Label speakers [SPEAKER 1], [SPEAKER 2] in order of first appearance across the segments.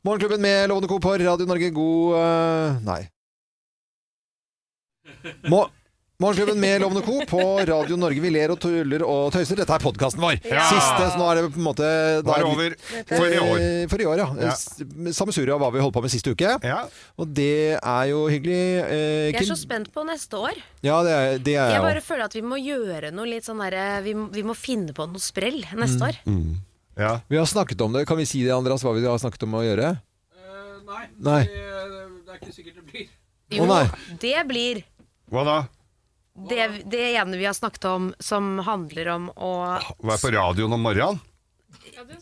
[SPEAKER 1] Morgenklubben med Lovende Co. på Radio Norge, god eh, Nei. Mo Morgenklubben med Lovende Co. på Radio Norge. Vi ler og tuller og tøyser. Dette er podkasten vår.
[SPEAKER 2] Ja.
[SPEAKER 1] Siste, så nå er det på en måte
[SPEAKER 2] Nå
[SPEAKER 1] da
[SPEAKER 2] er
[SPEAKER 1] er
[SPEAKER 2] det
[SPEAKER 1] vi-
[SPEAKER 2] over. For i år.
[SPEAKER 1] Eh, For i år, ja.
[SPEAKER 2] Ja.
[SPEAKER 1] ja. Sammensurium av hva vi holdt på med sist uke.
[SPEAKER 2] Ja.
[SPEAKER 1] Og det er jo hyggelig. Eh,
[SPEAKER 3] Jeg er
[SPEAKER 1] Kim-
[SPEAKER 3] så spent på neste år.
[SPEAKER 1] Ja, det er, det er
[SPEAKER 3] Jeg
[SPEAKER 1] jeg
[SPEAKER 3] bare
[SPEAKER 1] òg.
[SPEAKER 3] føler at vi må gjøre noe litt sånn derre vi, må- vi må finne på noe sprell neste
[SPEAKER 2] Mm.
[SPEAKER 3] år.
[SPEAKER 2] ja.
[SPEAKER 1] Vi har snakket om det. Kan vi si det, Andreas, hva vi har snakket om å gjøre?
[SPEAKER 4] Eh, nei,
[SPEAKER 1] Nei.
[SPEAKER 4] Det, det er ikke sikkert det blir.
[SPEAKER 1] Å, nei.
[SPEAKER 3] det blir
[SPEAKER 2] Hva da?
[SPEAKER 3] det, det ene vi har snakket om som handler om å
[SPEAKER 2] Være på radioen om morgenen?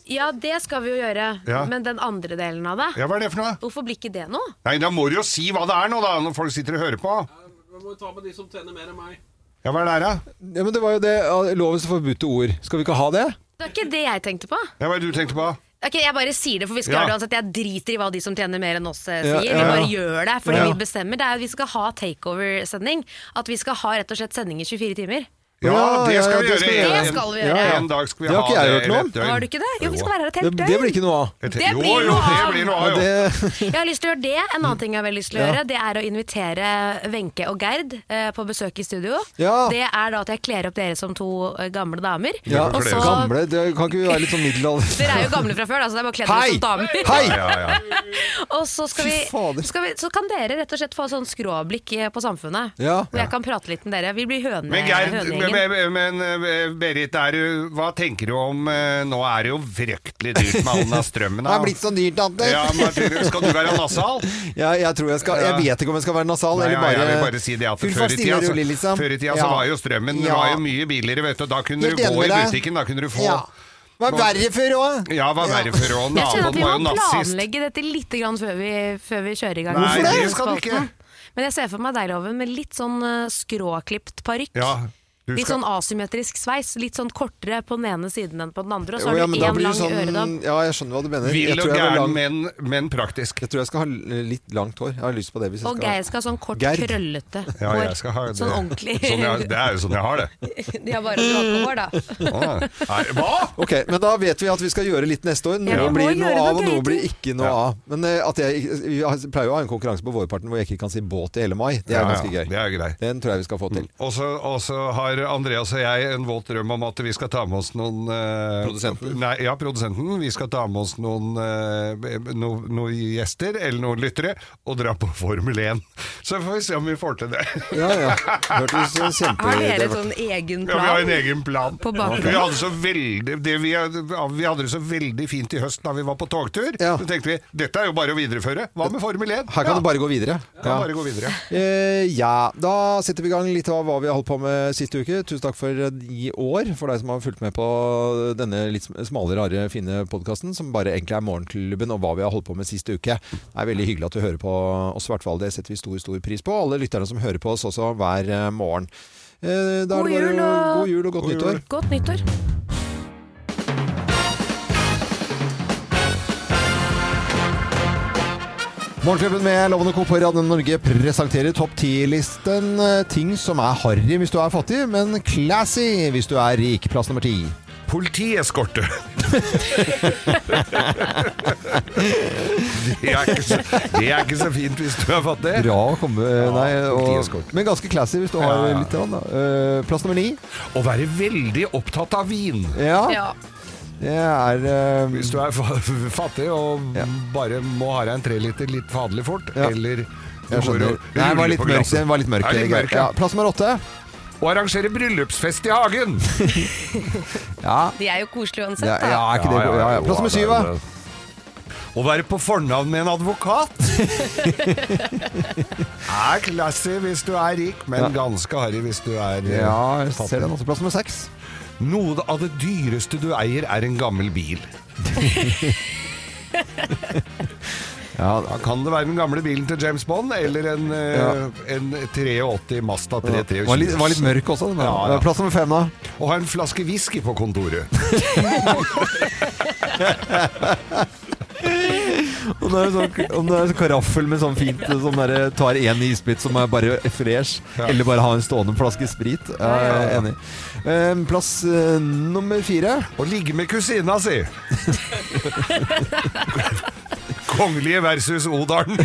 [SPEAKER 3] Ja, det skal vi jo gjøre,
[SPEAKER 2] Ja.
[SPEAKER 3] men den andre delen av det
[SPEAKER 2] Ja, hva er det for noe?
[SPEAKER 3] Hvorfor blir ikke det noe?
[SPEAKER 2] Nei, da må du jo si hva det er nå, da, når folk sitter og hører på.
[SPEAKER 4] Eh, Vi må ta med de som tjener mer enn meg.
[SPEAKER 2] Ja, hva er det her, da?
[SPEAKER 1] Ja, men det var jo det eh, lovens forbudte ord. Skal vi ikke ha det?
[SPEAKER 3] Det er ikke det jeg tenkte på.
[SPEAKER 2] Ja, hva er det du tenkte på?
[SPEAKER 3] Ok, jeg bare sier det, for vi skal
[SPEAKER 2] Ja.
[SPEAKER 3] gjøre det uansett. Jeg driter i hva de som tjener mer enn oss eh,
[SPEAKER 1] Ja,
[SPEAKER 3] sier.
[SPEAKER 1] ja, ja.
[SPEAKER 3] Vi bare gjør det, fordi
[SPEAKER 1] Ja.
[SPEAKER 3] vi bestemmer. Det er at vi skal ha takeover-sending. At vi skal ha rett og slett sending i 24 timer.
[SPEAKER 2] Ja, det skal vi gjøre.
[SPEAKER 3] gjøre.
[SPEAKER 2] En-
[SPEAKER 3] Det skal vi
[SPEAKER 2] en-
[SPEAKER 3] gjøre.
[SPEAKER 2] En dag skal vi
[SPEAKER 1] Det har
[SPEAKER 2] ha
[SPEAKER 1] ikke jeg hørt noe om.
[SPEAKER 2] et døgn.
[SPEAKER 3] Har du ikke det? Jo, vi skal være her et
[SPEAKER 1] Det,
[SPEAKER 3] helt
[SPEAKER 1] det blir
[SPEAKER 3] døgn.
[SPEAKER 1] ikke noe av.
[SPEAKER 2] Et-
[SPEAKER 3] Det
[SPEAKER 2] jo,
[SPEAKER 3] blir
[SPEAKER 2] jo,
[SPEAKER 3] noe
[SPEAKER 2] det
[SPEAKER 3] av.
[SPEAKER 2] blir noe
[SPEAKER 1] Ja,
[SPEAKER 2] av, jo.
[SPEAKER 1] det,
[SPEAKER 3] Jeg har lyst til å gjøre det. En annen ting jeg har veldig lyst til å
[SPEAKER 1] Mm. Ja.
[SPEAKER 3] gjøre, det er å invitere Wenche og Gerd eh, på besøk i studio.
[SPEAKER 1] Ja.
[SPEAKER 3] Det er da at jeg kler opp dere som to eh, gamle damer.
[SPEAKER 1] ja, altså,
[SPEAKER 3] Og så,
[SPEAKER 1] gamle det, Kan ikke vi være litt sånn
[SPEAKER 3] dere
[SPEAKER 1] middelalder?
[SPEAKER 3] er jo gamle fra før, da, så det er bare å kle
[SPEAKER 1] Hei!
[SPEAKER 3] dere som damer.
[SPEAKER 1] Hei!
[SPEAKER 2] Ja, ja.
[SPEAKER 3] Og så, skal
[SPEAKER 1] Fy fader.
[SPEAKER 3] vi, skal vi, så kan dere rett og slett få sånn skråblikk eh, på samfunnet.
[SPEAKER 1] Ja.
[SPEAKER 3] Hvor jeg kan prate litt med dere. Vi blir høne,
[SPEAKER 2] Men Gerd,
[SPEAKER 3] hønegjengen.
[SPEAKER 2] men, men, men eh, Berit, er du, hva tenker du om eh, Nå er det jo vrøktelig dyrt med all den der strømmen.
[SPEAKER 1] Det
[SPEAKER 2] da.
[SPEAKER 1] er blitt så dyrt, tante.
[SPEAKER 2] ja, men, Skal du være nasal?
[SPEAKER 1] Ja, jeg tror jeg skal Jeg
[SPEAKER 2] Ja.
[SPEAKER 1] vet ikke om jeg skal være nasal
[SPEAKER 2] Nei,
[SPEAKER 1] eller
[SPEAKER 2] ja,
[SPEAKER 1] bare
[SPEAKER 2] jeg vil bare si det at
[SPEAKER 1] Full
[SPEAKER 2] før i tida,
[SPEAKER 1] fastighet,
[SPEAKER 2] så,
[SPEAKER 1] rolig, liksom.
[SPEAKER 2] før i tida så
[SPEAKER 1] Ja.
[SPEAKER 2] var jo strømmen
[SPEAKER 1] Ja.
[SPEAKER 2] var jo mye billigere, vet du. Da kunne
[SPEAKER 1] Helt
[SPEAKER 2] du gå
[SPEAKER 1] enig
[SPEAKER 2] i
[SPEAKER 1] med deg.
[SPEAKER 2] butikken, da kunne du få
[SPEAKER 1] Ja. Det var verre før òg.
[SPEAKER 2] Ja, hva verre for å
[SPEAKER 3] Jeg skjønner
[SPEAKER 2] Naboen
[SPEAKER 3] at vi
[SPEAKER 2] var jo
[SPEAKER 3] må
[SPEAKER 2] nazist.
[SPEAKER 3] planlegge dette litt grann før, vi, før vi kjører i gang.
[SPEAKER 2] Nei,
[SPEAKER 1] Hvorfor det?
[SPEAKER 2] det skal du ikke.
[SPEAKER 3] Men jeg ser for meg deg, Loven, med litt sånn eh, skråklipt parykk.
[SPEAKER 2] Ja, du
[SPEAKER 3] Litt
[SPEAKER 2] skal
[SPEAKER 3] sånn asymmetrisk sveis. Litt sånn kortere på den ene siden enn på den andre. Og så
[SPEAKER 1] Jo,
[SPEAKER 3] har
[SPEAKER 1] ja,
[SPEAKER 3] du
[SPEAKER 1] men da
[SPEAKER 3] én
[SPEAKER 1] blir det
[SPEAKER 3] lang
[SPEAKER 1] sånn
[SPEAKER 3] øredobb.
[SPEAKER 1] Ja, jeg skjønner hva du mener. Jeg
[SPEAKER 2] Vill og
[SPEAKER 1] tror jeg, var
[SPEAKER 2] gæren,
[SPEAKER 1] lang,
[SPEAKER 2] men, men praktisk.
[SPEAKER 1] jeg tror jeg skal ha l- litt langt hår. Jeg har lyst på det hvis jeg
[SPEAKER 3] Og
[SPEAKER 1] skal
[SPEAKER 3] Geir skal ha sånn kort,
[SPEAKER 1] Gerd.
[SPEAKER 3] krøllete hår.
[SPEAKER 2] Ja, jeg skal ha det.
[SPEAKER 3] Sånn ordentlig.
[SPEAKER 2] Sånn jeg, det er jo sånn jeg har det.
[SPEAKER 3] De har bare dråpehår, da.
[SPEAKER 2] Ah, nei, hva?
[SPEAKER 1] Ok, men da vet vi at vi skal gjøre litt neste år. Noe
[SPEAKER 3] Ja, vi må
[SPEAKER 1] blir
[SPEAKER 3] gjøre
[SPEAKER 1] noe
[SPEAKER 3] noe
[SPEAKER 1] av, og
[SPEAKER 3] gøy
[SPEAKER 1] noe blir
[SPEAKER 3] til.
[SPEAKER 1] ikke noe av. Men eh, at jeg, vi har- pleier jo å ha en konkurranse på vårparten hvor jeg ikke kan si båt i hele mai. Det er
[SPEAKER 2] Ja, ja,
[SPEAKER 1] ganske gøy.
[SPEAKER 2] det er greit.
[SPEAKER 1] Den tror jeg vi skal få til.
[SPEAKER 2] Og så og så har Andreas og jeg en våt drøm om at vi skal ta med oss noen eh,
[SPEAKER 1] Produsenten?
[SPEAKER 2] Nei, ja, produsenten. Vi skal ta med oss noen, eh, no, noen gjester eller noen lyttere og dra på Formel 1. Så får vi se om vi får til det.
[SPEAKER 1] Ja, ja. Hørtes så Ah,
[SPEAKER 3] Har dere
[SPEAKER 1] kjempe...
[SPEAKER 3] sånn egen
[SPEAKER 2] Ja, vi har en
[SPEAKER 3] plan?
[SPEAKER 2] egen plan.
[SPEAKER 3] På bakgrunnen.
[SPEAKER 2] vi, hadde så veldig, det vi, hadde- vi hadde det så veldig fint i høst da vi var på togtur.
[SPEAKER 1] Ja.
[SPEAKER 2] Så tenkte vi dette er jo bare å videreføre. Hva med Formel 1?
[SPEAKER 1] Her kan
[SPEAKER 2] ja,
[SPEAKER 1] det bare gå videre.
[SPEAKER 2] kan bare gå videre.
[SPEAKER 1] Eh, ja, da setter vi i gang litt av hva vi har holdt på med siste uke. Tusen takk for i år, for deg som har fulgt med på denne litt sm- smale, rare, fine podkasten, som bare egentlig er Morgenklubben og hva vi har holdt på med siste uke. Det er veldig hyggelig at du hører på oss, i hvert fall. Det setter vi stor, stor pris på. Alle lytterne som hører på oss også hver eh, morgen. Eh, da er
[SPEAKER 3] God
[SPEAKER 1] det bare
[SPEAKER 3] jul
[SPEAKER 1] å-
[SPEAKER 3] og-
[SPEAKER 1] god jul og godt
[SPEAKER 2] God jul.
[SPEAKER 1] nyttår.
[SPEAKER 3] Godt nyttår.
[SPEAKER 1] Morgenklubben med Lovende Co. på Radio Norge presenterer topp 10-listen. eh, Ting som er harry hvis du er fattig, men classy hvis du er rik. Plass nummer ti.
[SPEAKER 2] Politieskorte. det, er ikke så, det er ikke så fint hvis du er fattig.
[SPEAKER 1] Bra å komme eh, nei, og,
[SPEAKER 2] politieskorte.
[SPEAKER 1] Men ganske classy hvis du har
[SPEAKER 2] Ja, ja.
[SPEAKER 1] litt. grann, Da. Eh, plass nummer ni.
[SPEAKER 2] Å være veldig opptatt av vin
[SPEAKER 1] Ja,
[SPEAKER 3] Ja.
[SPEAKER 1] det er eh,
[SPEAKER 2] hvis du er fa- fattig og
[SPEAKER 1] Ja.
[SPEAKER 2] bare må ha deg en treliter litt fadelig fort,
[SPEAKER 1] Ja.
[SPEAKER 2] eller du
[SPEAKER 1] Jeg skjønner.
[SPEAKER 2] går og
[SPEAKER 1] Nei, den var
[SPEAKER 2] ruller
[SPEAKER 1] litt
[SPEAKER 2] på
[SPEAKER 1] mørk.
[SPEAKER 2] glasset.
[SPEAKER 1] Den var litt mørk,
[SPEAKER 2] Ja, litt
[SPEAKER 1] Geir.
[SPEAKER 2] mørk,
[SPEAKER 1] ja.
[SPEAKER 2] ja.
[SPEAKER 1] Plass nummer åtte.
[SPEAKER 2] Å arrangere bryllupsfest i hagen!
[SPEAKER 1] Ja,
[SPEAKER 3] De er jo koselige
[SPEAKER 1] det,
[SPEAKER 3] uansett,
[SPEAKER 1] er-
[SPEAKER 3] da.
[SPEAKER 1] ja, er ikke det
[SPEAKER 2] Ja,
[SPEAKER 1] ja, ja.
[SPEAKER 2] jo,
[SPEAKER 1] Plass nummer
[SPEAKER 2] det er
[SPEAKER 1] syv. da.
[SPEAKER 2] det. Å være på fornavn med en advokat er classy hvis du er rik, men
[SPEAKER 1] Ja.
[SPEAKER 2] ganske harry hvis du er eh,
[SPEAKER 1] Ja, jeg
[SPEAKER 2] fattig.
[SPEAKER 1] ser den også. Plass nummer seks.
[SPEAKER 2] Noe av det dyreste du eier er en gammel bil.
[SPEAKER 1] Ja,
[SPEAKER 2] Da kan det være den gamle bilen til James Bond, eller en, eh,
[SPEAKER 1] Ja.
[SPEAKER 2] en 83 Mazda
[SPEAKER 1] det var litt,
[SPEAKER 2] 323.
[SPEAKER 1] var litt mørk også. Den,
[SPEAKER 2] Ja,
[SPEAKER 1] ja,
[SPEAKER 2] ja.
[SPEAKER 1] Plass nummer fem, da.
[SPEAKER 2] Og ha en flaske whisky på kontoret.
[SPEAKER 1] Om det er en sånn, om det er en sånn karaffel med sånn fint Som der, tar en isbit som er bare fresh
[SPEAKER 2] Ja.
[SPEAKER 1] Eller bare ha en stående flaske sprit Jeg er
[SPEAKER 2] ja, ja.
[SPEAKER 1] enig Eh, Plass eh, nummer fire
[SPEAKER 2] Og ligge med kusina si. Kongelige versus Odalen.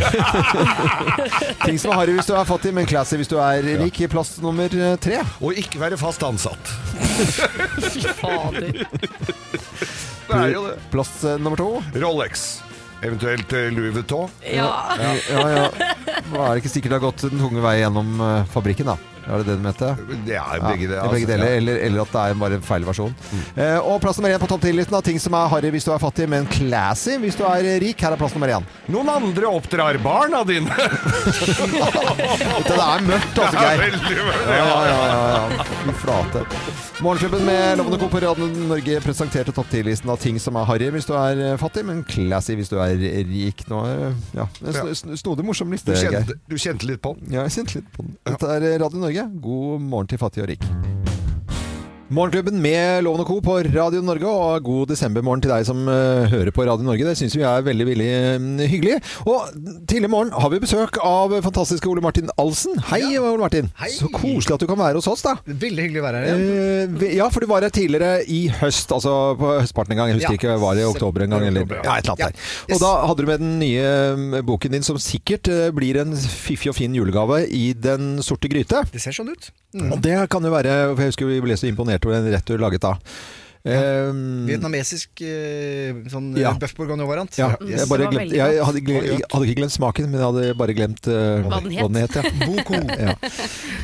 [SPEAKER 1] Ting som er harry hvis du er fattig, men classy hvis du er rik. Plass nummer eh, tre.
[SPEAKER 2] Og ikke være fast ansatt.
[SPEAKER 3] Fy fader.
[SPEAKER 2] Det er jo det.
[SPEAKER 1] Plass eh, nummer to.
[SPEAKER 2] Rolex. Eventuelt eh, Louis Vuitton.
[SPEAKER 3] Ja.
[SPEAKER 1] Ja, ja. Det er det ikke sikkert det har gått den tunge vei gjennom eh, fabrikken, da. Er det det du mente?
[SPEAKER 2] Det er
[SPEAKER 1] Ja,
[SPEAKER 2] begge, det,
[SPEAKER 1] i begge
[SPEAKER 2] altså. Mm.
[SPEAKER 1] deler, eller, eller at det er bare en feil versjon. Eh, og plass nummer én på topp 10-listen av ting som er harry hvis du er fattig, men classy hvis du er rik. Her er plass nummer én.
[SPEAKER 2] Noen andre oppdrar barna dine.
[SPEAKER 1] Det er mørkt, altså,
[SPEAKER 2] Det er
[SPEAKER 1] Geir.
[SPEAKER 2] veldig bra.
[SPEAKER 1] Ja, ja, ja. ja. Fy flate. Morgenklubben med Lovende Co. på Radio Norge presenterte topp 10-listen av ting som er harry hvis du er eh, fattig, men classy hvis du er rik. Nå, eh, ja. En sn- sn- snodig morsom
[SPEAKER 2] Du,
[SPEAKER 1] liste, Geir.
[SPEAKER 2] kjente, du kjente litt på den.
[SPEAKER 1] Ja, jeg kjente litt på den. Dette er eh, Radio Norge. God morgen til fattig og rik. Morgenklubben med Loven og Co. på Radio Norge, og god desembermorgen til deg som eh, hører på Radio Norge. Det syns vi er veldig veldig mm, hyggelig. Og tidlig i morgen har vi besøk av fantastiske Ole Martin Alsen. Hei, Ole Martin.
[SPEAKER 5] Hei.
[SPEAKER 1] Så koselig at du kan være hos oss, da.
[SPEAKER 5] Veldig hyggelig å være her igjen.
[SPEAKER 1] Eh, vi- ja, for du var her tidligere i høst, altså på høstparten en gang. Jeg husker
[SPEAKER 5] Ja.
[SPEAKER 1] ikke, var det i oktober en gang? Eller,
[SPEAKER 2] Oktober,
[SPEAKER 1] ja, et eller annet
[SPEAKER 5] Ja.
[SPEAKER 1] der. Og
[SPEAKER 5] Yes.
[SPEAKER 1] da hadde du med den nye mm, boken din, som sikkert eh, blir en fiffig og fin julegave i Den sorte gryte.
[SPEAKER 5] Det ser sånn ut.
[SPEAKER 1] Og det kan jo være For jeg husker vi ble så imponert over den rett du laget da. Eh,
[SPEAKER 5] Vietnamesisk eh, sånn ja.
[SPEAKER 1] Ja.
[SPEAKER 5] bøff bourguignon-variant.
[SPEAKER 1] ja,
[SPEAKER 5] Yes.
[SPEAKER 1] jeg, bare
[SPEAKER 3] Det var
[SPEAKER 1] glemte,
[SPEAKER 3] veldig
[SPEAKER 1] jeg hadde, gle- jeg hadde ikke glemt smaken, men jeg hadde bare glemt eh,
[SPEAKER 3] Hva den het.
[SPEAKER 1] het. ja.
[SPEAKER 5] Boko.
[SPEAKER 1] Ja.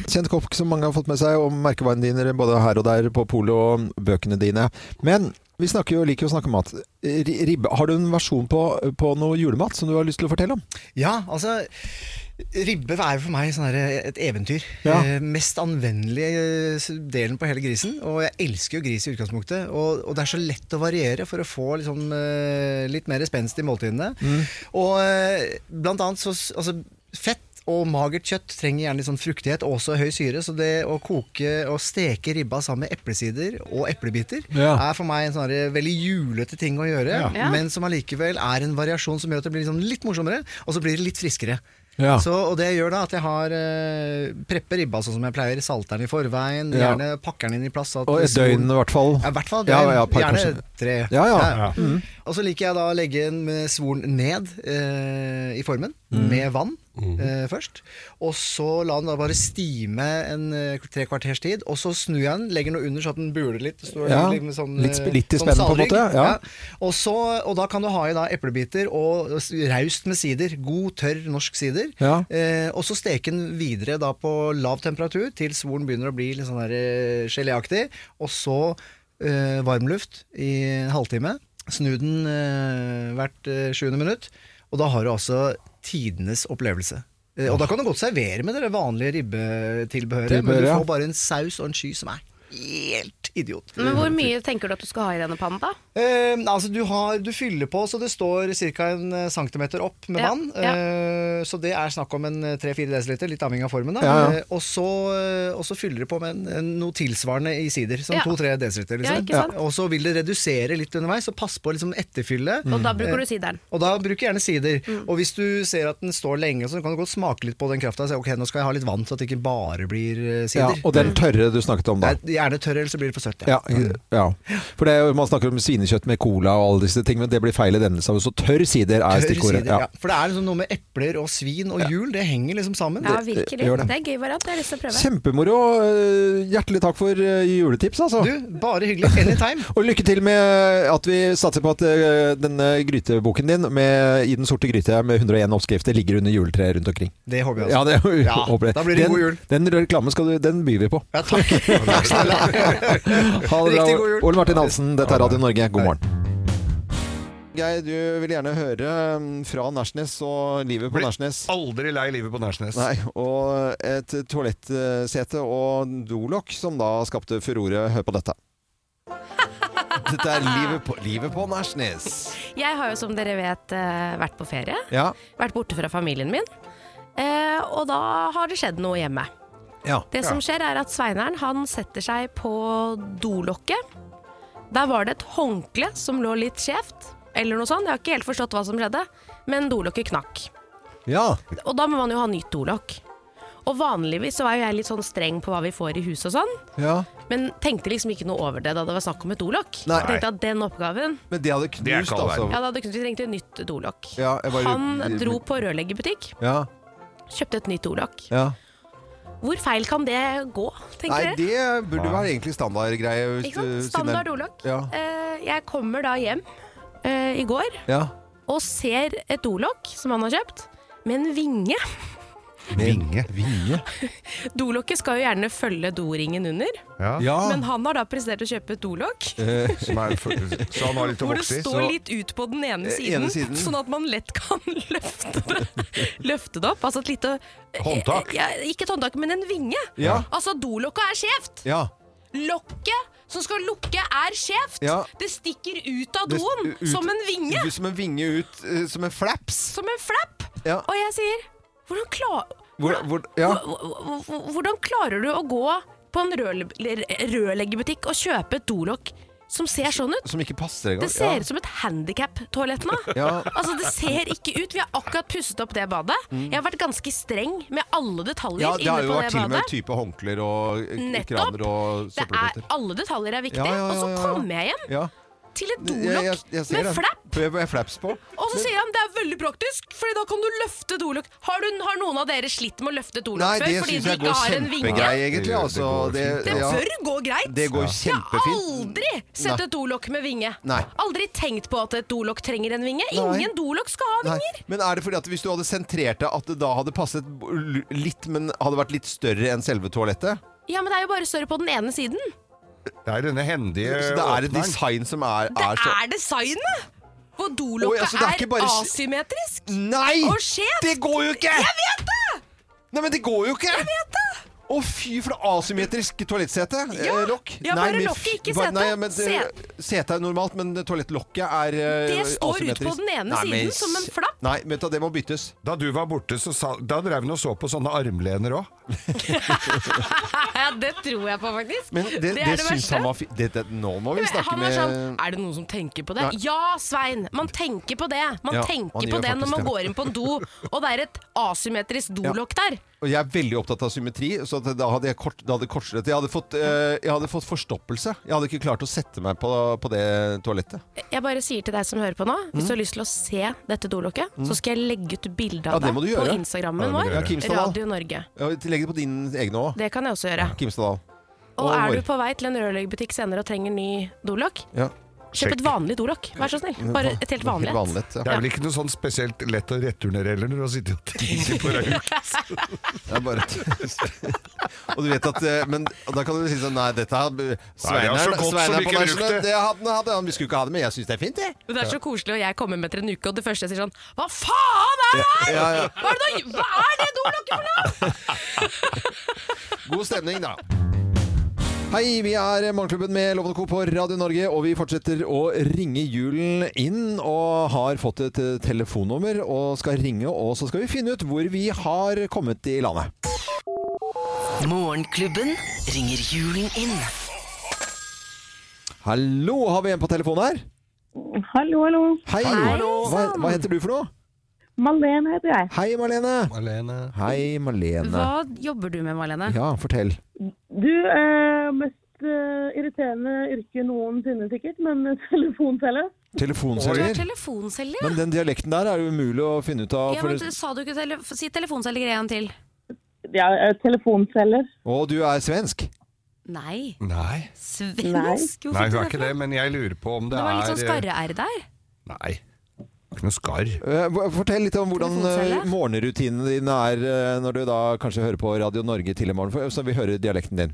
[SPEAKER 1] Kjent kokk som mange har fått med seg, og merkevarene dine både her og der på polet, og bøkene dine. Men vi snakker jo, liker jo å snakke om mat. Ri- Ribbe. Har du en versjon på, på noe julemat som du har lyst til å fortelle om?
[SPEAKER 5] Ja, altså Ribbe er jo for meg sånn her et eventyr.
[SPEAKER 1] Ja.
[SPEAKER 5] Eh, mest anvendelige eh, delen på hele grisen. Og jeg elsker jo gris i utgangspunktet. Og, og det er så lett å variere for å få liksom, eh, litt mer spenst i måltidene. Og eh, blant annet så s- altså, Fett og magert kjøtt trenger gjerne litt sånn fruktighet og også høy syre. Så det å koke og steke ribba sammen med eplesider og eplebiter
[SPEAKER 1] Ja.
[SPEAKER 5] er for meg en sånn her veldig julete ting å gjøre.
[SPEAKER 3] Ja.
[SPEAKER 5] Men som allikevel er en variasjon som gjør at det blir liksom litt morsommere, og så blir det litt friskere.
[SPEAKER 1] Ja.
[SPEAKER 5] Så, og det gjør da at jeg har eh, prepper ribba sånn som jeg pleier, salter den i forveien,
[SPEAKER 1] Ja.
[SPEAKER 5] gjerne pakker den inn i plass. så at
[SPEAKER 1] Og et
[SPEAKER 5] solen-
[SPEAKER 1] døgn, i hvert fall.
[SPEAKER 5] Ja, i hvert fall.
[SPEAKER 1] Ja,
[SPEAKER 5] døgn.
[SPEAKER 1] ja, par
[SPEAKER 5] gjerne
[SPEAKER 1] kanskje.
[SPEAKER 5] tre.
[SPEAKER 1] Ja, ja.
[SPEAKER 5] Mm.
[SPEAKER 1] Mm.
[SPEAKER 5] Og så liker jeg da å legge en eh, svoren ned eh, i formen,
[SPEAKER 1] Mm.
[SPEAKER 5] med vann eh, først. Og så la den da bare stime en eh, tre kvarters tid, og så snur jeg den, legger den under så at den buler litt. Så står det
[SPEAKER 1] Ja,
[SPEAKER 5] litt med sånn,
[SPEAKER 1] litt sp-
[SPEAKER 5] eh,
[SPEAKER 1] litt i
[SPEAKER 5] sånn
[SPEAKER 1] spennen på en
[SPEAKER 5] salrygg.
[SPEAKER 1] måte, ja.
[SPEAKER 5] Og, så, og da kan du ha i da eplebiter og s- raust med sider. God, tørr norsk sider.
[SPEAKER 1] Ja.
[SPEAKER 5] Eh, og så steke den videre da på lav temperatur til svoren begynner å bli litt sånn der, eh, geléaktig. Og så eh, varmluft i en halvtime. Snu den eh, hvert eh, sjuende minutt. Og da har du altså tidenes opplevelse. Eh, og da kan du godt servere med det vanlige ribbetilbehøret, men
[SPEAKER 1] Tilbehør,
[SPEAKER 5] du
[SPEAKER 1] ja.
[SPEAKER 5] får bare en saus og en sky som er helt idiot.
[SPEAKER 3] Men hvor mye tenker du at du skal ha i denne pannen, da?
[SPEAKER 5] Eh, altså du, har, du fyller på så det står ca. en eh, centimeter opp med
[SPEAKER 3] Ja,
[SPEAKER 5] vann.
[SPEAKER 3] ja.
[SPEAKER 5] Eh, så det er snakk om en eh, 3-4 dl, litt avhengig av formen. Da.
[SPEAKER 1] Ja, ja.
[SPEAKER 5] Eh, og, så, eh, og så fyller du på med en, en, noe tilsvarende i sider, som
[SPEAKER 3] Ja.
[SPEAKER 5] 2-3 dl. Liksom.
[SPEAKER 3] Ja, ikke sant?
[SPEAKER 5] Og så vil det redusere litt underveis, så pass på å liksom, etterfylle.
[SPEAKER 2] Mm.
[SPEAKER 5] Eh,
[SPEAKER 3] Og da
[SPEAKER 1] Eh,
[SPEAKER 3] bruker du Mm. sideren.
[SPEAKER 5] Og da bruker jeg gjerne sider. Og hvis du ser at den står lenge, så kan du godt smake litt på den krafta. Ok, nå skal jeg ha litt vann, så at det ikke bare blir eh,
[SPEAKER 1] ja.
[SPEAKER 5] sider.
[SPEAKER 1] Og den tørre du snakket om da.
[SPEAKER 5] Nei, gjerne tørr, eller så blir det for søtt.
[SPEAKER 1] Ja, ja. For det, er jo- man snakker om svinekjøtt med cola og alle disse tingene, men det blir feil i denne sammenheng. Så tørr sider er
[SPEAKER 5] Tørr
[SPEAKER 1] stikkordet.
[SPEAKER 5] sider, ja. For det er liksom noe med epler og svin og jul, det henger liksom sammen.
[SPEAKER 3] Ja, virkelig.
[SPEAKER 1] gjør
[SPEAKER 3] Det
[SPEAKER 1] det.
[SPEAKER 3] er en gøy variant. Jeg har lyst til å prøve.
[SPEAKER 1] Kjempemoro. Eh, Hjertelig takk for eh, juletips, altså.
[SPEAKER 5] Du, bare hyggelig. Anytime.
[SPEAKER 1] Og lykke til med at vi satser på at eh, denne gryteboken din med, i den sorte gryte med 101 oppskrifter ligger under juletreet rundt omkring.
[SPEAKER 5] Det håper jeg
[SPEAKER 1] Ja,
[SPEAKER 5] også.
[SPEAKER 1] det
[SPEAKER 5] Ja,
[SPEAKER 1] håper jeg.
[SPEAKER 5] da blir det
[SPEAKER 1] den,
[SPEAKER 5] god jul.
[SPEAKER 1] Den reklamen skal du, den byr vi på.
[SPEAKER 5] Ja, takk. takk snille.
[SPEAKER 1] Ha det bra.
[SPEAKER 5] Riktig god jul.
[SPEAKER 1] Ole Martin Hansen, dette er Radio Norge. God
[SPEAKER 5] Hei.
[SPEAKER 1] morgen. Geir, du vil gjerne høre mm, fra Nærsnes og livet på
[SPEAKER 2] Blir-
[SPEAKER 1] Nærsnes.
[SPEAKER 2] Aldri lei livet på Nærsnes.
[SPEAKER 1] Nei, og et toalettsete og dolokk som da skapte furore. Hør på dette. Dette er livet på, livet på Nærsnes.
[SPEAKER 3] Jeg har jo som dere vet eh, vært på ferie.
[SPEAKER 1] Ja.
[SPEAKER 3] Vært borte fra familien min. Eh, og da har det skjedd noe hjemme.
[SPEAKER 1] Ja.
[SPEAKER 3] Det som skjer er at Sveineren han setter seg på dolokket. Der var det et håndkle som lå litt skjevt, eller noe sånt. Jeg har ikke helt forstått hva som skjedde, men dolokket knakk.
[SPEAKER 1] Ja.
[SPEAKER 3] Og da må man jo ha nytt dolokk. Og vanligvis så var jo jeg litt sånn streng på hva vi får i huset og sånn,
[SPEAKER 1] Ja.
[SPEAKER 3] men tenkte liksom ikke noe over det da det var snakk om et dolokk.
[SPEAKER 1] Nei.
[SPEAKER 3] Jeg tenkte at den oppgaven
[SPEAKER 1] Men det hadde
[SPEAKER 2] Det er
[SPEAKER 1] knust,
[SPEAKER 2] kald
[SPEAKER 1] altså.
[SPEAKER 2] verden.
[SPEAKER 3] Ja, da hadde Knut vi trengte et nytt dolokk.
[SPEAKER 1] Ja, jeg bare-
[SPEAKER 3] Han dro på rørleggerbutikk,
[SPEAKER 1] Ja,
[SPEAKER 3] kjøpte et nytt dolokk.
[SPEAKER 1] ja.
[SPEAKER 3] Hvor feil kan det gå, tenker
[SPEAKER 1] Nei,
[SPEAKER 3] dere?
[SPEAKER 1] det burde være egentlig standardgreie. hvis
[SPEAKER 3] Ikke sant?
[SPEAKER 1] du- siden
[SPEAKER 3] Standard
[SPEAKER 1] det-
[SPEAKER 3] dolokk.
[SPEAKER 1] Ja.
[SPEAKER 3] Eh, jeg kommer da hjem eh, i går
[SPEAKER 1] ja.
[SPEAKER 3] og ser et dolokk som han har kjøpt, med en vinge.
[SPEAKER 2] Vinge.
[SPEAKER 1] Vinge?
[SPEAKER 3] Dolokket skal jo gjerne følge doringen under,
[SPEAKER 2] Ja.
[SPEAKER 1] Ja.
[SPEAKER 3] men han har da prestert å kjøpe et dolokk.
[SPEAKER 1] Eh,
[SPEAKER 2] Som er, så han har litt å
[SPEAKER 3] Hvor det
[SPEAKER 2] vokse i.
[SPEAKER 3] står litt ut på den ene
[SPEAKER 1] Eh,
[SPEAKER 3] siden,
[SPEAKER 1] ene siden.
[SPEAKER 3] sånn at man lett kan løfte det, løfte det opp. Altså et lite eh,
[SPEAKER 2] Håndtak.
[SPEAKER 3] Ja, ikke et håndtak, men en vinge.
[SPEAKER 1] Ja.
[SPEAKER 3] Altså, dolokket er skjevt!
[SPEAKER 1] ja.
[SPEAKER 3] Lokket som skal lukke, er skjevt!
[SPEAKER 1] Ja.
[SPEAKER 3] Det stikker ut av
[SPEAKER 1] Det-
[SPEAKER 3] doen
[SPEAKER 1] ut-
[SPEAKER 3] som en vinge!
[SPEAKER 1] Du som en vinge ut, eh, som en flaps.
[SPEAKER 3] Som en flapp!
[SPEAKER 1] Ja.
[SPEAKER 3] Og jeg sier hvordan, kla-
[SPEAKER 1] Hvor, hvor, ja.
[SPEAKER 3] hvor- hvor- hvordan klarer du å gå på en rørle- eh, rørleggerbutikk og kjøpe et dolokk som ser sånn ut?
[SPEAKER 1] Som ikke passer engang.
[SPEAKER 3] Det ser ut som et handikap-toalett nå.
[SPEAKER 1] Ja.
[SPEAKER 3] Altså, det ser ikke ut. Vi har akkurat pusset opp det badet. Jeg har vært ganske streng med alle detaljer
[SPEAKER 1] Mm. ja, det har
[SPEAKER 3] inne
[SPEAKER 1] jo
[SPEAKER 3] på
[SPEAKER 1] vært
[SPEAKER 3] det
[SPEAKER 1] til og med
[SPEAKER 3] badet.
[SPEAKER 1] type håndklær og eh,
[SPEAKER 3] Nettopp.
[SPEAKER 1] kraner og
[SPEAKER 3] Det er,
[SPEAKER 1] søppelbøtter.
[SPEAKER 3] alle detaljer er
[SPEAKER 1] Ja,
[SPEAKER 3] viktige.
[SPEAKER 1] ja, ja,
[SPEAKER 3] Og
[SPEAKER 1] ja,
[SPEAKER 3] så
[SPEAKER 1] ja.
[SPEAKER 3] kommer jeg hjem
[SPEAKER 1] Ja.
[SPEAKER 3] til et
[SPEAKER 1] Jeg- jeg- jeg
[SPEAKER 3] dolokk
[SPEAKER 1] ser
[SPEAKER 3] med
[SPEAKER 1] det.
[SPEAKER 3] flapp.
[SPEAKER 1] Med, med flaps på.
[SPEAKER 3] Og så sier han det er veldig praktisk, Fordi da kan du løfte dolokk. Har, du- har noen av dere slitt med å løfte et dolokk
[SPEAKER 1] Nei,
[SPEAKER 3] før
[SPEAKER 1] det
[SPEAKER 3] fordi
[SPEAKER 1] syns
[SPEAKER 3] du
[SPEAKER 1] jeg
[SPEAKER 3] ikke
[SPEAKER 1] går
[SPEAKER 3] har en vinge?
[SPEAKER 1] kjempegreit, egentlig. Altså, det,
[SPEAKER 3] Det
[SPEAKER 1] ja,
[SPEAKER 3] bør gå greit.
[SPEAKER 1] det går
[SPEAKER 3] Jeg har
[SPEAKER 1] kjempefint.
[SPEAKER 3] aldri sett
[SPEAKER 1] Nei.
[SPEAKER 3] et dolokk med vinge.
[SPEAKER 1] Nei.
[SPEAKER 3] Aldri tenkt på at et dolokk trenger en vinge.
[SPEAKER 1] Nei.
[SPEAKER 3] Ingen dolokk skal ha
[SPEAKER 1] Nei.
[SPEAKER 3] vinger.
[SPEAKER 1] Men er det fordi at hvis du hadde sentrert deg, at det da hadde passet b- l- litt, men hadde vært litt større enn selve toalettet?
[SPEAKER 3] Ja, men det er jo bare større på den ene siden.
[SPEAKER 2] Det er denne hendige
[SPEAKER 1] Så det er et
[SPEAKER 2] åpneren.
[SPEAKER 1] design som er,
[SPEAKER 3] Det
[SPEAKER 1] er så
[SPEAKER 3] er designet! Hvor
[SPEAKER 1] Altså- Oi,
[SPEAKER 3] dolokket
[SPEAKER 1] altså, det er
[SPEAKER 3] er,
[SPEAKER 1] ikke bare-
[SPEAKER 3] asymmetrisk.
[SPEAKER 1] Nei!
[SPEAKER 3] Og skjevt.
[SPEAKER 1] Det går jo ikke! Jeg vet det! Nei, men det går jo ikke! Jeg vet det! Å fy, for det asymmetrisk toalettsete.
[SPEAKER 3] Ja.
[SPEAKER 1] eh, lokk.
[SPEAKER 3] Ja, bare
[SPEAKER 1] men
[SPEAKER 3] lokket,
[SPEAKER 1] fy-
[SPEAKER 3] ikke
[SPEAKER 1] bare-
[SPEAKER 3] setet.
[SPEAKER 1] Nei, men, eh,
[SPEAKER 3] Set-
[SPEAKER 1] Setet er normalt, men toalettlokket er eh,
[SPEAKER 3] Det står ut på
[SPEAKER 1] asymmetrisk.
[SPEAKER 3] den ene
[SPEAKER 1] Nei, men
[SPEAKER 3] siden som en
[SPEAKER 1] s-
[SPEAKER 3] flapp.
[SPEAKER 1] Nei, vet du, det må byttes.
[SPEAKER 2] Da du var borte, så sa, da drev hun og så på sånne armlener òg.
[SPEAKER 3] Ja, det tror jeg på, faktisk.
[SPEAKER 1] Men det, det,
[SPEAKER 3] er det
[SPEAKER 1] syns
[SPEAKER 3] verste.
[SPEAKER 1] han var fint. Nå må vi snakke
[SPEAKER 3] han var
[SPEAKER 1] med
[SPEAKER 3] sånn Er det noen som tenker på det?
[SPEAKER 1] Nei.
[SPEAKER 3] Ja, Svein! Man tenker på det. Man
[SPEAKER 1] Ja, man
[SPEAKER 3] tenker
[SPEAKER 1] gjør
[SPEAKER 3] på det når
[SPEAKER 1] faktisk
[SPEAKER 3] man
[SPEAKER 1] det.
[SPEAKER 3] går inn på en do, og det er et asymmetrisk dolokk der.
[SPEAKER 1] Og jeg er veldig opptatt av symmetri, så at da hadde jeg kort, da hadde jeg kortsluttet. Jeg hadde, fått, eh, jeg hadde fått forstoppelse. Jeg hadde ikke klart å sette meg på, på det toalettet.
[SPEAKER 3] Jeg bare sier til deg som hører på nå, hvis du har lyst til å se dette dolokket, så skal jeg legge ut bilde
[SPEAKER 1] Mm. Ja,
[SPEAKER 3] av
[SPEAKER 1] det må du
[SPEAKER 3] deg på
[SPEAKER 1] gjøre.
[SPEAKER 2] Ja,
[SPEAKER 3] Instagrammen
[SPEAKER 2] det må du
[SPEAKER 3] vår,
[SPEAKER 1] Ja, Kimstadal.
[SPEAKER 3] Radio Norge.
[SPEAKER 1] Ja, Legg det på din egne òg,
[SPEAKER 3] Det kan jeg også gjøre.
[SPEAKER 1] Kimstadal.
[SPEAKER 3] Og
[SPEAKER 1] Og
[SPEAKER 3] er
[SPEAKER 1] vår.
[SPEAKER 3] du på vei til en rørleggerbutikk senere og trenger ny dolokk,
[SPEAKER 1] Ja.
[SPEAKER 3] kjøp et vanlig dolokk. Vær så snill. Bare et helt vanlig et.
[SPEAKER 1] vanlig, ja.
[SPEAKER 2] Det er vel ikke noe sånn spesielt lett å returnere heller, når du har sittet og tenkt på det.
[SPEAKER 1] Det er bare Og du vet at eh, Men og da kan du si sånn Nei, dette har
[SPEAKER 2] Nei, det
[SPEAKER 1] Svein
[SPEAKER 2] er så
[SPEAKER 1] her
[SPEAKER 2] godt som
[SPEAKER 1] Svein her
[SPEAKER 2] ikke
[SPEAKER 1] på nachene,
[SPEAKER 2] brukte.
[SPEAKER 1] det hadde han, hadde han. Vi skulle ikke ha det, men jeg syns det er fint, jeg.
[SPEAKER 3] Men det er så koselig, og jeg kommer med etter en uke, og det første jeg sier sånn Hva faen er det her?!
[SPEAKER 1] Ja, ja.
[SPEAKER 3] Hva er det, da- hva er det dolokket for noe?!
[SPEAKER 1] God stemning, da. Hei, vi er Morgenklubben med Loven og Co. på Radio Norge, og vi fortsetter å ringe julen inn. Og har fått et eh, telefonnummer og skal ringe, og så skal vi finne ut hvor vi har kommet i landet.
[SPEAKER 6] Morgenklubben ringer julen inn.
[SPEAKER 1] Hallo, har vi en på telefonen her?
[SPEAKER 7] Hallo, hallo.
[SPEAKER 1] Hei, hva, hva heter du for noe?
[SPEAKER 7] Malene heter jeg.
[SPEAKER 1] Hei, Marlene.
[SPEAKER 2] Alene.
[SPEAKER 1] Hei, Marlene.
[SPEAKER 3] Hva jobber du med, Malene?
[SPEAKER 1] Ja, fortell.
[SPEAKER 7] Du er mest eh, irriterende yrke noensinne sikkert, men telefonteller.
[SPEAKER 3] Du er
[SPEAKER 1] Telefonselger.
[SPEAKER 3] telefonselger,
[SPEAKER 1] Men den dialekten der er jo umulig å finne ut av.
[SPEAKER 3] ja.
[SPEAKER 1] For...
[SPEAKER 3] men du- Sa du ikke tele si telefonselger en gang til?
[SPEAKER 7] Ja, eh, telefonteller.
[SPEAKER 1] Og du er svensk.
[SPEAKER 3] Nei.
[SPEAKER 2] Nei.
[SPEAKER 3] Svensk? Hvorfor
[SPEAKER 2] Nei, hun
[SPEAKER 3] tror
[SPEAKER 2] er
[SPEAKER 3] jeg
[SPEAKER 2] ikke det, men jeg lurer på om det,
[SPEAKER 3] Det var litt sånn
[SPEAKER 2] er
[SPEAKER 3] skarre-r der.
[SPEAKER 2] Nei. Ikke noe skarr.
[SPEAKER 1] Eh, hva- Fortell litt om hvordan eh,
[SPEAKER 3] Telefonselger?
[SPEAKER 1] morgenrutinene dine er eh, når du da kanskje hører på Radio Norge til i morgen, for- så vi hører dialekten din.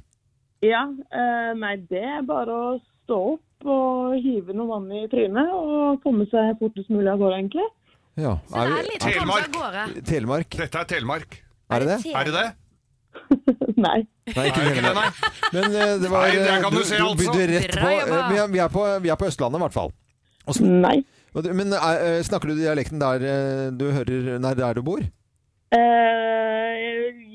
[SPEAKER 7] Ja, eh, nei, det er bare å stå opp og hive noe vann i trynet og komme seg fortest mulig av gårde, egentlig.
[SPEAKER 1] Ja.
[SPEAKER 3] Så det
[SPEAKER 1] vi-
[SPEAKER 3] er litt sånn
[SPEAKER 2] Telemark.
[SPEAKER 3] kanskje av gårde.
[SPEAKER 1] Telemark,
[SPEAKER 2] Dette er Telemark.
[SPEAKER 1] er det det?
[SPEAKER 3] Tele-
[SPEAKER 2] Er det det?
[SPEAKER 7] nei.
[SPEAKER 2] Er det
[SPEAKER 1] Nei, ikke
[SPEAKER 2] ikke det, nei?
[SPEAKER 1] Telemark. Men eh, det var
[SPEAKER 2] Nei, det
[SPEAKER 1] eh,
[SPEAKER 2] kan
[SPEAKER 1] Du,
[SPEAKER 2] du se,
[SPEAKER 1] du
[SPEAKER 2] altså.
[SPEAKER 1] begynte rett
[SPEAKER 3] Bra
[SPEAKER 1] på eh,
[SPEAKER 3] jobba.
[SPEAKER 1] vi er- Vi er på, vi er på Østlandet, i hvert fall.
[SPEAKER 7] Nei.
[SPEAKER 1] Og du- Men eh, eh, snakker du dialekten der eh, du hører Nei, der du bor?
[SPEAKER 7] Eh,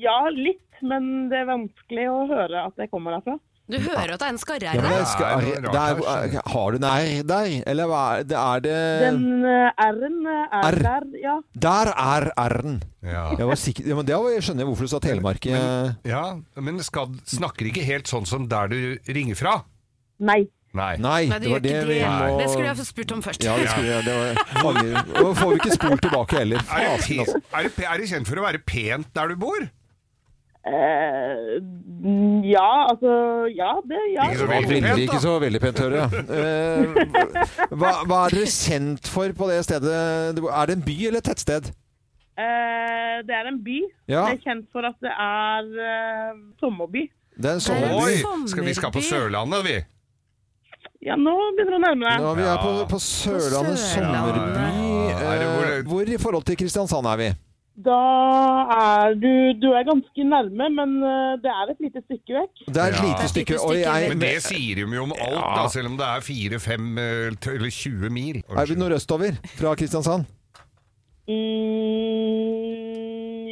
[SPEAKER 7] ja, litt, men det er vanskelig å høre at jeg kommer derfra.
[SPEAKER 3] Du hører jo at det er en skarre
[SPEAKER 1] Ja, men
[SPEAKER 3] her.
[SPEAKER 1] det skal,
[SPEAKER 2] Det er noe
[SPEAKER 1] der,
[SPEAKER 2] rart her, skjønner
[SPEAKER 1] har du en R der? Eller hva er det? Er
[SPEAKER 7] Den
[SPEAKER 1] det
[SPEAKER 7] eh, R-en eh,
[SPEAKER 1] R.
[SPEAKER 7] er der, ja.
[SPEAKER 1] der er R-en!
[SPEAKER 2] Ja.
[SPEAKER 1] Jeg var sikker, ja, men det var- jeg skjønner jeg hvorfor du sa Telemark. eh.
[SPEAKER 2] Ja, men skal, snakker ikke helt sånn som der du ringer fra.
[SPEAKER 7] Nei.
[SPEAKER 2] Nei.
[SPEAKER 1] Nei,
[SPEAKER 3] Nei,
[SPEAKER 1] det
[SPEAKER 3] du
[SPEAKER 1] var
[SPEAKER 3] gjør
[SPEAKER 1] det
[SPEAKER 3] ikke
[SPEAKER 1] vi
[SPEAKER 3] det.
[SPEAKER 1] må
[SPEAKER 3] Det skulle jeg ha spurt om først.
[SPEAKER 1] Ja, det skulle jeg. Det var, Angrer- og får vi ikke spol tilbake heller.
[SPEAKER 2] Er du,
[SPEAKER 1] Fasen,
[SPEAKER 2] pe-
[SPEAKER 1] altså.
[SPEAKER 2] er, du, pe- er du kjent for å være pent der du bor?
[SPEAKER 7] Eh, mm, ja, altså Ja, det ja.
[SPEAKER 2] Ikke så
[SPEAKER 1] Det var
[SPEAKER 2] Veldig pent,
[SPEAKER 1] veldig, ikke
[SPEAKER 2] da.
[SPEAKER 1] så veldig pent, hører jeg. Eh, Hva, hva er dere kjent for på det stedet? du bor? Er det en by eller et tettsted?
[SPEAKER 7] Eh, det er en by.
[SPEAKER 1] Ja.
[SPEAKER 7] Det er kjent for at det er eh, sommerby.
[SPEAKER 1] Det er en
[SPEAKER 3] Det er en
[SPEAKER 1] sommerby.
[SPEAKER 2] Oi! Skal vi skal på
[SPEAKER 3] sommerby.
[SPEAKER 2] Sørlandet, vi.
[SPEAKER 7] Ja, nå begynner du å nærme deg.
[SPEAKER 1] Nå, vi er på, på Sørlandet
[SPEAKER 3] Sørlandet.
[SPEAKER 1] sommerby.
[SPEAKER 2] Ja, er
[SPEAKER 1] Eh,
[SPEAKER 2] det hvor-
[SPEAKER 1] Hvor i forhold til Kristiansand er vi?
[SPEAKER 7] Da er du Du er ganske nærme, men eh, det er et lite stykke vekk.
[SPEAKER 1] Det er et
[SPEAKER 2] Ja.
[SPEAKER 1] lite stykke. Og jeg,
[SPEAKER 2] Men det sier de jo om alt, da, selv om det er 4-5 eller 20 mil.
[SPEAKER 1] er vi nordøstover fra Kristiansand?
[SPEAKER 7] Mm,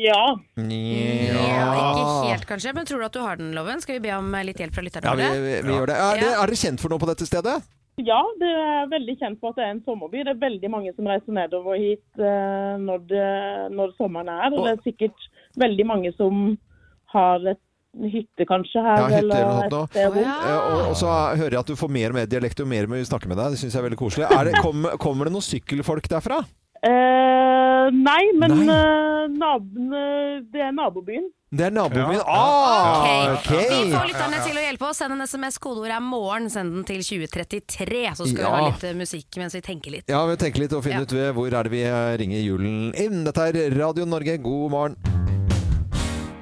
[SPEAKER 7] ja.
[SPEAKER 3] Ja, ikke helt kanskje, men tror du at du har den, Loven? Skal vi be om eh, litt hjelp fra lytterne
[SPEAKER 1] Ah. Ja, vi,
[SPEAKER 3] våre?
[SPEAKER 1] vi, vi gjør det. Er, det. er dere kjent for noe på dette stedet?
[SPEAKER 7] Ja, det er veldig kjent for at det er en sommerby. Det er veldig mange som reiser nedover hit eh, når, det, når sommeren er. Og det er sikkert veldig mange som har et hytte kanskje her.
[SPEAKER 1] Ja, hytte eller noe sånt
[SPEAKER 7] et
[SPEAKER 1] nå.
[SPEAKER 7] sted
[SPEAKER 3] Å,
[SPEAKER 7] hvor-
[SPEAKER 3] ja.
[SPEAKER 1] Eh, Og, og så hører jeg at du får mer og mer dialekt og mer og mer snakker med deg. Det syns jeg er veldig koselig. Er det, kom, kommer det noen sykkelfolk derfra?
[SPEAKER 7] Eh, nei, men
[SPEAKER 1] Nei.
[SPEAKER 7] eh, naboen, eh, det er nabobyen.
[SPEAKER 1] Det er naboen
[SPEAKER 2] Ja.
[SPEAKER 1] min. Ah,
[SPEAKER 3] Ok, Vi
[SPEAKER 1] ok!
[SPEAKER 3] får lytterne til å hjelpe oss. Send en SMS, kodeord er 'morgen', send den til 2033. Så skal vi
[SPEAKER 1] Ja.
[SPEAKER 3] ha litt eh, musikk mens vi tenker litt.
[SPEAKER 1] Ja, vi tenker litt og finner
[SPEAKER 3] Ja.
[SPEAKER 1] ut ved hvor er det vi eh, ringer julen inn. Dette er Radio Norge, god morgen.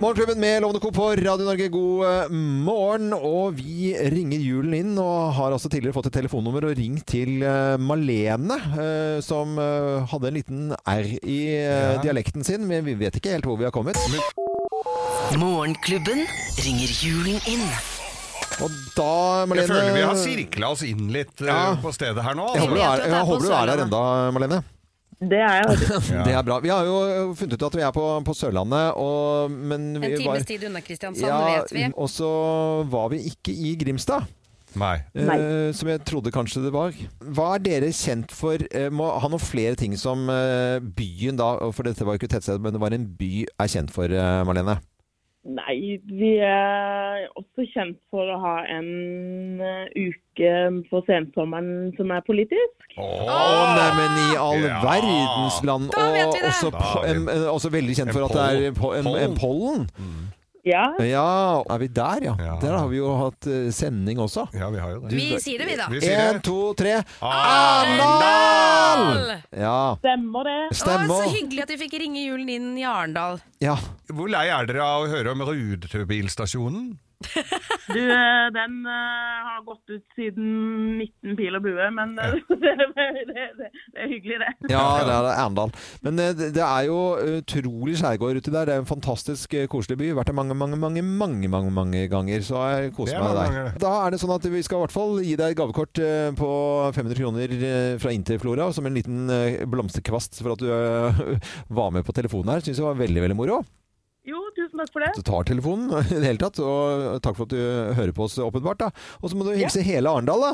[SPEAKER 1] Morgenklubben med Lovende Co. på Radio Norge, god eh, morgen. Og vi ringer julen inn, og har altså tidligere fått et telefonnummer og ringt til eh, Malene, eh, som eh, hadde en liten R i
[SPEAKER 2] Ja.
[SPEAKER 1] eh, dialekten sin, men vi vet ikke helt hvor vi har kommet.
[SPEAKER 6] Morgenklubben ringer julen inn.
[SPEAKER 1] Og da, Malene
[SPEAKER 2] Jeg føler vi har sirkla oss inn litt eh,
[SPEAKER 1] Ja.
[SPEAKER 2] på stedet her nå.
[SPEAKER 1] Jeg håper du
[SPEAKER 2] Altså.
[SPEAKER 1] er,
[SPEAKER 3] vet jo at det er
[SPEAKER 1] jeg
[SPEAKER 3] på
[SPEAKER 1] håper du er her
[SPEAKER 3] Sørlandet.
[SPEAKER 1] enda, Malene.
[SPEAKER 7] Det er jeg. vet du.
[SPEAKER 1] Det er bra. Vi har jo funnet ut at vi er på, på Sørlandet, og, men vi
[SPEAKER 3] En
[SPEAKER 1] var
[SPEAKER 3] times tid unna Kristiansand,
[SPEAKER 1] Ja,
[SPEAKER 3] vet vi.
[SPEAKER 1] Og så var vi ikke i Grimstad,
[SPEAKER 2] Nei.
[SPEAKER 1] eh, som jeg trodde kanskje det var. Hva er dere kjent for? Eh, må ha noen flere ting som eh, byen da, for dette var jo ikke et tettsted, men det var en by er kjent for, eh, Marlene.
[SPEAKER 7] Nei, vi er også kjent for å ha en eh, uke for sensommeren som er politisk.
[SPEAKER 1] Å, neimen i all
[SPEAKER 2] Ja.
[SPEAKER 1] verdens land!
[SPEAKER 3] Da vet
[SPEAKER 1] Og
[SPEAKER 3] vi det.
[SPEAKER 1] også,
[SPEAKER 2] Da
[SPEAKER 1] po-
[SPEAKER 2] vet
[SPEAKER 1] em, eh, også veldig kjent
[SPEAKER 2] En
[SPEAKER 1] for at det er po- en, en pollen.
[SPEAKER 7] Ja,
[SPEAKER 1] Ja, er vi der, ja?
[SPEAKER 2] Ja.
[SPEAKER 1] Der har vi jo hatt eh, sending også.
[SPEAKER 2] Ja, vi har jo det.
[SPEAKER 3] Vi sier det, vi, da.
[SPEAKER 2] Vi sier
[SPEAKER 1] Én,
[SPEAKER 2] det.
[SPEAKER 1] to, tre.
[SPEAKER 2] Arendal!
[SPEAKER 1] Ja.
[SPEAKER 7] stemmer det.
[SPEAKER 3] Å, så
[SPEAKER 1] Stemmer.
[SPEAKER 3] hyggelig at vi fikk ringe julen inn i Arendal.
[SPEAKER 1] Ja.
[SPEAKER 2] Hvor lei er dere av å høre om Rudbilstasjonen?
[SPEAKER 7] Du, eh, den eh, har gått ut siden 19 pil og bue, men eh, det, det, det, det er hyggelig, det.
[SPEAKER 1] ja, det er det, Arendal. Men eh, det det er jo utrolig skjærgård uti der. Det er en fantastisk eh, koselig by. Vært der mange, mange, mange mange, mange, mange ganger. Så jeg
[SPEAKER 2] Det
[SPEAKER 1] koser
[SPEAKER 2] er
[SPEAKER 1] meg
[SPEAKER 2] mange
[SPEAKER 1] der.
[SPEAKER 2] ganger, det.
[SPEAKER 1] Da er det sånn at vi skal i hvert fall gi deg et gavekort eh, på 500 kroner eh, fra Interflora, som en liten eh, blomsterkvast for at du eh, var med på telefonen her. Syns jeg var veldig, veldig moro.
[SPEAKER 7] Jo, tusen takk for det.
[SPEAKER 1] at du tar telefonen i det hele tatt. Og takk for at du hører på oss, åpenbart. da. Og så må du hilse hele Arendal, da.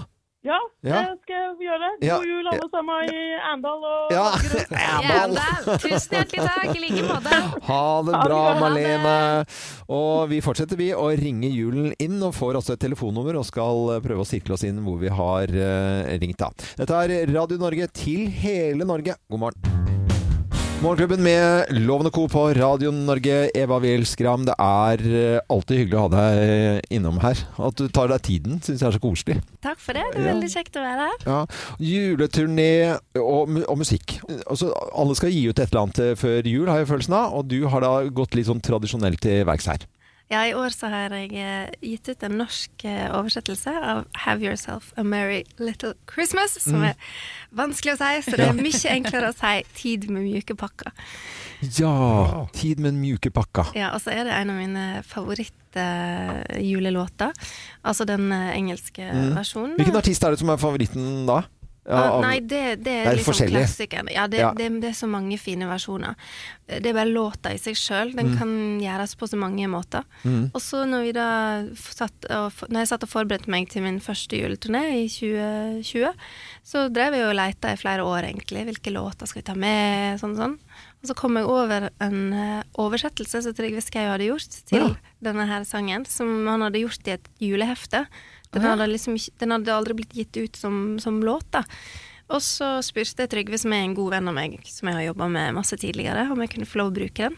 [SPEAKER 7] Ja,
[SPEAKER 1] Ja.
[SPEAKER 7] det skal vi gjøre.
[SPEAKER 1] Ja.
[SPEAKER 7] God jul, alle sammen i Arendal og
[SPEAKER 1] Ja.
[SPEAKER 7] Akershus.
[SPEAKER 1] Arendal.
[SPEAKER 3] Arendal. Tusen hjertelig takk. I like måte.
[SPEAKER 1] Ha det bra,
[SPEAKER 7] Ha det.
[SPEAKER 1] Malene. Og vi fortsetter, vi, å ringe julen inn. Og får også et telefonnummer og skal eh, prøve å sirkle oss inn hvor vi har eh, ringt, da. Dette er Radio Norge til hele Norge. God morgen. Morgenklubben med Lovende Co. på Radio Norge. Eva Wiel Skram, det er eh, alltid hyggelig å ha deg eh, innom her. At du tar deg tiden, syns jeg er så koselig.
[SPEAKER 8] Takk for det. Det er
[SPEAKER 1] Ja.
[SPEAKER 8] veldig kjekt å være her.
[SPEAKER 1] Ja, Juleturné og, mu- og musikk. Altså, alle skal gi ut et eller annet eh, før jul, har jeg følelsen av. Og du har da gått litt sånn tradisjonelt til verks her.
[SPEAKER 8] Ja, I år så har jeg eh, gitt ut en norsk eh, oversettelse av 'Have Yourself a Merry Little Christmas', som er vanskelig å si, så det er mye enklere å si 'Tid med mjuke pakker'.
[SPEAKER 1] Ja! Tid med den mjuke pakka.
[SPEAKER 8] Ja, Og så er det en av mine favorittjulelåter, altså den eh, engelske versjonen. Ah,
[SPEAKER 1] Mm. Hvilken artist er det som er favoritten da?
[SPEAKER 8] Eh,
[SPEAKER 1] Ja, av-
[SPEAKER 8] nei, det, det er,
[SPEAKER 1] Det er
[SPEAKER 8] liksom
[SPEAKER 1] forskjellig.
[SPEAKER 8] klassikeren. Ja, det,
[SPEAKER 1] Ja.
[SPEAKER 8] Det, det er så mange fine versjoner. Eh, Det er bare låta i seg sjøl. Den
[SPEAKER 1] Mm.
[SPEAKER 8] kan gjøres på så mange måter. Og så når, vi da f- satt og, f- når jeg satt og forberedte meg til min første juleturné i 2020, så drev jeg og leita i flere år, egentlig. Hvilke låter skal vi ta med? Sånn og sånn. Og så kom jeg over en eh, oversettelse som Trygve Skau hadde gjort til denne her sangen, som han hadde gjort i et julehefte. Den hadde, liksom, ikke- den hadde aldri blitt gitt ut som, som låt, da. Og så spurte jeg Trygve, som er en god venn av meg, som jeg har jobba med masse tidligere, om jeg kunne få lov å bruke den.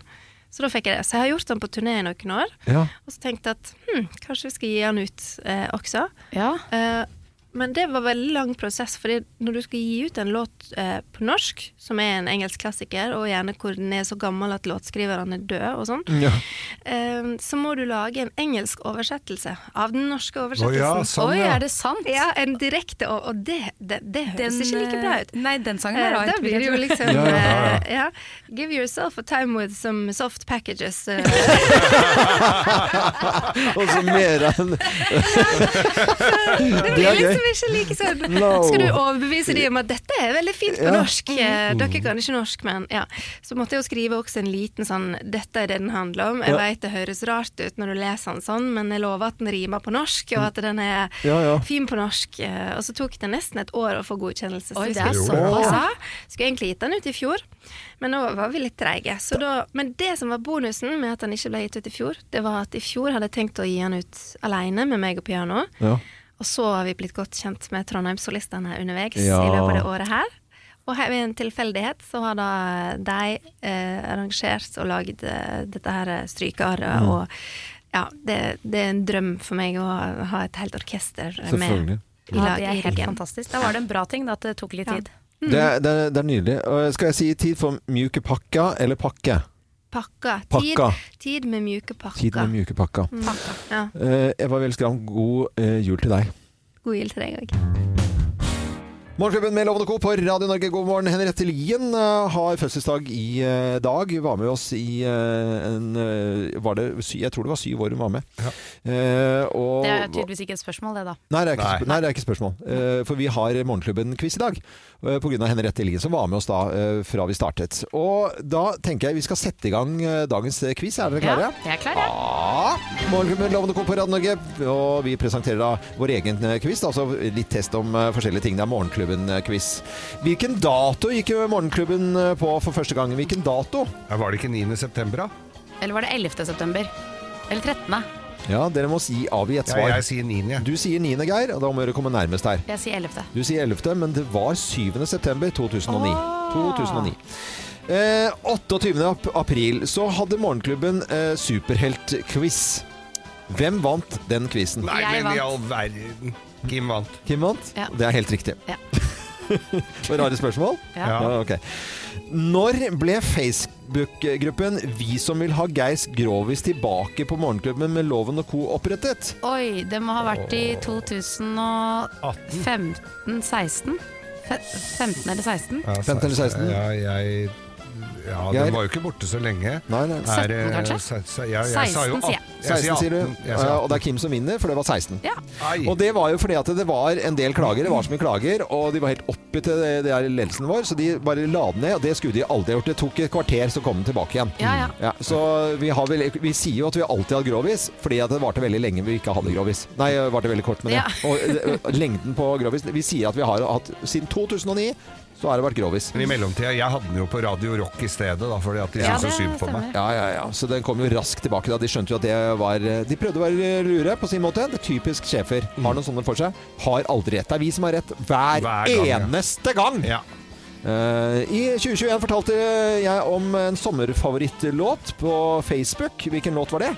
[SPEAKER 8] Så da fikk jeg det. Så jeg har gjort den på turné i noen år,
[SPEAKER 1] Ja.
[SPEAKER 8] og så tenkte jeg at hm, kanskje vi skal gi den ut eh, også.
[SPEAKER 3] Ja.
[SPEAKER 8] Eh, men det var veldig lang prosess, Fordi når du skal gi ut en låt eh, på norsk, som er en engelsk klassiker, og gjerne hvor den er så gammel at låtskriveren er død og sånn,
[SPEAKER 1] Ja.
[SPEAKER 8] eh, så må du lage en engelsk oversettelse av den norske
[SPEAKER 2] Å
[SPEAKER 8] oversettelsen.
[SPEAKER 2] ja, sånn,
[SPEAKER 9] Oi,
[SPEAKER 2] ja.
[SPEAKER 9] er det sant?
[SPEAKER 8] Ja, en direkte, og, og det, det, det høres ikke like bra ut.
[SPEAKER 9] Nei, den sangen
[SPEAKER 8] Eh,
[SPEAKER 9] er
[SPEAKER 8] Da
[SPEAKER 9] rar.
[SPEAKER 8] blir det jo liksom
[SPEAKER 1] Ja, ja, ja,
[SPEAKER 8] eh, ja. Give yourself a time with some soft packages. eh,
[SPEAKER 1] Og så mer enn
[SPEAKER 8] Det
[SPEAKER 1] Det
[SPEAKER 8] blir
[SPEAKER 1] er gøy.
[SPEAKER 8] liksom ikke like sånn.
[SPEAKER 1] No.
[SPEAKER 8] Skal du overbevise dem om at dette er veldig fint på
[SPEAKER 1] Ja. Mm.
[SPEAKER 8] norsk? eh, Dere kan ikke norsk, men ja. Så måtte jeg jo skrive også en liten sånn Dette er det den handler om. Jeg
[SPEAKER 1] Ja.
[SPEAKER 8] vet det høres rart ut når du leser den sånn, men jeg lover at den rimer på norsk, og at den er
[SPEAKER 1] Ja, ja.
[SPEAKER 8] fin på norsk. eh, Og så tok det nesten et år å få godkjennelse. Så
[SPEAKER 9] Oi,
[SPEAKER 8] vi
[SPEAKER 9] det er
[SPEAKER 8] skulle-
[SPEAKER 9] såpass, ja.
[SPEAKER 8] Ja, skulle egentlig gitt den ut i fjor, men nå var vi litt treige. Så da, men det som var bonusen med at den ikke ble gitt ut i fjor, det var at i fjor hadde jeg tenkt å gi den ut aleine med meg og pianoet.
[SPEAKER 1] Ja.
[SPEAKER 8] Og så har vi blitt godt kjent med Trondheimssolistene underveis
[SPEAKER 1] Ja.
[SPEAKER 8] i løpet av det året her. Og her ved en tilfeldighet så har da de eh, arrangert og lagd eh, dette her eh, strykearret. Og ja, det, det er en drøm for meg å ha et helt orkester eh, med
[SPEAKER 1] Selvfølgelig.
[SPEAKER 8] i
[SPEAKER 9] Ja,
[SPEAKER 8] lag
[SPEAKER 9] det
[SPEAKER 8] i
[SPEAKER 9] er helt
[SPEAKER 8] helgen.
[SPEAKER 9] fantastisk. Da var det en bra ting da, at det tok litt
[SPEAKER 8] Ja.
[SPEAKER 9] tid.
[SPEAKER 1] Det, er- det, er- det er nydelig. Og Skal jeg si tid for mjuke pakka eller pakke?
[SPEAKER 8] Pakka. Tid,
[SPEAKER 1] Pakka.
[SPEAKER 8] tid med mjuke pakker.
[SPEAKER 1] Tid med mjuke pakka.
[SPEAKER 8] Mm. ja.
[SPEAKER 1] Eh, Eva Welskram, god eh, jul til deg.
[SPEAKER 8] God jul til deg òg.
[SPEAKER 1] Morgenklubben med Lovende Co. på Radio Norge, god morgen. Henriette Lien eh, har fødselsdag i eh, dag. Hun var med oss i eh, en eh, var det, sy- Jeg tror det var syv år hun var med. Eh, og,
[SPEAKER 9] Det er tydeligvis ikke et spørsmål, det da.
[SPEAKER 1] Nei, det er ikke,
[SPEAKER 2] Nei.
[SPEAKER 1] sp- nei, det er ikke spørsmål. Eh, for vi har Morgenklubben-quiz i dag. eh, på grunn av Henriette Lien som var med oss da eh, fra vi startet. Og da tenker jeg vi skal sette i gang eh, dagens eh, quiz. Er dere klare?
[SPEAKER 9] jeg er klar, ja.
[SPEAKER 1] Ja. Morgenklubben Lovende Co. på Radio Norge. Og vi presenterer da vår egen eh, quiz. Altså litt test om eh, forskjellige ting. Det er Morgenklubben-quiz. Hvilken dato gikk jo Morgenklubben eh, på for første gang? Hvilken dato?
[SPEAKER 2] Ja, Var det ikke 9. september, da?
[SPEAKER 9] Eller var det 11. september? Eller 13.
[SPEAKER 1] Ja, dere må si, avgi et
[SPEAKER 2] Ja,
[SPEAKER 1] svar.
[SPEAKER 2] jeg sier 9. jeg.
[SPEAKER 1] Du sier 9. Geir, og da må dere komme nærmest her.
[SPEAKER 9] Jeg sier 11.
[SPEAKER 1] Du sier 11., men det var 7. september 2009.
[SPEAKER 9] Ah.
[SPEAKER 1] 2009. Eh, 28. ap- april så hadde Morgenklubben eh, superheltquiz. Hvem vant den quizen?
[SPEAKER 2] Nei,
[SPEAKER 9] Jeg
[SPEAKER 2] men i
[SPEAKER 9] vant.
[SPEAKER 2] all verden. Kim vant.
[SPEAKER 1] Kim vant?
[SPEAKER 9] Ja.
[SPEAKER 1] Det er helt riktig.
[SPEAKER 9] Ja.
[SPEAKER 1] Det var Rare spørsmål?
[SPEAKER 9] Ja.
[SPEAKER 2] Ja.
[SPEAKER 1] ok. Når ble Facebook-gruppen Vi som vil ha Geis Grovis tilbake på Morgenklubben med Loven og co. opprettet?
[SPEAKER 9] Oi, det må ha vært i 2015-16? 15 eller 16?
[SPEAKER 2] Ja,
[SPEAKER 1] 15 eller 16?
[SPEAKER 2] Altså, Ja, jeg Ja,
[SPEAKER 1] Geir?
[SPEAKER 2] den var jo ikke borte så lenge.
[SPEAKER 1] Nei, nei. nei.
[SPEAKER 2] Er det-
[SPEAKER 9] 17 kanskje?
[SPEAKER 2] se- se- ja, jeg sa jo
[SPEAKER 9] 16 sier jeg.
[SPEAKER 2] 18. Jeg
[SPEAKER 1] 16, sier du.
[SPEAKER 2] 18. Jeg
[SPEAKER 1] Ja,
[SPEAKER 2] sier
[SPEAKER 1] og det er Kim som vinner, for det var 16.
[SPEAKER 9] Ja.
[SPEAKER 2] Ai.
[SPEAKER 1] Og det var jo fordi at det var en del klager, det var så mye klager, og de var helt oppi til det, det er ledelsen vår, så de bare la den ned, og det skulle de aldri gjort. Det tok et kvarter, så kom den tilbake igjen.
[SPEAKER 9] Ja, ja.
[SPEAKER 1] så vi, har vel, vi sier jo at vi alltid har hatt grovis, fordi at det varte veldig lenge vi ikke hadde grovis. Nei, det varte veldig kort, men det.
[SPEAKER 9] Ja.
[SPEAKER 1] Og eh, lengden på grovis, vi sier at vi har hatt, siden 2009, så har det vært grovis.
[SPEAKER 2] Men i mellomtida, jeg hadde den jo på Radio Rock i stedet, da, fordi at de
[SPEAKER 9] Ja,
[SPEAKER 2] syntes så synd på meg.
[SPEAKER 9] stemmer.
[SPEAKER 1] Ja, ja, ja. Så den kom jo raskt tilbake da. De skjønte jo at det var eh, De prøvde å være lure på sin måte. Det er typisk sjefer.
[SPEAKER 2] Mm.
[SPEAKER 1] Har noen sånne for seg. Har aldri rett. Det er vi som har rett hver,
[SPEAKER 2] Hver gang, ja.
[SPEAKER 1] eneste gang!
[SPEAKER 2] Ja.
[SPEAKER 1] Eh, I 2021 fortalte jeg om en sommerfavorittlåt på Facebook. Hvilken låt var det?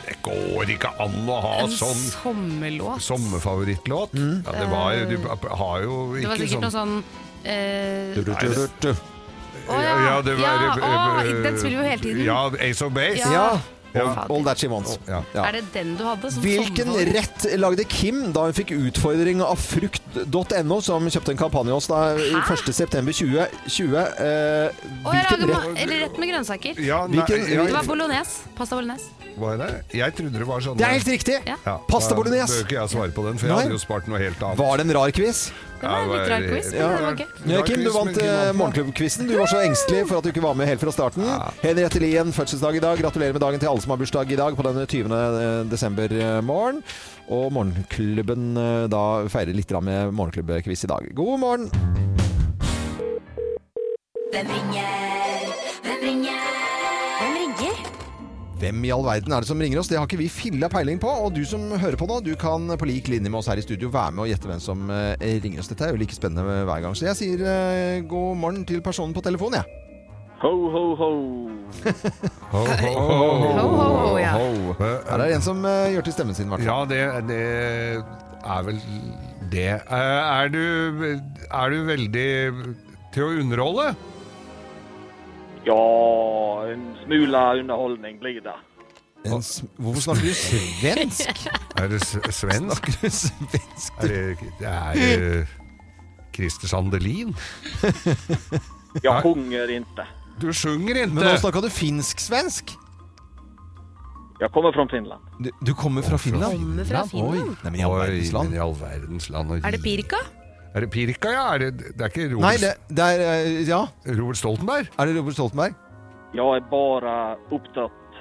[SPEAKER 2] Det går ikke an å ha
[SPEAKER 9] En
[SPEAKER 2] sånn
[SPEAKER 9] sommerlåt.
[SPEAKER 2] sommerfavorittlåt. Ja, det var jo Du har jo
[SPEAKER 9] Mm. Eh. Det var
[SPEAKER 2] ikke
[SPEAKER 9] sikkert
[SPEAKER 2] sånn
[SPEAKER 9] noe sånn eh,
[SPEAKER 1] Du-du-du-du-du.
[SPEAKER 9] Å ja,
[SPEAKER 2] det
[SPEAKER 9] ja, å,
[SPEAKER 2] eh,
[SPEAKER 9] den spiller vi jo hele tiden.
[SPEAKER 2] Ja, Ace of Base.
[SPEAKER 9] Ja.
[SPEAKER 1] Ja.
[SPEAKER 2] Ja.
[SPEAKER 1] All That She Wants.
[SPEAKER 2] Ja.
[SPEAKER 1] Ja.
[SPEAKER 9] Er det den du hadde som
[SPEAKER 1] Hvilken
[SPEAKER 9] sommerlåt?
[SPEAKER 1] rett lagde Kim da hun fikk utfordring av frukt Dot.no, som kjøpte en kampanje hos deg i 1.9.2020. Eh,
[SPEAKER 9] Og jeg
[SPEAKER 1] hvilken rett-
[SPEAKER 9] lager ma- eller rett med grønnsaker.
[SPEAKER 2] Ja, nei,
[SPEAKER 1] Hvilken-
[SPEAKER 2] ja,
[SPEAKER 9] Det var bolognese. Pasta bolognese.
[SPEAKER 2] var det? Jeg trodde det var sånn
[SPEAKER 1] Det er helt riktig!
[SPEAKER 9] Ja.
[SPEAKER 2] Ja,
[SPEAKER 1] Pasta
[SPEAKER 2] da
[SPEAKER 1] bolognese.
[SPEAKER 2] Bør ikke jeg svare på den, for jeg
[SPEAKER 1] Nei.
[SPEAKER 2] hadde jo spart noe helt annet.
[SPEAKER 1] Var det en rar quiz?
[SPEAKER 9] Det var en
[SPEAKER 2] Ja,
[SPEAKER 9] litt
[SPEAKER 2] det var-
[SPEAKER 9] rar quiz, men
[SPEAKER 1] ja.
[SPEAKER 9] det var gøy.
[SPEAKER 1] Ja, Kim,
[SPEAKER 2] quiz,
[SPEAKER 1] du
[SPEAKER 2] men
[SPEAKER 1] vant
[SPEAKER 2] Kim
[SPEAKER 1] eh,
[SPEAKER 2] vant, ja.
[SPEAKER 1] Morgenklubbquizen. Du var så engstelig for at du ikke var med helt fra starten. Henriette Lien, fødselsdag i dag. Gratulerer med dagen til alle som har bursdag i dag på den 20. desember eh, morgen. Og Morgenklubben eh, da feirer litt grann med morgenklubbquiz i dag. God morgen!
[SPEAKER 10] Hvem ringer? Hvem ringer? Hvem ringer?
[SPEAKER 1] Hvem i all verden er det som ringer oss? Det har ikke vi filla peiling på. Og du som hører på nå, du kan på lik linje med oss her i studio være med og gjette hvem som eh, ringer oss. Dette er jo like spennende hver gang. Så jeg sier eh, god morgen til personen på telefonen, jeg.
[SPEAKER 11] Ho, ho, ho.
[SPEAKER 2] Ho, ho, ho,
[SPEAKER 1] Ho, ho, ho, ja.
[SPEAKER 2] ho.
[SPEAKER 1] Her er det en som eh, gjør til stemmen sin, i hvert fall.
[SPEAKER 2] Ja, det, det er vel det. Eh, Er du, er du veldig til å underholde?
[SPEAKER 11] Ja, en smula underholdning blir det.
[SPEAKER 1] En s- Hvorfor snakker du svensk?
[SPEAKER 2] Er det s- svensk?
[SPEAKER 1] Snakker du svensk?
[SPEAKER 2] Er det, det er eh, Christer Sandelin?
[SPEAKER 11] Jeg sjunger ikke.
[SPEAKER 2] Du sjunger ikke.
[SPEAKER 1] Men nå snakka du finsk-svensk?
[SPEAKER 11] Jeg kommer fra Finland.
[SPEAKER 1] Du, du kommer fra Finland?
[SPEAKER 3] Kommer fra Finland?
[SPEAKER 1] Oi. Nei, men i all
[SPEAKER 2] Oi,
[SPEAKER 1] verdens land.
[SPEAKER 2] men i all verdens land.
[SPEAKER 3] Er det pirka?
[SPEAKER 2] Er det Pirka, ja? Er det, det er ikke Robert,
[SPEAKER 1] Nei, det, det er eh, Ja.
[SPEAKER 2] Robert Stoltenberg?
[SPEAKER 1] Er det Robert Stoltenberg?
[SPEAKER 11] Jeg er bare opptatt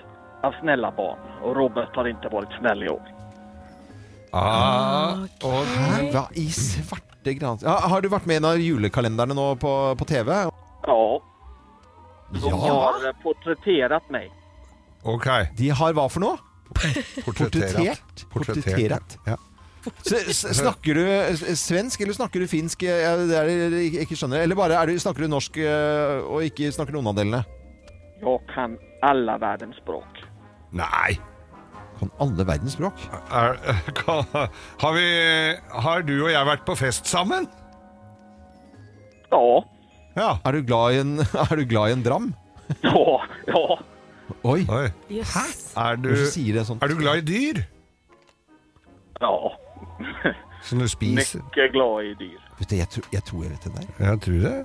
[SPEAKER 11] av snille barn, og Robert har ikke vært snill i år.
[SPEAKER 2] Ah, og,
[SPEAKER 1] Hæ? Hva i svarte grans... Ja, har du vært med i en av julekalenderne nå på, på TV?
[SPEAKER 11] Ja, de har eh, portretterat meg.
[SPEAKER 2] ok.
[SPEAKER 1] De har hva for noe? Portrettert?
[SPEAKER 2] Portrettert. Ja.
[SPEAKER 1] Så, s- snakker du eh, svensk, eller snakker du finsk? Jeg, det er det jeg ikke skjønner. Eller bare er du, snakker du norsk eh, og ikke snakker noen av delene?
[SPEAKER 11] Jeg kan alle verdens språk.
[SPEAKER 2] Nei.
[SPEAKER 1] Kan alle verdens språk?
[SPEAKER 2] Er, kan, har, vi, har du og jeg vært på fest sammen?
[SPEAKER 11] Ja,
[SPEAKER 2] Ja.
[SPEAKER 1] Er du glad i en, er du glad i en dram?
[SPEAKER 11] ja, ja.
[SPEAKER 1] Oi,
[SPEAKER 2] Oi.
[SPEAKER 3] Yes.
[SPEAKER 2] Er du,
[SPEAKER 1] hvorfor sier det sånn?
[SPEAKER 2] er du glad i dyr?
[SPEAKER 11] ja.
[SPEAKER 2] Som du spiser?
[SPEAKER 11] Mycket glad i dyr.
[SPEAKER 1] Vet du, jeg, tror, jeg tror jeg vet den der.
[SPEAKER 2] Jeg tror det.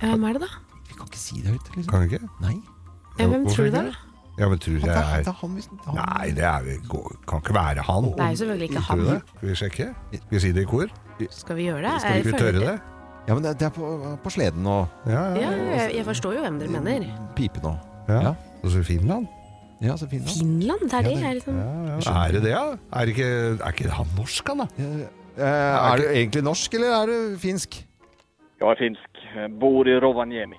[SPEAKER 3] Hvem er det, da?
[SPEAKER 1] Vi kan ikke si det høyt, liksom.
[SPEAKER 2] Kan du ikke?
[SPEAKER 1] Nei.
[SPEAKER 3] Ja, hvem
[SPEAKER 2] Hvorfor
[SPEAKER 3] tror du det
[SPEAKER 2] ikke
[SPEAKER 3] er? da?
[SPEAKER 2] Ja, men tror jeg
[SPEAKER 1] Det er,
[SPEAKER 2] er
[SPEAKER 1] det er han, hvis- han.
[SPEAKER 2] Nei, det er, vi- går- kan ikke være han.
[SPEAKER 3] Det er jo selvfølgelig ikke
[SPEAKER 2] Tror
[SPEAKER 3] han.
[SPEAKER 2] du det? Skal vi sjekke? Skal vi si det i kor?
[SPEAKER 3] Skal vi gjøre det?
[SPEAKER 2] Skal vi
[SPEAKER 3] Jeg
[SPEAKER 2] tørre
[SPEAKER 3] føler-
[SPEAKER 2] det?
[SPEAKER 1] Ja, men det det er på, på sleden og
[SPEAKER 2] Ja, ja.
[SPEAKER 3] Ja, jeg, jeg forstår jo hvem dere mener.
[SPEAKER 1] pipen og
[SPEAKER 2] ja.
[SPEAKER 1] Ja.
[SPEAKER 2] Og så Finland.
[SPEAKER 1] Ja, så fin han.
[SPEAKER 3] Finland, det er det. Jeg er liksom...
[SPEAKER 2] Ja, ja. Er det det, ja? Er ikke, er ikke han norsk, han da?
[SPEAKER 1] Ja, ja. Eh, er du egentlig norsk, eller er du finsk?
[SPEAKER 11] Jeg er finsk, bor i Rovaniemi.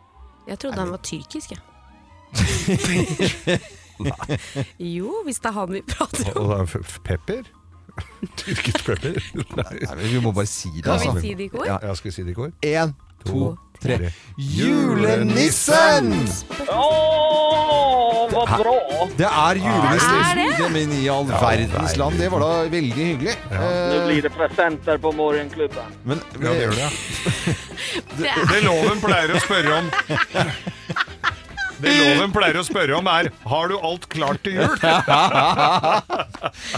[SPEAKER 3] Jeg trodde han var tyrkisk, jeg. jo, hvis det er han vi prater om.
[SPEAKER 2] Og da f- f- pepper? Tyrkisk pepper? Nei.
[SPEAKER 1] Nei, men Vi må bare si det,
[SPEAKER 3] Kan
[SPEAKER 1] altså.
[SPEAKER 3] vi si det i kor?
[SPEAKER 1] Ja.
[SPEAKER 2] Ja, skal vi si det i kor?
[SPEAKER 1] Én, to, tre. Julenissen!
[SPEAKER 2] Julenissen!
[SPEAKER 11] Åh,
[SPEAKER 1] Ah.
[SPEAKER 11] vad bra!
[SPEAKER 1] Det er julenissen!
[SPEAKER 3] Det er det?
[SPEAKER 1] Ja, men i all verdens land, det var da veldig hyggelig.
[SPEAKER 11] Nu
[SPEAKER 1] Eh,
[SPEAKER 11] blir det presenter på morgonklubben.
[SPEAKER 1] men
[SPEAKER 2] Ja, det gjør det, ja.
[SPEAKER 3] Det er
[SPEAKER 2] Det loven pleier å spørre om Det loven pleier å spørre om er Har du alt klart til jul?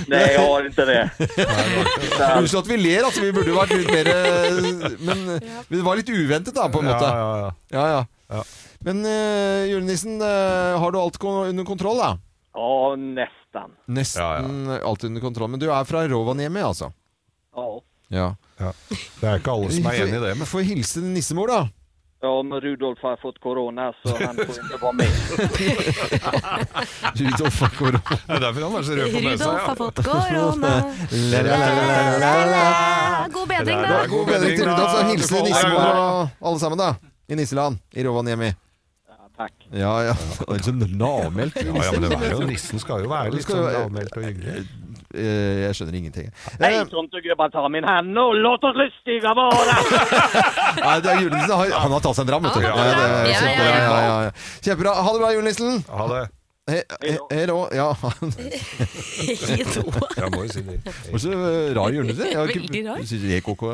[SPEAKER 11] Nej, jag har inte det.
[SPEAKER 1] Unnskyld at vi ler, altså. Vi burde jo vært litt mer eh, Men eh, det var litt uventet, da, på en måte.
[SPEAKER 2] Ja, ja, ja.
[SPEAKER 1] Ja, ja.
[SPEAKER 2] Ja.
[SPEAKER 1] Men eh, julenissen, eh, har du alt kon under kontroll, da?
[SPEAKER 11] Ja, nästan.
[SPEAKER 1] Nesten alt under kontroll. Men du er fra Rovaniemi, altså?
[SPEAKER 11] Ja.
[SPEAKER 1] Ja.
[SPEAKER 2] Det er ikke alle som er enig i det.
[SPEAKER 1] Få- Få hilse til nissemor, da.
[SPEAKER 11] Ja, men Rudolf har fått corona så han får inte vara med.
[SPEAKER 1] Rudolf og korona.
[SPEAKER 2] Det er derfor han er så rød på nesa.
[SPEAKER 3] Rudolf
[SPEAKER 2] Ja.
[SPEAKER 3] har fått korona.
[SPEAKER 1] La, la, la, la, la, la, la.
[SPEAKER 3] Ah, God bedring,
[SPEAKER 2] Det
[SPEAKER 3] da.
[SPEAKER 2] er
[SPEAKER 1] God bedring til Rudolf, og hilse
[SPEAKER 2] Du får holde
[SPEAKER 1] til nissemor
[SPEAKER 2] deg unna.
[SPEAKER 1] og alle sammen, da. I Nisseland. I Rovaniemi.
[SPEAKER 11] Ja, tack.
[SPEAKER 1] Ja, ja. Det er så lavmælt.
[SPEAKER 2] Ja, ja, men det er jo, nissen skal jo være litt sånn lavmælt og hyggelig.
[SPEAKER 1] Eh, Jeg skjønner ingenting. Eh,
[SPEAKER 11] Hej tomtegubbar, ta min hand och låt oss lustiga vara!
[SPEAKER 1] Nei, det er julenissen. Han har tatt seg en dram, vet du.
[SPEAKER 2] Han har tatt seg en dram.
[SPEAKER 1] Ja, det er
[SPEAKER 3] Ja, ja,
[SPEAKER 1] kjempebra.
[SPEAKER 3] ja.
[SPEAKER 1] Ja, ja, ja. Kjempebra. Ha det bra, julenissen.
[SPEAKER 2] Ha det.
[SPEAKER 1] He- he- Hei då. Ja.
[SPEAKER 3] Hei då.
[SPEAKER 2] Jeg må jo si det.
[SPEAKER 1] Var så eh, rar julenisse. Jeg har ikke-
[SPEAKER 3] Veldig rar.
[SPEAKER 1] Jeg synes det er koko.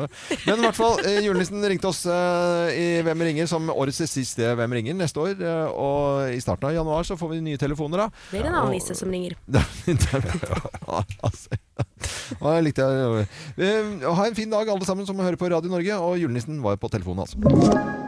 [SPEAKER 1] Men i hvert fall, eh, julenissen ringte oss eh, i Hvem ringer som årets siste Hvem ringer neste år. eh, Og i starten av januar så får vi nye telefoner, da.
[SPEAKER 3] Det er en annen
[SPEAKER 1] Og-
[SPEAKER 3] nisse som ringer.
[SPEAKER 1] Altså, ja, jeg likte det. Eh, Ha en fin dag, alle sammen som hører på Radio Norge. Og julenissen var på telefonen, altså.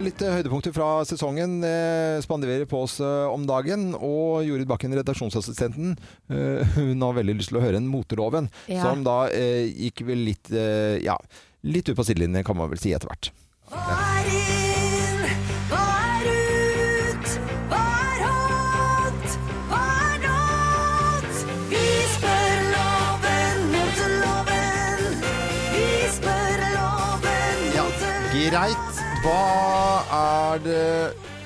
[SPEAKER 1] Litt eh, høydepunkter fra sesongen eh, spanderer på oss eh, om dagen. Og Jorid Bakken, redaksjonsassistenten, eh, hun har veldig lyst til å høre en Moteloven.
[SPEAKER 12] Ja.
[SPEAKER 1] Som da eh, gikk vel litt eh, Ja, litt ut på sidelinjen, kan man vel si etter hvert.
[SPEAKER 10] Hva er inn? Hva er ut? Hva er hot? Hva er not? Vi spør loven mot loven. Vi spør loven
[SPEAKER 1] Ja,
[SPEAKER 10] mot
[SPEAKER 1] greit. Hva er det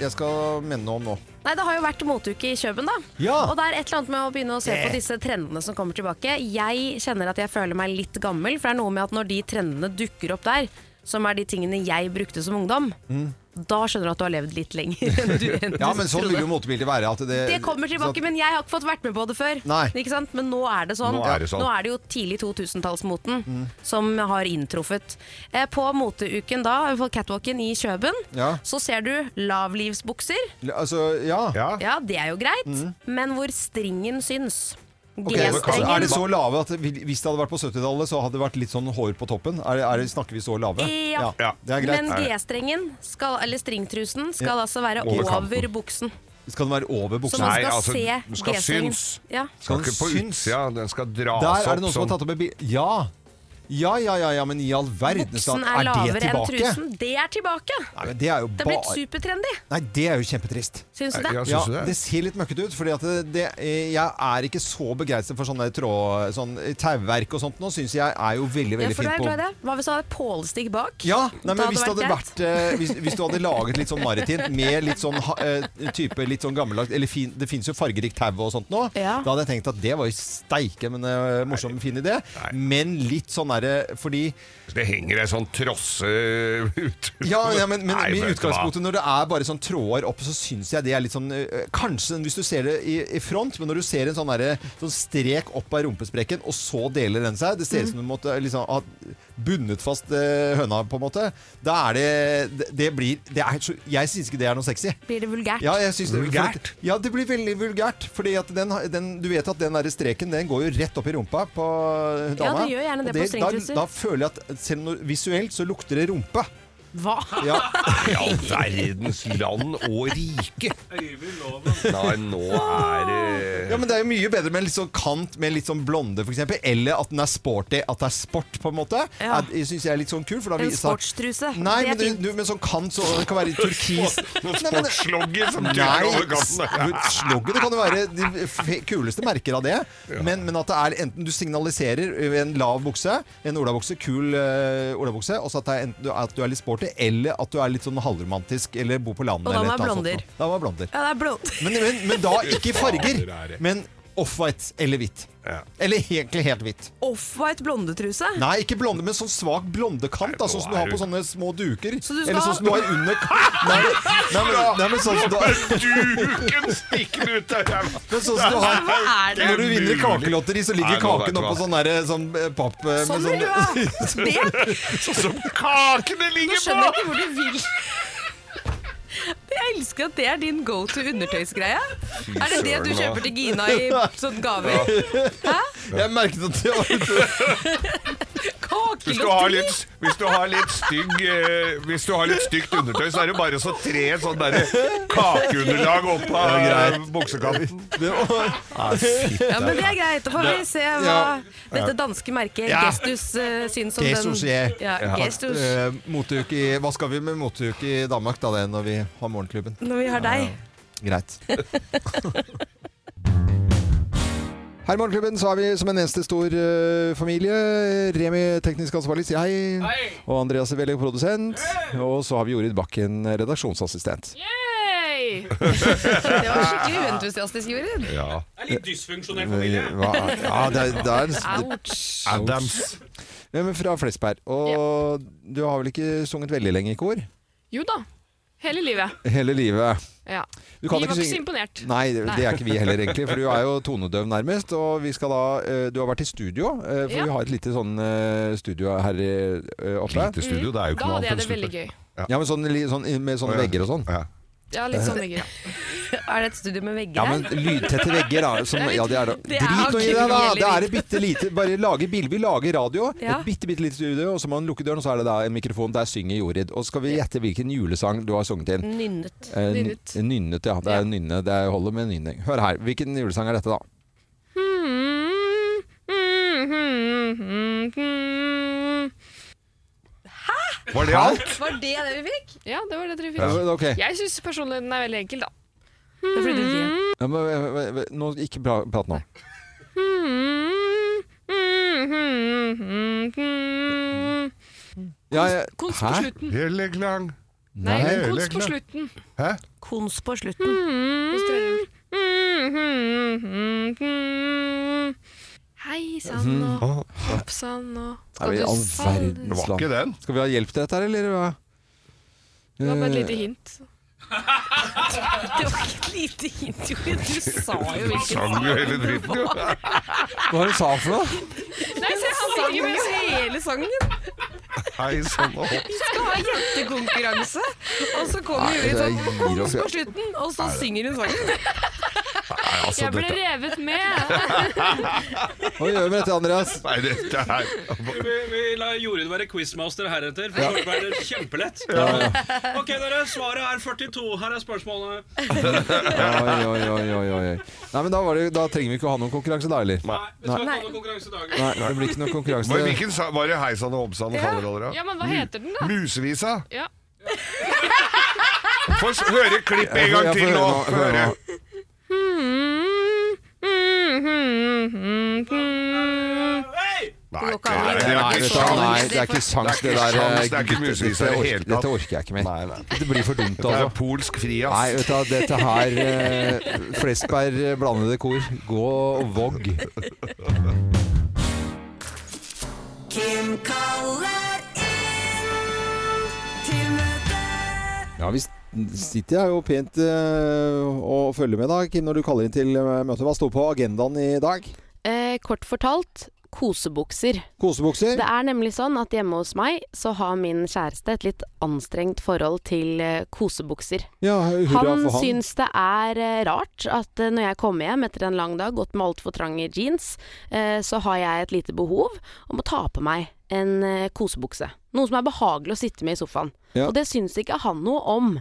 [SPEAKER 1] jeg skal mene om nå?
[SPEAKER 3] Nei, Det har jo vært moteuke i Kjøben, da.
[SPEAKER 1] Ja.
[SPEAKER 3] Og det er et eller annet med å begynne å se
[SPEAKER 1] Det.
[SPEAKER 3] på disse trendene som kommer tilbake. Jeg kjenner at jeg føler meg litt gammel, for det er noe med at når de trendene dukker opp der, som er de tingene jeg brukte som ungdom,
[SPEAKER 1] Mm.
[SPEAKER 3] da skjønner du at du har levd litt lenger enn du, enn du
[SPEAKER 1] Ja, men sånn
[SPEAKER 3] trodde.
[SPEAKER 1] vil jo motebildet være. At det,
[SPEAKER 3] Det kommer tilbake,
[SPEAKER 1] så-
[SPEAKER 3] men jeg har ikke fått vært med på det før.
[SPEAKER 1] sånn- Nei.
[SPEAKER 3] Ikke sant? Men nå er det sånn.
[SPEAKER 1] Nå er det sånn.
[SPEAKER 3] Nå er det jo tidlig 2000-tallsmoten
[SPEAKER 1] Mm.
[SPEAKER 3] som har inntruffet. Eh, på moteuken da, på catwalken i Kjøben,
[SPEAKER 1] Ja.
[SPEAKER 3] så ser du lavlivsbukser.
[SPEAKER 1] Altså, ja.
[SPEAKER 3] Ja, det er jo greit,
[SPEAKER 1] Mhm.
[SPEAKER 3] men hvor stringen syns.
[SPEAKER 1] Ok, altså,
[SPEAKER 3] G-strengen.
[SPEAKER 1] er det så lave at vi- hvis det hadde vært på 70-tallet, så hadde det vært litt sånn hår på toppen? Er det, er det, snakker vi så lave?
[SPEAKER 3] Ja.
[SPEAKER 1] Det er greit.
[SPEAKER 3] Men G-strengen, skal, eller stringtrusen, skal
[SPEAKER 1] Ja.
[SPEAKER 3] altså være
[SPEAKER 1] Over
[SPEAKER 3] over,
[SPEAKER 1] kanten. altså,
[SPEAKER 3] buksen.
[SPEAKER 1] Skal den være over buksa?
[SPEAKER 3] Så man altså, skal se
[SPEAKER 2] den skal
[SPEAKER 3] G-strengen.
[SPEAKER 2] syns.
[SPEAKER 3] Ja.
[SPEAKER 1] Skal
[SPEAKER 2] Skal
[SPEAKER 1] den
[SPEAKER 2] ikke på
[SPEAKER 1] syns?
[SPEAKER 2] utsida, den skal dras opp
[SPEAKER 1] Der er det noen som har tatt opp et bilde. Ja. ja, ja, ja, ja, men i all verdens
[SPEAKER 3] Buksen
[SPEAKER 1] land,
[SPEAKER 3] er
[SPEAKER 1] er det
[SPEAKER 3] lavere enn
[SPEAKER 1] tilbake?
[SPEAKER 3] trusen. Det er tilbake!
[SPEAKER 1] Nei, men det er jo
[SPEAKER 3] Det er blitt
[SPEAKER 1] bare
[SPEAKER 3] supertrendy.
[SPEAKER 1] Nei, det er jo kjempetrist.
[SPEAKER 3] Syns du det?
[SPEAKER 1] Ja,
[SPEAKER 3] Ja,
[SPEAKER 2] syns du det?
[SPEAKER 1] det ser litt møkkete ut, for jeg er ikke så begeistret for sånne tråd, sånn tauverk og sånt. Nå syns jeg er jo veldig,
[SPEAKER 3] Ja,
[SPEAKER 1] veldig
[SPEAKER 3] for du
[SPEAKER 1] fint
[SPEAKER 3] er
[SPEAKER 1] på
[SPEAKER 3] glad i det. Hva hvis du hadde pålestikk bak?
[SPEAKER 1] Ja, nei, men
[SPEAKER 3] Da
[SPEAKER 1] hvis, det hadde vært, eh, hvis, hvis du hadde laget litt sånn maritimt med litt sånn ha- eh, type litt sånn gammeldags Eller fin, det fins jo fargerikt tau og sånt nå.
[SPEAKER 3] Ja.
[SPEAKER 1] Da hadde jeg tenkt at det var jo steike men eh, morsom, fin idé. Men litt sånn derre fordi
[SPEAKER 2] Det henger ei sånn trosse ut
[SPEAKER 1] ja, ja, men, men
[SPEAKER 2] Nei,
[SPEAKER 1] i
[SPEAKER 2] vet du hva?
[SPEAKER 1] utgangspunktet når det er bare sånn tråder opp, så syns jeg det er litt sånn eh, Kanskje hvis du ser det i, i front, men når du ser en sånn, derre- sånn strek opp av rumpesprekken, og så deler den seg Det ser ut
[SPEAKER 3] Mm.
[SPEAKER 1] som du måtte liksom ha bundet fast eh, høna, på en måte. Da er det Det, det blir det er, så- Jeg syns ikke det er noe sexy.
[SPEAKER 3] Blir det vulgært?
[SPEAKER 1] Ja, jeg syns det,
[SPEAKER 2] Vulgært?
[SPEAKER 1] for- ja, det blir veldig vulgært. Fordi at den, har- den, du vet at den der streken den går jo rett opp i rumpa på eh,
[SPEAKER 3] Ja,
[SPEAKER 1] dama.
[SPEAKER 3] det gjør gjerne det
[SPEAKER 1] Og
[SPEAKER 3] på stringtruser.
[SPEAKER 1] Da, da føler jeg at selv om visuelt så lukter det rumpe.
[SPEAKER 3] Hva?
[SPEAKER 1] Ja.
[SPEAKER 2] I all verdens land og rike. Nei, nå er det
[SPEAKER 1] Ja, men Det er jo mye bedre med en litt sånn kant med litt sånn blonde, f.eks. Eller at den er sporty. At det er sport, på en måte.
[SPEAKER 3] Ja.
[SPEAKER 1] Er- Det syns jeg er litt sånn kul. For da
[SPEAKER 3] En
[SPEAKER 1] viser-
[SPEAKER 3] sportstruse.
[SPEAKER 1] Nei,
[SPEAKER 3] Det er
[SPEAKER 1] men du,
[SPEAKER 3] fint.
[SPEAKER 1] du, med sånn kant så det kan være i turkis.
[SPEAKER 2] Noen
[SPEAKER 1] Nei, men-
[SPEAKER 2] sportslogger som
[SPEAKER 1] Nei,
[SPEAKER 2] trykker over kanten.
[SPEAKER 1] s- slogger, det kan jo være de fe- kuleste merker av det. Men, men at det er enten du signaliserer ved en lav bukse, en olabukse, kul eh, olabukse, og så at, det er enten, du- at du er litt sporty, eller at du er litt sånn halvromantisk eller bor på landet.
[SPEAKER 3] Og da
[SPEAKER 1] eller
[SPEAKER 3] må
[SPEAKER 1] et
[SPEAKER 3] jeg
[SPEAKER 1] eller annet
[SPEAKER 3] blonder.
[SPEAKER 1] sånt. Da må jeg blonder.
[SPEAKER 3] Ja, det er blond.
[SPEAKER 1] Men, men, men da ikke i farger, men off-white eller hvitt. Eller egentlig helt hvitt.
[SPEAKER 3] Offwhite blondetruse.
[SPEAKER 1] Nei, ikke blonde, men sånn svak blondekant, da, sånn som du har på sånne små duker.
[SPEAKER 3] Så du skal
[SPEAKER 1] Eller sånn som du
[SPEAKER 3] ha-
[SPEAKER 1] har under Nei, men- nei, men, nei, men sånn som du har
[SPEAKER 2] Duken stikker ut av ræva!
[SPEAKER 1] men sånn som du har Når du vinner kakelotteri, så ligger
[SPEAKER 2] Nei, nå vet
[SPEAKER 1] kaken
[SPEAKER 2] du
[SPEAKER 1] oppå
[SPEAKER 2] hva.
[SPEAKER 1] sånn derre sånn eh, papp eh,
[SPEAKER 2] Sånn
[SPEAKER 1] med
[SPEAKER 2] vil
[SPEAKER 1] sånn-
[SPEAKER 2] du ha. Sånn som kakene
[SPEAKER 3] Nå
[SPEAKER 2] ligger
[SPEAKER 3] skjønner jeg ikke hvor du vil. Jeg elsker at det er din go to undertøysgreie. Er det det du
[SPEAKER 1] søren, hva?
[SPEAKER 3] kjøper til Gina i sånn gaver?
[SPEAKER 1] Jeg merket at det var
[SPEAKER 2] Hvis du, har litt, hvis, du har litt stygg, eh, hvis du har litt stygt undertøy, så er det bare så tre sånn derre kakeunderlag opp av
[SPEAKER 1] Ja,
[SPEAKER 2] eh, buksekanten.
[SPEAKER 1] Ah, fitte.
[SPEAKER 3] Ja, men det er greit. Da får vi se hva
[SPEAKER 1] Ja.
[SPEAKER 3] dette danske merket
[SPEAKER 1] Ja.
[SPEAKER 3] Gestus eh, syns om den.
[SPEAKER 1] Gestus, jeg.
[SPEAKER 3] Ja, gestus.
[SPEAKER 1] Eh, moteuke i- Hva skal vi med moteuke i Danmark da, det, når vi har morgenklubben?
[SPEAKER 3] Når vi har deg.
[SPEAKER 1] Greit. Her i Morgenklubben så er vi som en eneste stor eh, familie. Remi teknisk ansvarlig sier hei. Og Andreas Velle produsent. Og så har vi Jorid Bakken redaksjonsassistent.
[SPEAKER 9] Yay!
[SPEAKER 3] Det var skikkelig uentusiastisk, Jorid.
[SPEAKER 1] Ja.
[SPEAKER 4] Det er litt dysfunksjonell familie.
[SPEAKER 1] Eh, Hva, ja, det er, det er
[SPEAKER 4] Ouch.
[SPEAKER 1] Adams. Hvem er fra Flesberg? Og du har vel ikke sunget veldig lenge i kor?
[SPEAKER 9] Jo da.
[SPEAKER 3] Hele livet.
[SPEAKER 1] Hele livet.
[SPEAKER 3] Ja.
[SPEAKER 1] Du kan
[SPEAKER 3] vi var ikke
[SPEAKER 1] synge-
[SPEAKER 3] så imponert.
[SPEAKER 1] Nei, det det er ikke vi heller egentlig, for du er jo tonedøv nærmest. Og vi skal da, eh, du har vært i studio, eh, for
[SPEAKER 3] Ja.
[SPEAKER 1] vi har et lite sånn eh, studio her eh, oppe.
[SPEAKER 3] Lite studio, det er jo ikke Da noe hadde annet jeg enn det veldig studio.
[SPEAKER 1] Ja, men sånn, li- sånn, med sånne vegger og sånn.
[SPEAKER 9] Ja, litt sånn vegger. er det et studio med vegger
[SPEAKER 1] Ja, men lydtette vegger, da. Som, ja, det er da.
[SPEAKER 9] Det er
[SPEAKER 1] Drit nå i
[SPEAKER 9] ikke
[SPEAKER 1] det, da!
[SPEAKER 9] mye
[SPEAKER 1] Det er et bitte lite Bare lage bil. Vi lager radio.
[SPEAKER 9] Ja.
[SPEAKER 1] Et bitte, bitte lite studio, og så må man lukke døren, og så er det da en mikrofon. Der synger Jorid. Og så skal vi gjette hvilken julesang du har sunget inn.
[SPEAKER 9] Nynnet.
[SPEAKER 1] Eh, ny- nynnet, ja. Det er nynne. Det er- holder med nynning. Hør her. Hvilken julesang er dette, da? Var det alt?
[SPEAKER 3] Var det det vi fikk? Ja, det var det dere fikk.
[SPEAKER 1] Ja, men ok.
[SPEAKER 3] Jeg syns personlig den er veldig enkel, da.
[SPEAKER 9] Det er fordi du
[SPEAKER 1] Ja, men, men, men, men, nå, ikke pra- prat nå. Ja, jeg-
[SPEAKER 3] Kons på
[SPEAKER 1] Hæ?
[SPEAKER 3] slutten.
[SPEAKER 2] Heleklang.
[SPEAKER 3] Nei, kons på slutten.
[SPEAKER 2] Hæ?
[SPEAKER 9] Kons på slutten. Mm-hmm.
[SPEAKER 3] slutten. Hei
[SPEAKER 2] Mm-hmm.
[SPEAKER 3] sann og
[SPEAKER 2] Ah.
[SPEAKER 1] Mhm.
[SPEAKER 3] hopp sann og
[SPEAKER 1] Er vi i all
[SPEAKER 3] salve-
[SPEAKER 1] verdens land? Skal vi ha hjelp til dette her, eller hva?
[SPEAKER 3] Det var bare et lite
[SPEAKER 2] Eh.
[SPEAKER 3] hint.
[SPEAKER 9] Det var ikke et lite hint, Jorid. Du sa jo
[SPEAKER 2] Du
[SPEAKER 9] hvilken
[SPEAKER 2] sang jo hele dritten, jo.
[SPEAKER 1] Hva var det du sa for noe?
[SPEAKER 3] Nei, se, han
[SPEAKER 1] Sånn.
[SPEAKER 9] sang
[SPEAKER 3] synger
[SPEAKER 9] jo
[SPEAKER 3] med
[SPEAKER 9] hele sangen.
[SPEAKER 2] Hei, sånn og hopp.
[SPEAKER 9] Vi skal ha jentekonkurranse, og så kommer
[SPEAKER 2] Nei,
[SPEAKER 9] Jorid sånn
[SPEAKER 2] det gir oss,
[SPEAKER 1] altså.
[SPEAKER 9] Kons
[SPEAKER 2] ja.
[SPEAKER 9] på slutten, og så
[SPEAKER 2] Nei, det-
[SPEAKER 9] synger hun sangen.
[SPEAKER 2] Nei, altså,
[SPEAKER 3] Jeg ble
[SPEAKER 2] dette-
[SPEAKER 3] revet med.
[SPEAKER 1] Hva gjør vi med dette, Andreas?
[SPEAKER 2] Nei, dette er
[SPEAKER 11] Vi, vi lar Jorid være quizmaster heretter, for
[SPEAKER 1] Ja.
[SPEAKER 11] det ble det kjempelett.
[SPEAKER 1] Ja, ja.
[SPEAKER 11] Ok, dere, svaret er 42. Her er spørsmålene.
[SPEAKER 1] Eh. Oi, oi, oi, oi, oi. Nei, men da, var det, da trenger vi ikke å ha noen konkurranse da, eller? Nei,
[SPEAKER 11] Vi skal ikke ha noen konkurranse i dag.
[SPEAKER 1] Nei, det blir ikke noen konkurranse.
[SPEAKER 2] Var, hvilken sa- var det Hei sann og hopp sann og faller over av?
[SPEAKER 3] Ja, men hva heter den, da?
[SPEAKER 2] Musevisa?
[SPEAKER 3] Ja.
[SPEAKER 2] Få s- høre klippet en gang
[SPEAKER 1] Ja, få- ja,
[SPEAKER 2] til
[SPEAKER 1] få
[SPEAKER 2] nå.
[SPEAKER 1] høre
[SPEAKER 2] Få
[SPEAKER 1] nå, få
[SPEAKER 2] høre.
[SPEAKER 1] høre
[SPEAKER 2] Nei,
[SPEAKER 3] ikke an.
[SPEAKER 2] nei, det er ikke
[SPEAKER 1] Nei, vet du hva,
[SPEAKER 2] sjans.
[SPEAKER 1] nei, det er ikke sjans, det der. eh,
[SPEAKER 2] sjans, Det er ikke
[SPEAKER 1] gutter,
[SPEAKER 2] musevisa i det
[SPEAKER 1] dette ork-
[SPEAKER 2] hele tatt.
[SPEAKER 1] Dette orker jeg ikke mer.
[SPEAKER 2] Nei, nei.
[SPEAKER 1] Det blir for dumt,
[SPEAKER 2] Det er
[SPEAKER 1] altså.
[SPEAKER 2] polsk frias.
[SPEAKER 1] Nei, vet du, hva, dette her eh, Flesberg eh, blandede kor. Gå og vogg.
[SPEAKER 7] Kim kaller inn til møte.
[SPEAKER 1] Ja, vi s- sitter jeg jo pent eh, og følger med, da, Kim, når du kaller inn til eh, møte. Hva står på agendaen i dag?
[SPEAKER 3] Eh, kort fortalt kosebukser.
[SPEAKER 1] Kosebukser?
[SPEAKER 3] Det er nemlig sånn at hjemme hos meg så har min kjæreste et litt anstrengt forhold til eh, kosebukser.
[SPEAKER 1] Ja, hurra
[SPEAKER 3] han
[SPEAKER 1] for han.
[SPEAKER 3] syns det er eh, rart at eh, når jeg kommer hjem etter en lang dag, gått med altfor trange jeans, eh, så har jeg et lite behov om å ta på meg en eh, kosebukse. Noe som er behagelig å sitte med i sofaen.
[SPEAKER 1] Ja.
[SPEAKER 3] Og det syns ikke han noe om.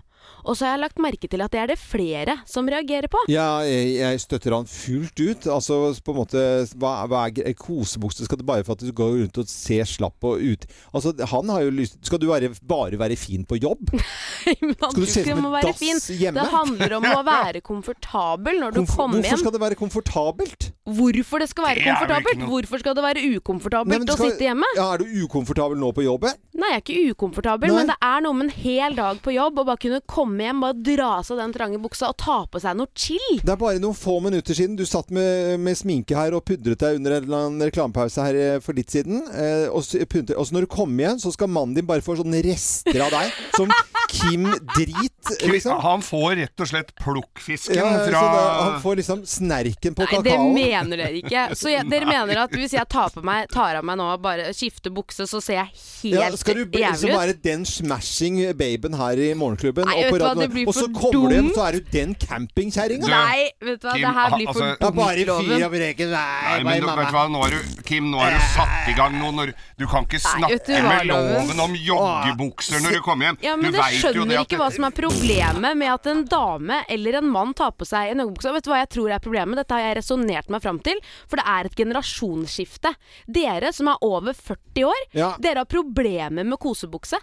[SPEAKER 3] Og så har jeg lagt merke til at det er det flere som reagerer på.
[SPEAKER 1] Ja, jeg, jeg støtter han fullt ut. Altså, på en måte, hva, hva er gre- kosebukse? Skal det bare for at du går rundt og ser slapp og ut? Altså, han har jo lyst Skal du være, bare være fin på jobb?
[SPEAKER 3] Man
[SPEAKER 1] Skal du se ut
[SPEAKER 3] ikke
[SPEAKER 1] som
[SPEAKER 3] må
[SPEAKER 1] en
[SPEAKER 3] være
[SPEAKER 1] dass
[SPEAKER 3] fin.
[SPEAKER 1] hjemme?
[SPEAKER 3] Det handler om å være komfortabel når du
[SPEAKER 1] Komfo-
[SPEAKER 3] kommer
[SPEAKER 1] Hvorfor
[SPEAKER 3] hjem.
[SPEAKER 1] skal det være komfortabelt?
[SPEAKER 3] Hvorfor det skal
[SPEAKER 1] Det er jo
[SPEAKER 3] være
[SPEAKER 1] ikke
[SPEAKER 3] komfortabelt?
[SPEAKER 1] noe-
[SPEAKER 3] Hvorfor skal det være
[SPEAKER 1] Nei,
[SPEAKER 3] ukomfortabelt
[SPEAKER 1] men skal-
[SPEAKER 3] å sitte hjemme?
[SPEAKER 1] Ja, er du ukomfortabel nå på jobben?
[SPEAKER 3] Nei, jeg er ikke ukomfortabel, men det er noe med en hel dag på jobb og bare kunne komme hjem, bare dra av seg den trange buksa og ta på seg noe chill.
[SPEAKER 1] Det er bare noen få minutter siden du satt med, med sminke her og pudret deg under en eller annen reklamepause her eh, for litt siden. Eh, og, så pudret, og så når du kommer igjen, så skal mannen din bare få sånne rester av deg som Kim Drit. Liksom.
[SPEAKER 2] Han får rett og slett plukkfisken
[SPEAKER 1] Ja, så
[SPEAKER 2] fra
[SPEAKER 1] da, han får liksom snerken på
[SPEAKER 3] Nei, det
[SPEAKER 1] kakaoen.
[SPEAKER 3] mener dere ikke. Så jeg, dere mener at hvis jeg tar, på meg, tar av meg nå og bare skifter bukse, så ser jeg helt
[SPEAKER 1] ja, skal du bli- liksom
[SPEAKER 3] jævlig ut?
[SPEAKER 1] være den smashing baben her i morgenklubben,
[SPEAKER 3] Nei,
[SPEAKER 1] og,
[SPEAKER 3] vet
[SPEAKER 1] på
[SPEAKER 3] du hva,
[SPEAKER 1] radioen,
[SPEAKER 3] det blir
[SPEAKER 1] og så
[SPEAKER 3] for
[SPEAKER 1] kommer du hjem,
[SPEAKER 3] dumt.
[SPEAKER 1] så er du den campingkjerringa.
[SPEAKER 3] Nei, vet du hva,
[SPEAKER 2] Kim,
[SPEAKER 3] det her
[SPEAKER 2] ha-
[SPEAKER 3] blir for
[SPEAKER 2] altså-
[SPEAKER 1] Det er bare
[SPEAKER 3] dumt,
[SPEAKER 1] fyr
[SPEAKER 3] loven.
[SPEAKER 1] av reken. Nei,
[SPEAKER 2] Nei,
[SPEAKER 1] bare
[SPEAKER 2] men du,
[SPEAKER 1] mamma.
[SPEAKER 2] vet du hva, nå har du, Kim, nå har du satt i gang noe når Du kan ikke
[SPEAKER 3] Nei, vet du
[SPEAKER 2] snakke
[SPEAKER 3] hva,
[SPEAKER 2] med loven om joggebukser når du kommer hjem.
[SPEAKER 3] Ja,
[SPEAKER 2] du
[SPEAKER 3] men det
[SPEAKER 2] vet jo
[SPEAKER 3] skjønner
[SPEAKER 2] det at
[SPEAKER 3] ikke hva som er problemet med at en dame eller en mann tar på seg en joggebukse. Og Vet du hva jeg tror er problemet? Dette har jeg resonnert meg fram til, for det er et generasjonsskifte. Dere som er over 40 år,
[SPEAKER 2] Ja.
[SPEAKER 3] dere har problemer med kosebukse.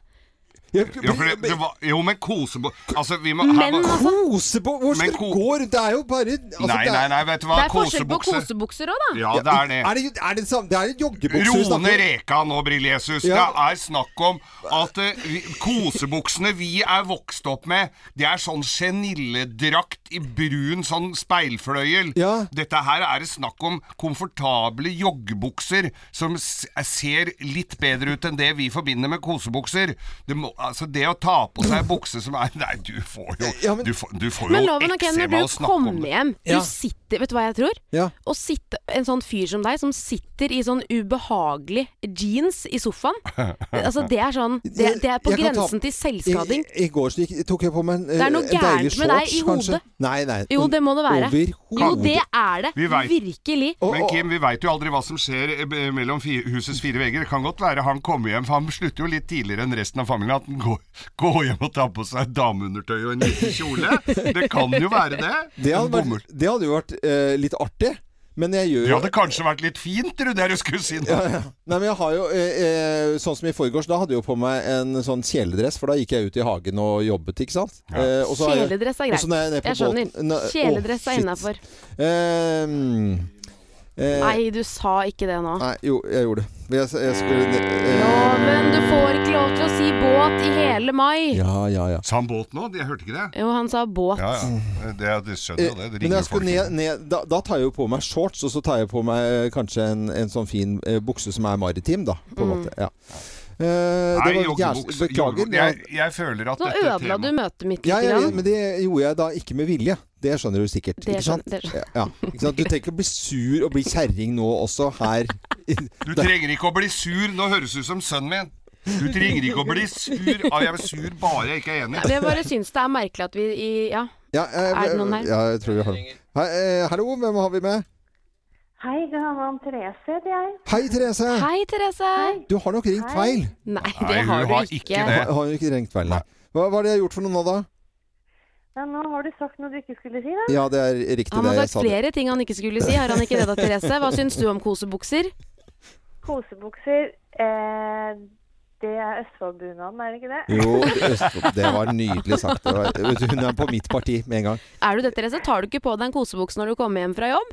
[SPEAKER 2] Jo, for det, det var, jo men kosebo... Altså, vi må
[SPEAKER 3] Men, altså-
[SPEAKER 1] Kosebo... Hvor skal du gå? Det er jo bare altså,
[SPEAKER 2] Nei,
[SPEAKER 1] det
[SPEAKER 2] nei,
[SPEAKER 1] er-
[SPEAKER 2] nei, vet du hva?
[SPEAKER 3] det er forskjell på
[SPEAKER 2] Kosebukse.
[SPEAKER 3] kosebukser òg, da.
[SPEAKER 2] Ja, det er det.
[SPEAKER 1] Er det, er det, samme- det er joggebukser vi snakker
[SPEAKER 2] Rone
[SPEAKER 1] om.
[SPEAKER 2] Rekan og Brillesus,
[SPEAKER 1] Ja.
[SPEAKER 2] det er snakk om at eh, vi, kosebuksene vi er vokst opp med, det er sånn genilledrakt i brun sånn speilfløyel. Dette her er det snakk om komfortable eh, joggebukser som s- ser litt bedre ut enn det vi forbinder med kosebukser. Det må, altså det å ta på seg bukse som er Nei, du får jo Du får, du får
[SPEAKER 3] Men
[SPEAKER 2] jo
[SPEAKER 3] loven og Ken,
[SPEAKER 2] eksem
[SPEAKER 3] når
[SPEAKER 2] av å
[SPEAKER 3] du
[SPEAKER 2] snakke om
[SPEAKER 3] kommer
[SPEAKER 2] det.
[SPEAKER 3] hjem
[SPEAKER 2] Ja.
[SPEAKER 3] Du sitter, vet du hva jeg tror?
[SPEAKER 1] Ja.
[SPEAKER 3] Å sitte, en sånn fyr som deg, som sitter i sånn ubehagelig jeans i sofaen Altså Det er sånn Det, det er på
[SPEAKER 1] Jeg kan ta-
[SPEAKER 3] grensen til selvskading.
[SPEAKER 1] I, i går så gikk- tok jeg på meg en, eh,
[SPEAKER 3] Det er noe
[SPEAKER 1] en deilig
[SPEAKER 3] gærent med deg i
[SPEAKER 1] shorts, kanskje.
[SPEAKER 3] hodet.
[SPEAKER 1] Nei, nei.
[SPEAKER 3] Jo, det må det være.
[SPEAKER 1] Overhodet.
[SPEAKER 3] Jo, det er det.
[SPEAKER 2] Vi vet.
[SPEAKER 3] Virkelig.
[SPEAKER 2] Men Kim, vi veit jo aldri hva som skjer eh, b- mellom fi husets fire vegger. Det kan godt være han kommer hjem, for han slutter jo litt tidligere enn resten av familien. At han går, går hjem og tar på seg dameundertøy og en liten kjole. Det kan jo være det.
[SPEAKER 1] Det hadde, vært, det hadde jo vært eh, litt artig, men jeg gjør
[SPEAKER 2] Det
[SPEAKER 1] jo
[SPEAKER 2] hadde kanskje vært litt fint, trodde jeg du skulle si nå.
[SPEAKER 1] ja, ja. Nei, men jeg har jo eh, eh, Sånn som i forgårs, da hadde jeg jo på meg en sånn kjeledress, for da gikk jeg ut i hagen og jobbet, ikke sant? Eh, og så har jeg-
[SPEAKER 3] Kjeledress er
[SPEAKER 1] og så
[SPEAKER 3] greit.
[SPEAKER 1] når jeg er nede på
[SPEAKER 3] Jeg skjønner.
[SPEAKER 1] båten- Nei, å,
[SPEAKER 3] Kjeledress er
[SPEAKER 1] shit.
[SPEAKER 3] innafor.
[SPEAKER 1] Eh, eh,
[SPEAKER 3] Nei, du sa ikke det nå.
[SPEAKER 1] Nei, jo, jeg gjorde det. Men Jeg, jeg skulle eh,
[SPEAKER 3] Loven, du får ikke lov til å si båt i hele mai.
[SPEAKER 1] Ja, ja, ja.
[SPEAKER 2] Sa han båt nå? Jeg hørte ikke det.
[SPEAKER 3] Jo, han sa båt.
[SPEAKER 2] Ja, ja. Det, det skjønner jo det. Det
[SPEAKER 1] Eh, Men
[SPEAKER 2] ringer
[SPEAKER 1] jeg
[SPEAKER 2] jo
[SPEAKER 1] skulle
[SPEAKER 2] folk.
[SPEAKER 1] ned, ned, da, da tar jeg jo på meg shorts, og så tar jeg på meg eh, kanskje en, en sånn fin eh, bukse som er maritim, da. På en
[SPEAKER 3] Mm.
[SPEAKER 1] måte. Ja. Eh,
[SPEAKER 2] Nei,
[SPEAKER 1] det var jævlig-
[SPEAKER 2] joggebukse.
[SPEAKER 1] Beklager.
[SPEAKER 2] joggebukse.
[SPEAKER 1] Ja,
[SPEAKER 2] Jeg, jeg føler at
[SPEAKER 3] Nå
[SPEAKER 2] dette
[SPEAKER 3] ødela du møtet mitt
[SPEAKER 1] ja,
[SPEAKER 3] lite
[SPEAKER 1] ja,
[SPEAKER 3] grann.
[SPEAKER 1] men det gjorde jeg da ikke med vilje. Det skjønner du sikkert.
[SPEAKER 3] Det
[SPEAKER 1] ikke sant?
[SPEAKER 3] skjønner- det skjønner-
[SPEAKER 1] Ja, ikke sant? Du trenger ikke å bli sur og bli kjerring nå også, her.
[SPEAKER 2] Du trenger ikke å bli sur. Nå høres du ut som sønnen min. Du trenger ikke å bli sur. Ah, jeg er sur bare jeg ikke er enig.
[SPEAKER 3] Nei, men Jeg bare syns det er merkelig at vi i Ja.
[SPEAKER 1] Ja, eh,
[SPEAKER 3] Er det noen her?
[SPEAKER 1] Ja, jeg tror vi har noen. Hei, eh, Hallo, hvem har vi med?
[SPEAKER 7] Hei, det handler om Therese, heter jeg.
[SPEAKER 1] Hei, Therese.
[SPEAKER 3] Hei, Therese.
[SPEAKER 1] Du har nok ringt
[SPEAKER 7] Hei.
[SPEAKER 1] feil.
[SPEAKER 3] Nei,
[SPEAKER 7] det Nei, hun har du har ikke. ikke det.
[SPEAKER 1] Har, har du ikke ringt feil, nei. Hva, hva er det jeg har gjort for noe nå, da?
[SPEAKER 7] Ja, nå har du sagt noe du ikke skulle si, da.
[SPEAKER 1] Ja, det er riktig
[SPEAKER 3] Han
[SPEAKER 1] det
[SPEAKER 3] har
[SPEAKER 1] jeg
[SPEAKER 3] sagt
[SPEAKER 1] sa. det.
[SPEAKER 3] flere ting han ikke skulle si. Har han ikke det da, Therese? Hva syns du om kosebukser?
[SPEAKER 7] Kosebukser, eh, det er Østfoldbunaden, er det ikke det?
[SPEAKER 1] Jo, Østfold. Det var nydelig sagt. Det var- vet du, Hun er på mitt parti med en gang.
[SPEAKER 3] Er du det, Therese? Tar du ikke på deg en kosebukse når du kommer hjem fra jobb?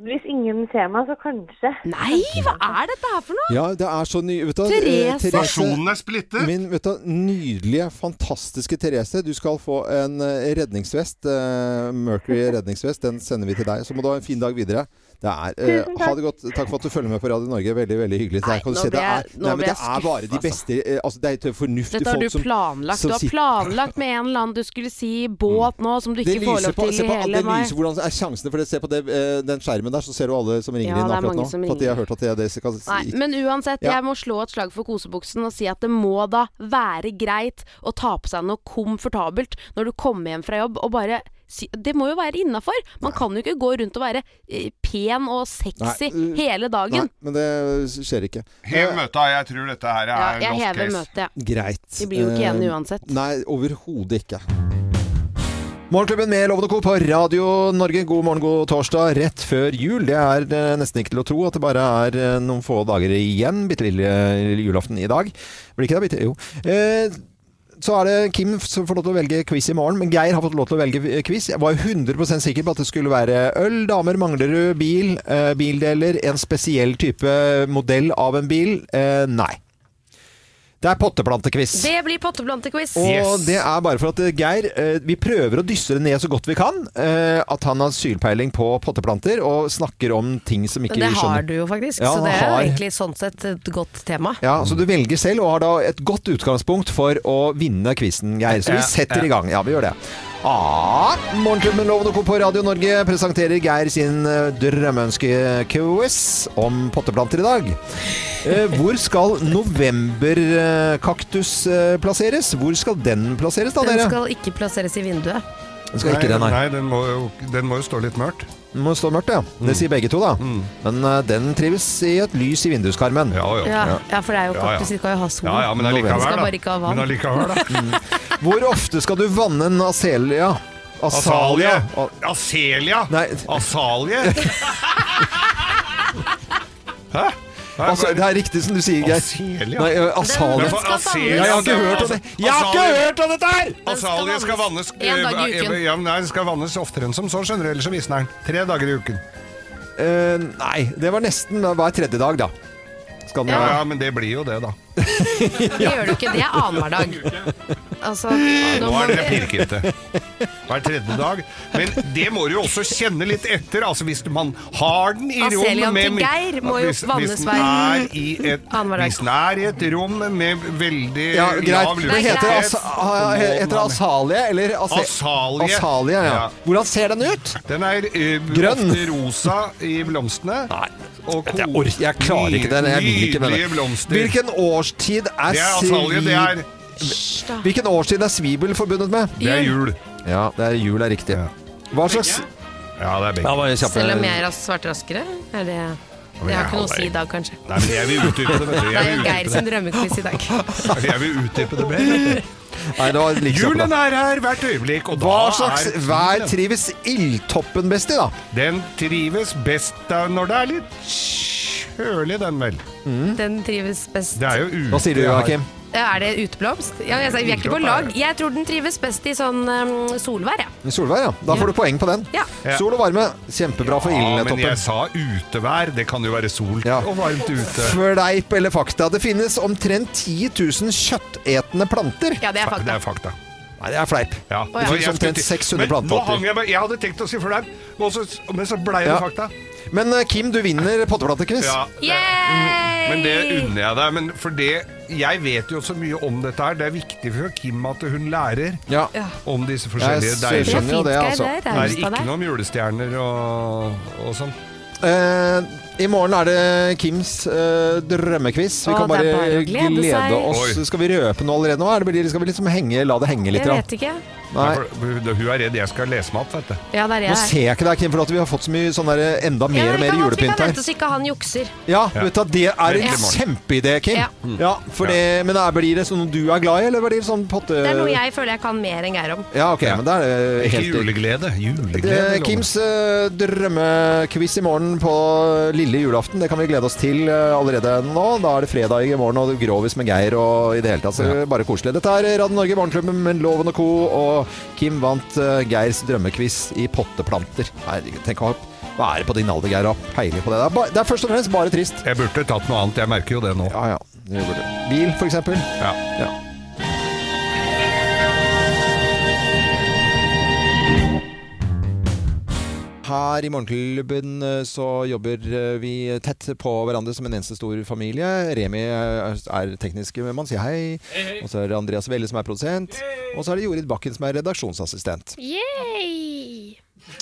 [SPEAKER 7] Hvis ingen ser meg, så kanskje.
[SPEAKER 3] Nei, hva er dette her for noe?
[SPEAKER 1] Ja, det er så ny... Vet du, Eh,
[SPEAKER 3] Therese!
[SPEAKER 2] Nasjonen er splittet!
[SPEAKER 1] Min vet du, nydelige, fantastiske Therese. Du skal få en eh, redningsvest. eh, Mercury redningsvest. Den sender vi til deg. Så må du ha en fin dag videre. Det er, eh,
[SPEAKER 7] Tusen takk.
[SPEAKER 1] ha det godt. Takk for at du følger med på Radio Norge. Veldig veldig hyggelig. Nei,
[SPEAKER 3] nå
[SPEAKER 1] det
[SPEAKER 3] ble jeg-
[SPEAKER 1] er, nei,
[SPEAKER 3] nå ble
[SPEAKER 1] men det
[SPEAKER 3] jeg
[SPEAKER 1] er bare de beste eh, altså, Det er et fornuftig
[SPEAKER 3] Dette har
[SPEAKER 1] folk
[SPEAKER 3] du
[SPEAKER 1] som
[SPEAKER 3] planlagt.
[SPEAKER 1] som
[SPEAKER 3] Du har
[SPEAKER 1] sitter-
[SPEAKER 3] planlagt med en eller annen du skulle si båt nå, som du
[SPEAKER 1] Det
[SPEAKER 3] ikke får
[SPEAKER 1] lyser,
[SPEAKER 3] lov
[SPEAKER 1] på,
[SPEAKER 3] til
[SPEAKER 1] se
[SPEAKER 3] i
[SPEAKER 1] på,
[SPEAKER 3] hele
[SPEAKER 1] det
[SPEAKER 3] mai.
[SPEAKER 1] lyser hvordan er sjansene for det. Se på det, eh, den skjermen der, så ser du alle som ringer
[SPEAKER 3] Ja,
[SPEAKER 1] inn
[SPEAKER 3] det er
[SPEAKER 1] akkurat
[SPEAKER 3] mange
[SPEAKER 1] nå.
[SPEAKER 3] som
[SPEAKER 1] For at de har hørt at det, det skal
[SPEAKER 3] Nei, men uansett,
[SPEAKER 1] Ja.
[SPEAKER 3] jeg må slå et slag for kosebuksen og si at det må da være greit å ta på seg noe komfortabelt når du kommer hjem fra jobb, og bare si Det må jo være innafor! Man kan jo ikke gå rundt og være eh, pen og sexy
[SPEAKER 1] Nei, øh,
[SPEAKER 3] hele dagen.
[SPEAKER 1] Nei, men det skjer ikke. Eh,
[SPEAKER 2] Hev møtet, jeg tror dette her
[SPEAKER 3] Ja,
[SPEAKER 2] er
[SPEAKER 3] jeg
[SPEAKER 2] lost
[SPEAKER 3] hever
[SPEAKER 2] case.
[SPEAKER 3] møtet, ja.
[SPEAKER 1] Greit.
[SPEAKER 3] Vi blir jo ikke
[SPEAKER 1] Eh,
[SPEAKER 3] enige uansett.
[SPEAKER 1] Nei, overhodet ikke. Morgenklubben med Loven og Co. på Radio Norge. God morgen, god torsdag. Rett før jul. Det er eh, nesten ikke til å tro at det bare er eh, noen få dager igjen. Bitte lille julaften i dag. Blir ikke det? Bitte, jo. Eh, så er det Kim som får lov til å velge quiz i morgen, men Geir har fått lov til å velge eh, quiz. Jeg var 100 sikker på at det skulle være øl, damer, Manglerud, bil, eh, bildeler, en spesiell type modell av en bil. Eh, nei. Det er potteplantequiz.
[SPEAKER 13] Det blir potteplantequiz.
[SPEAKER 1] Og det er bare for at eh, Geir eh, Vi prøver å dysse det ned så godt vi kan. eh, At han har sylpeiling på potteplanter og snakker om ting som ikke
[SPEAKER 13] det
[SPEAKER 1] vi
[SPEAKER 13] har
[SPEAKER 1] skjønner.
[SPEAKER 13] du jo faktisk,
[SPEAKER 1] Ja,
[SPEAKER 13] så det er
[SPEAKER 1] har.
[SPEAKER 13] jo egentlig sånn sett et godt tema.
[SPEAKER 1] Ja, Så du velger selv, og har da et godt utgangspunkt for å vinne quizen, Geir. Så
[SPEAKER 14] Ja,
[SPEAKER 1] vi setter
[SPEAKER 14] ja.
[SPEAKER 1] i gang. Ja, vi gjør det. Ah, Morgenklubben Loven og Co. på Radio Norge presenterer Geir sin eh, drømmeønske-quiz om potteplanter i dag. Eh, Hvor skal novemberkaktus eh, plasseres? Hvor skal den plasseres, da,
[SPEAKER 13] Den
[SPEAKER 1] dere?
[SPEAKER 13] skal ikke plasseres i vinduet.
[SPEAKER 1] Den skal ikke det, nei.
[SPEAKER 2] den må, jo, den Mm. må jo stå litt mørkt.
[SPEAKER 1] Den må stå mørkt, ja. Det sier begge to, da. Men eh, den trives i et lys i vinduskarmen.
[SPEAKER 13] Ja, ja, for det er jo
[SPEAKER 1] Ja, ja.
[SPEAKER 13] kaktus, de skal jo ha sol.
[SPEAKER 1] Ja, ja, men allikevel,
[SPEAKER 13] Den skal
[SPEAKER 1] da.
[SPEAKER 13] bare ikke ha vann.
[SPEAKER 1] Men allikevel, Mm. Hvor ofte skal du vanne en aselia?
[SPEAKER 2] Asalia. Aselia? Asalie? Hæ? Nei,
[SPEAKER 1] Altså, det er riktig som du sier, Geir.
[SPEAKER 2] Aselia?
[SPEAKER 1] Nei, ø, asalia.
[SPEAKER 2] Den skal vannes.
[SPEAKER 1] Nei, Jeg har ikke hørt om det.
[SPEAKER 2] altså-
[SPEAKER 1] Jeg har ikke
[SPEAKER 2] Asalia.
[SPEAKER 1] hørt om dette her!
[SPEAKER 2] Asalie skal vannes
[SPEAKER 1] en dag i
[SPEAKER 2] eh,
[SPEAKER 1] uken.
[SPEAKER 2] Ja, men nei, den skal vannes oftere enn som så, skjønner du. Ellers så visner den. Tre dager i uken.
[SPEAKER 1] Eh, nei, det var nesten hver tredje dag, da. Skandinavia.
[SPEAKER 2] Ja, ja, men det blir jo det, da.
[SPEAKER 3] Det gjør du ikke. Det er annenhver dag. Altså,
[SPEAKER 2] Nå
[SPEAKER 3] må
[SPEAKER 2] er dere
[SPEAKER 3] vi-
[SPEAKER 2] pirkete. Hver tredje dag. Men det må du jo også kjenne litt etter. Altså Hvis man har den i rom
[SPEAKER 3] Aselian
[SPEAKER 2] med
[SPEAKER 3] til Geir må jo
[SPEAKER 2] Hvis-
[SPEAKER 3] vannes
[SPEAKER 2] hvis den
[SPEAKER 3] hver
[SPEAKER 2] er i et-
[SPEAKER 3] annenhver dag.
[SPEAKER 2] Hvis den er i et rom med veldig
[SPEAKER 1] Ja,
[SPEAKER 2] lav
[SPEAKER 1] greit. Det heter,
[SPEAKER 2] luftfuktighet,
[SPEAKER 1] as
[SPEAKER 2] så må
[SPEAKER 1] ha-
[SPEAKER 2] den
[SPEAKER 1] heter
[SPEAKER 2] ha-
[SPEAKER 1] asalie, eller ase-
[SPEAKER 2] Asalie.
[SPEAKER 1] Asalie, ja.
[SPEAKER 2] Ja.
[SPEAKER 1] Hvordan ser den ut?
[SPEAKER 2] Den er eh,
[SPEAKER 1] Grønn.
[SPEAKER 2] ofte rosa i blomstene. og
[SPEAKER 1] Jeg, orker, jeg klarer ikke den. Jeg vil ikke med
[SPEAKER 2] Nydelige
[SPEAKER 1] den.
[SPEAKER 2] blomster.
[SPEAKER 1] Hvilken årstid er,
[SPEAKER 2] altså, Det er asalie, det er-
[SPEAKER 1] svi- Hvilken årstid er svibel forbundet med?
[SPEAKER 2] Det er jul.
[SPEAKER 1] Ja, det er jul er riktig. Hva slags
[SPEAKER 2] Ja, det er begge.
[SPEAKER 1] Ja, bare kjappe-
[SPEAKER 3] Selv om jeg er ras- svart raskere, er det Det har ikke noe å si i dag, kanskje.
[SPEAKER 2] Nei, men jeg vil utdype det, vet du.
[SPEAKER 3] Det
[SPEAKER 2] Jeg
[SPEAKER 3] er
[SPEAKER 2] vil
[SPEAKER 3] jo Geir
[SPEAKER 2] utdype
[SPEAKER 3] sin
[SPEAKER 2] det. Altså,
[SPEAKER 3] drømmequiz i dag.
[SPEAKER 2] Jeg vil utdype det mer.
[SPEAKER 1] Nei, det var like kjapt,
[SPEAKER 2] Julen
[SPEAKER 1] da.
[SPEAKER 2] er her hvert øyeblikk, og
[SPEAKER 1] Hva
[SPEAKER 2] da
[SPEAKER 1] slags
[SPEAKER 2] er
[SPEAKER 1] vær trives ildtoppen best i, da?
[SPEAKER 2] Den trives best da når det er litt kjølig, den vel.
[SPEAKER 3] Den trives best
[SPEAKER 2] Det er jo ute.
[SPEAKER 1] Mm. Hva sier du,
[SPEAKER 2] her.
[SPEAKER 1] Joakim?
[SPEAKER 3] Ja, Er det uteblomst? Ja, jeg, sa- vi er ikke på lag. Jeg tror den trives best i sånn um, solvær, ja.
[SPEAKER 1] Solvær, ja. Da får du poeng på den.
[SPEAKER 3] Ja.
[SPEAKER 2] Ja.
[SPEAKER 1] Sol og varme. Kjempebra for
[SPEAKER 2] Ja, men jeg
[SPEAKER 1] ildtoppen.
[SPEAKER 2] sa utevær. Det kan jo være sol og varmt ute.
[SPEAKER 1] Fleip eller fakta? Det finnes omtrent 10 00 kjøttetende planter.
[SPEAKER 3] Ja, det er fakta.
[SPEAKER 2] Det er fakta.
[SPEAKER 1] Nei, det er fleip.
[SPEAKER 2] Ja.
[SPEAKER 1] Det finnes
[SPEAKER 2] Jeg skulle
[SPEAKER 1] omtrent
[SPEAKER 2] til-
[SPEAKER 1] 600
[SPEAKER 2] Men nå hang
[SPEAKER 1] plantearter.
[SPEAKER 2] jeg meg Jeg hadde tenkt å si flau, og så- men så blei det
[SPEAKER 1] Ja.
[SPEAKER 2] fakta.
[SPEAKER 1] Men eh, Kim, du vinner potteplatekviss.
[SPEAKER 2] Ja, det- Men det unner jeg deg. Men for det, jeg vet jo så mye om dette her. Det er viktig for Kim at hun lærer
[SPEAKER 1] Ja.
[SPEAKER 2] om disse
[SPEAKER 1] Jeg
[SPEAKER 2] forskjellige
[SPEAKER 1] skjønner
[SPEAKER 2] deigene.
[SPEAKER 1] jo Det er fint, det, Geir, altså. det er
[SPEAKER 2] Det er
[SPEAKER 1] raust av
[SPEAKER 2] ikke
[SPEAKER 1] deg.
[SPEAKER 2] noe om julestjerner og, og sånn.
[SPEAKER 1] Eh, I morgen er det Kims eh, drømmekviss. Vi
[SPEAKER 3] Å,
[SPEAKER 1] kan
[SPEAKER 3] det er
[SPEAKER 1] bare,
[SPEAKER 3] bare å glede
[SPEAKER 1] glede,
[SPEAKER 3] seg.
[SPEAKER 1] oss. Skal vi røpe noe allerede nå? Er det blir- skal vi liksom henge, la det henge litt?
[SPEAKER 3] Jeg
[SPEAKER 1] grann?
[SPEAKER 3] vet ikke.
[SPEAKER 1] Nei.
[SPEAKER 2] Nei, for Hun hun er redd jeg skal lese meg opp, vet du.
[SPEAKER 3] Ja, det er
[SPEAKER 1] Nå
[SPEAKER 3] jeg.
[SPEAKER 1] ser jeg ikke deg, Kim, for at vi har fått så mye sånn der, enda mer og mer
[SPEAKER 3] Vi kan
[SPEAKER 1] julepynt her.
[SPEAKER 3] vente oss ikke han jukser.
[SPEAKER 1] Ja, Vet du, hva, det er en
[SPEAKER 3] Ja.
[SPEAKER 1] kjempeidé, Kim.
[SPEAKER 3] Ja.
[SPEAKER 1] Ja. for det, men er, blir det sånn du er glad i, eller blir det sånn potte...
[SPEAKER 3] Det er noe jeg føler jeg kan mer enn Geir om.
[SPEAKER 1] Ja, ok, men det er eh,
[SPEAKER 2] Ikke
[SPEAKER 1] helt
[SPEAKER 2] juleglede.
[SPEAKER 1] det,
[SPEAKER 2] Juleglede. lover.
[SPEAKER 1] Kims eh, drømmekviss i morgen på lille julaften. Det kan vi glede oss til eh, allerede nå. Da er det fredag i morgen, og det er grovis med Geir og i det hele tatt. Så det er Bare koselig. Dette er Radio Norge Barneklubben med Loven og co. Og Kim vant eh, Geirs drømmekviss i potteplanter. Herregud, tenk å ha Hva er det på din alder, Geir, å ha peiling på det? Det er, ba, det er først og fremst bare trist.
[SPEAKER 2] Jeg burde tatt noe annet. Jeg merker jo det nå.
[SPEAKER 1] Ja, ja. Det burde. Bil, for eksempel.
[SPEAKER 2] Ja.
[SPEAKER 1] Ja. Her i Morgenklubben eh, så jobber eh, vi tett på hverandre som en eneste stor familie. Remi eh, er teknisk mann, sier hei. Og så er det Andreas Velle som er produsent. Og så er det Jorid Bakken som er redaksjonsassistent.
[SPEAKER 3] Yay!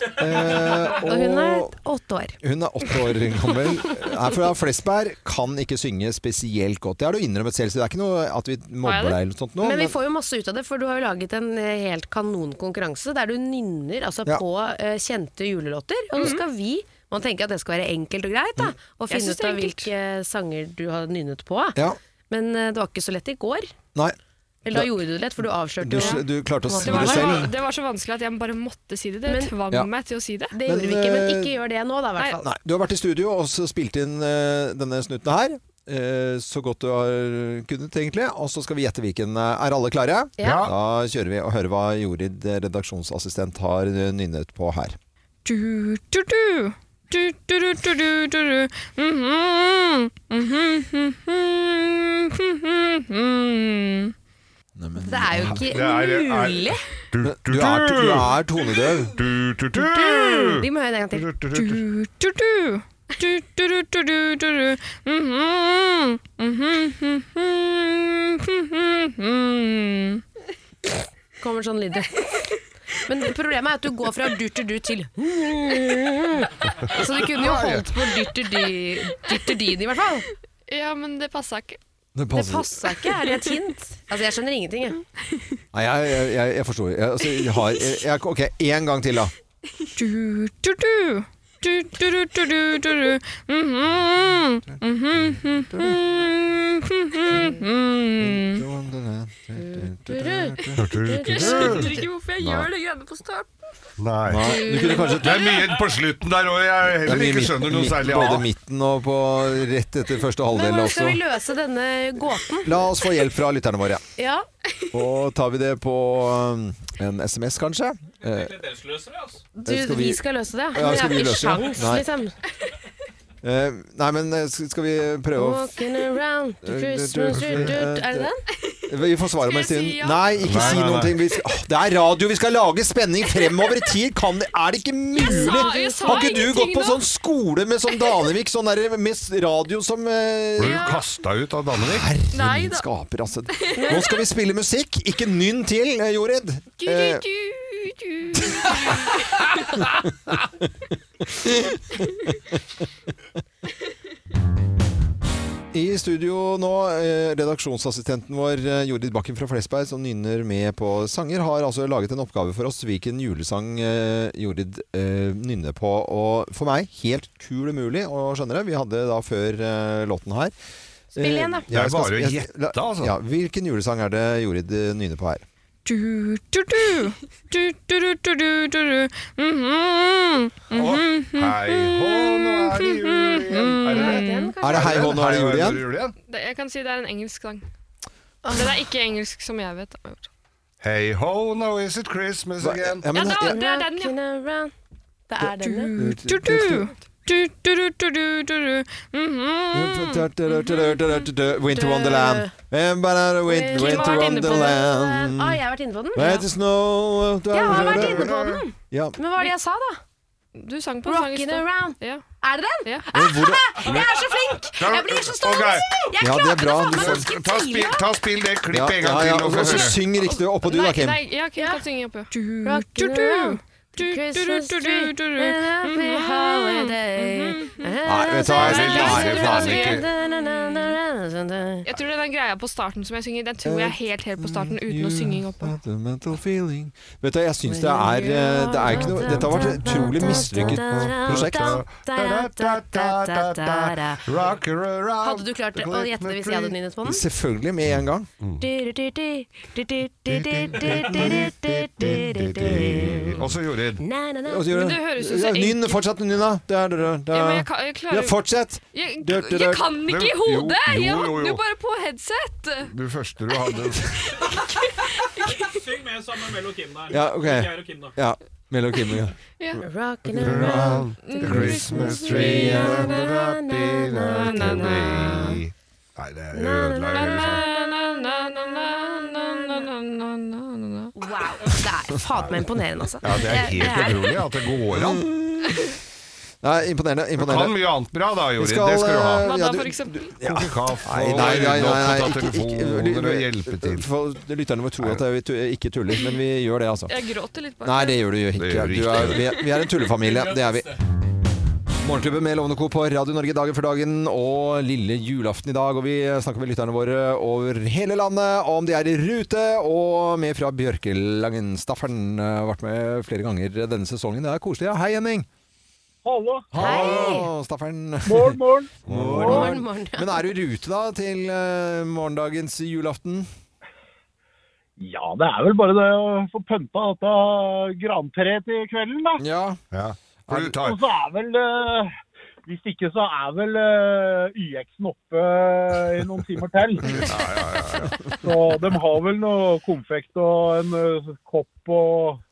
[SPEAKER 1] Eh,
[SPEAKER 3] og hun er
[SPEAKER 1] og-
[SPEAKER 3] åtte år.
[SPEAKER 1] Hun er åtte år gammel, er fra Flesberg, kan ikke synge spesielt godt. Det har du innrømmet selv, så det er ikke noe at vi mobber deg eller noe sånt nå.
[SPEAKER 3] men vi får jo masse ut av det, for du har jo laget en eh, helt kanon konkurranse der du nynner altså,
[SPEAKER 1] Ja.
[SPEAKER 3] på eh, kjente julelåter. Og nå skal vi Man tenker at det skal være enkelt og greit,
[SPEAKER 1] Mm.
[SPEAKER 3] da, og
[SPEAKER 9] Mhm. Jeg
[SPEAKER 3] finne
[SPEAKER 9] synes
[SPEAKER 3] ut
[SPEAKER 9] det er
[SPEAKER 3] av
[SPEAKER 9] enkelt.
[SPEAKER 3] hvilke sanger du har nynnet på.
[SPEAKER 1] Ja.
[SPEAKER 3] Men eh, det var ikke så lett i går.
[SPEAKER 1] Nei.
[SPEAKER 3] Eller da gjorde du det lett, for du avslørte
[SPEAKER 1] Du,
[SPEAKER 3] jo
[SPEAKER 1] du klarte å si
[SPEAKER 3] var
[SPEAKER 1] det
[SPEAKER 3] så-
[SPEAKER 1] selv.
[SPEAKER 9] Det var så vanskelig at jeg bare måtte si det. Det
[SPEAKER 3] Men-
[SPEAKER 9] tvang
[SPEAKER 1] Ja.
[SPEAKER 9] meg til å si det.
[SPEAKER 3] Det gjorde
[SPEAKER 1] Men,
[SPEAKER 3] vi ikke, men
[SPEAKER 1] eh,
[SPEAKER 3] ikke gjør det nå, da, i hvert fall.
[SPEAKER 1] Nei, du har vært i studio og så spilt inn eh, denne snutten her. eh, så godt du har kunnet, egentlig. Og så skal vi gjette hvilken. eh, Er alle klare?
[SPEAKER 9] Ja.
[SPEAKER 1] Da kjører vi og hører hva Jorid, eh, redaksjonsassistent, har eh, nynnet på her.
[SPEAKER 9] Du, du, du. Du, du, du, du, du, du, du. Mhm. Mhm, mhm, mhm, mhm.
[SPEAKER 3] Det er jo ikke
[SPEAKER 9] Det er- er-
[SPEAKER 3] mulig.
[SPEAKER 1] Du, er, du er tonedøv.
[SPEAKER 3] Vi må høre det en gang til.
[SPEAKER 9] Du, du, du. Du, du, du, du, du, du, du. Mhm. Mhm, mhm, mhm, mhm.
[SPEAKER 3] Mm. Kommer sånn lyder. Men problemet er at du går fra du-til-du til Så du kunne jo holdt på dytter-dyn i hvert fall.
[SPEAKER 9] Ja, men det passa ikke.
[SPEAKER 1] Det
[SPEAKER 3] Det passa ikke, er det et hint? Altså, jeg skjønner ingenting, jeg.
[SPEAKER 1] Nei, jeg, jeg, jeg, jeg forstår. Jeg, altså, jeg har, jeg, jeg, ok, én gang til, da.
[SPEAKER 9] Du, du, du. Du, du, du, du, du, du, du. Mhm. Mhm, mhm, mhm, mhm. Jeg skjønner ikke hvorfor jeg
[SPEAKER 1] Nei.
[SPEAKER 9] gjør det greiene på starten.
[SPEAKER 2] Nei.
[SPEAKER 1] Du kunne kanskje-
[SPEAKER 2] Det er mye på slutten der òg jeg
[SPEAKER 1] Det er
[SPEAKER 2] heller
[SPEAKER 1] mye
[SPEAKER 2] ikke
[SPEAKER 1] midt-
[SPEAKER 2] skjønner noe
[SPEAKER 1] midt-
[SPEAKER 2] særlig
[SPEAKER 1] Både
[SPEAKER 2] av.
[SPEAKER 1] midten og på rett etter første
[SPEAKER 3] Men
[SPEAKER 1] halvdel
[SPEAKER 3] hvordan skal
[SPEAKER 1] også.
[SPEAKER 3] vi løse denne gåten?
[SPEAKER 1] La oss få hjelp fra lytterne våre.
[SPEAKER 3] Ja.
[SPEAKER 1] Og tar vi det på um, en SMS, kanskje? Eh,
[SPEAKER 3] Du, vi skal løse det.
[SPEAKER 1] Ja,
[SPEAKER 3] Men jeg
[SPEAKER 1] skal
[SPEAKER 3] har
[SPEAKER 1] vi
[SPEAKER 3] ikke
[SPEAKER 1] løse det?
[SPEAKER 3] sjans,
[SPEAKER 1] Nei.
[SPEAKER 3] liksom.
[SPEAKER 1] Eh, nei, men eh, skal skal vi prøve å Eh,
[SPEAKER 3] Walking around to Christmas du, du, du. Er det den?
[SPEAKER 1] Vi får svare om en stund.
[SPEAKER 3] si ja?
[SPEAKER 1] Nei, ikke
[SPEAKER 15] Nei,
[SPEAKER 1] si
[SPEAKER 15] nei,
[SPEAKER 1] noen
[SPEAKER 15] nei.
[SPEAKER 1] ting. Vi skal, Åh, det er radio, vi skal lage spenning fremover i tid. Kan det, er det ikke mulig?
[SPEAKER 15] sa- jeg sa
[SPEAKER 1] Har ikke du gått
[SPEAKER 15] ingenting
[SPEAKER 1] på
[SPEAKER 15] nå.
[SPEAKER 1] sånn skole med sånn Danevik, sånn der med s- radio som eh,
[SPEAKER 15] Ble du kasta ut av Danvik?
[SPEAKER 1] Herre min skaper, altså. Nå skal vi spille musikk. Ikke nynn til, eh, Jorid. Eh, I studio nå, eh, redaksjonsassistenten vår eh, Jorid Bakken fra Flesberg, som nynner med på sanger, har altså laget en oppgave for oss. Hvilken julesang eh, Jorid eh, nynner på. Og for meg, helt kul umulig å skjønne det. Vi hadde da før eh, låten her.
[SPEAKER 9] Spill igjen, da.
[SPEAKER 1] Eh, ja,
[SPEAKER 9] Det er
[SPEAKER 1] skal
[SPEAKER 9] bare å altså.
[SPEAKER 1] sp- jeg- la- Ja, hvilken julesang er det Jorid eh, nynner på her?
[SPEAKER 9] Du, du, du. Du, du, du, du, du, du, du. Mhm, mhm,
[SPEAKER 15] Hei hå, nå er det jul igjen. Er det
[SPEAKER 9] mhm.
[SPEAKER 15] den?
[SPEAKER 1] Er det Hei hå, nå er det jul
[SPEAKER 15] Hei, hå, nå er
[SPEAKER 1] igjen?
[SPEAKER 15] det jul igjen?
[SPEAKER 9] Det- Jeg kan si det er en engelsk sang. Men det er ikke engelsk som jeg vet. da.
[SPEAKER 15] Hey ho, now is it Christmas again?
[SPEAKER 9] Ja, da, det er den,
[SPEAKER 3] ja. Det er den, ja.
[SPEAKER 9] Du, du, du. Du, du, du, du, du, du, du. Mhm.
[SPEAKER 1] Winter Wonderland. Eh, bare win-
[SPEAKER 3] Kim har
[SPEAKER 1] Winter
[SPEAKER 3] vært inne på den.
[SPEAKER 1] Wonderland.
[SPEAKER 3] Ah, jeg har vært inne på den.
[SPEAKER 1] Let it snow
[SPEAKER 3] Jeg har vært inne på den.
[SPEAKER 1] Ja.
[SPEAKER 3] Men hva var det jeg sa, da?
[SPEAKER 9] Du sang på en sang i
[SPEAKER 3] Rockin'
[SPEAKER 9] stad.
[SPEAKER 3] around. Er det den?
[SPEAKER 1] Men hvordan-
[SPEAKER 3] Jeg er så flink! Jeg blir så stolt!
[SPEAKER 15] Ok.
[SPEAKER 3] Jeg
[SPEAKER 1] Ja, det er
[SPEAKER 3] klarte
[SPEAKER 1] bra. Du
[SPEAKER 3] det
[SPEAKER 1] får-
[SPEAKER 3] faen meg
[SPEAKER 15] Ta spill,
[SPEAKER 3] tidlig!
[SPEAKER 15] ta spill det
[SPEAKER 1] Ja,
[SPEAKER 15] klippet en
[SPEAKER 1] ja,
[SPEAKER 15] gang
[SPEAKER 1] ja,
[SPEAKER 15] til. og få
[SPEAKER 1] og så
[SPEAKER 15] høre.
[SPEAKER 1] syng riktig oppå du da, Kim.
[SPEAKER 9] Nei, ja, Kim kan synge opp, ja. Du, du,
[SPEAKER 3] Rockin'
[SPEAKER 9] du.
[SPEAKER 3] around
[SPEAKER 9] Du, du, du,
[SPEAKER 3] Christmas
[SPEAKER 9] du,
[SPEAKER 3] tree
[SPEAKER 9] du, Mm-hmm. du, du.
[SPEAKER 3] and happy Mm-hmm.
[SPEAKER 9] Mhm.
[SPEAKER 3] holiday.
[SPEAKER 1] Nei, vet du hva, jeg lærer faen ikke.
[SPEAKER 9] Jeg tror det er den greia på starten som jeg synger, den tror jeg er helt helt på starten uten å synge oppå.
[SPEAKER 1] Sentimental feeling Vet du, jeg syns det er eh, Det er ikke noe Dette har vært et utrolig mislykket prosjekt.
[SPEAKER 15] Rock her around.
[SPEAKER 3] Hadde du klart det å gjette det hvis jeg hadde nynnet på den?
[SPEAKER 1] Selvfølgelig med en gang.
[SPEAKER 15] Og så Jorid.
[SPEAKER 1] Og så gjør
[SPEAKER 9] Men
[SPEAKER 1] du-
[SPEAKER 9] det høres ut som
[SPEAKER 1] Ja,
[SPEAKER 9] jeg
[SPEAKER 1] Nynn, fortsett, Nynna. Der, der, der.
[SPEAKER 9] Ja, men jeg kan- jeg klarer-
[SPEAKER 1] Ja, fortsett.
[SPEAKER 9] Jeg,
[SPEAKER 1] Der, der,
[SPEAKER 9] jeg
[SPEAKER 1] der.
[SPEAKER 9] kan ikke i hodet!
[SPEAKER 1] Jo, jo,
[SPEAKER 9] Jeg
[SPEAKER 1] jo,
[SPEAKER 9] havner
[SPEAKER 1] jo.
[SPEAKER 9] jo bare på headset!
[SPEAKER 15] Du første du hadde
[SPEAKER 4] Syng med sammen med Mel og Kim der.
[SPEAKER 1] Ja, ok.
[SPEAKER 4] Ikke jeg og Kim, da.
[SPEAKER 1] Ja, Mel og Kim. Ja.
[SPEAKER 9] Ja.
[SPEAKER 3] Rockin'
[SPEAKER 15] around the Christmas tree and the happy night away. Nei, det ødela jo
[SPEAKER 3] Wow. Det er faen meg imponerende, altså.
[SPEAKER 15] Ja, det er helt utrolig at det går an.
[SPEAKER 3] Mm.
[SPEAKER 1] Nei, imponerende.
[SPEAKER 15] Du
[SPEAKER 1] imponerende.
[SPEAKER 15] kan mye annet bra da, Jorid.
[SPEAKER 1] Vi skal,
[SPEAKER 15] Det skal du ha.
[SPEAKER 1] eh, Hva ja, da, du- for
[SPEAKER 9] eksempel?
[SPEAKER 1] Ja.
[SPEAKER 15] Koke kaffe
[SPEAKER 1] Nei,
[SPEAKER 15] og
[SPEAKER 1] nei, nei,
[SPEAKER 15] rydde
[SPEAKER 1] nei,
[SPEAKER 15] opp
[SPEAKER 1] nei
[SPEAKER 15] og ta
[SPEAKER 1] ikke- ikke-
[SPEAKER 15] telefoner og hjelpe til.
[SPEAKER 1] for- Lytterne våre tror at vi tu- ikke tuller, men vi gjør det, altså.
[SPEAKER 9] Jeg gråter litt
[SPEAKER 1] Nei, det gjør du jo ikke.
[SPEAKER 15] gjør du
[SPEAKER 1] Du er,
[SPEAKER 15] ikke.
[SPEAKER 1] vi, er, vi er en tullefamilie, det er vi. Morgenklubben med Lovende Co. på Radio Norge dagen for dagen og lille julaften i dag. Og vi snakker med lytterne våre over hele landet om de er i rute. Og med fra Bjørkelangen. Staffern eh, har vært med flere ganger denne sesongen. Det er koselig. Ja. Hei, Henning.
[SPEAKER 16] Hallo.
[SPEAKER 1] Hallo, Staffern.
[SPEAKER 16] Morgen, morgen.
[SPEAKER 1] Morgen,
[SPEAKER 16] Morgen,
[SPEAKER 1] morgen. Men er du i rute da til eh, morgendagens julaften?
[SPEAKER 16] Ja, det er vel bare det å få pønta dette grantreet til kvelden, da.
[SPEAKER 1] Ja.
[SPEAKER 15] For du tar-
[SPEAKER 16] Og så er vel eh, Hvis ikke, så er vel eh, YX-en oppe eh, i noen timer til. Så de har vel noe konfekt og en eh, kopp og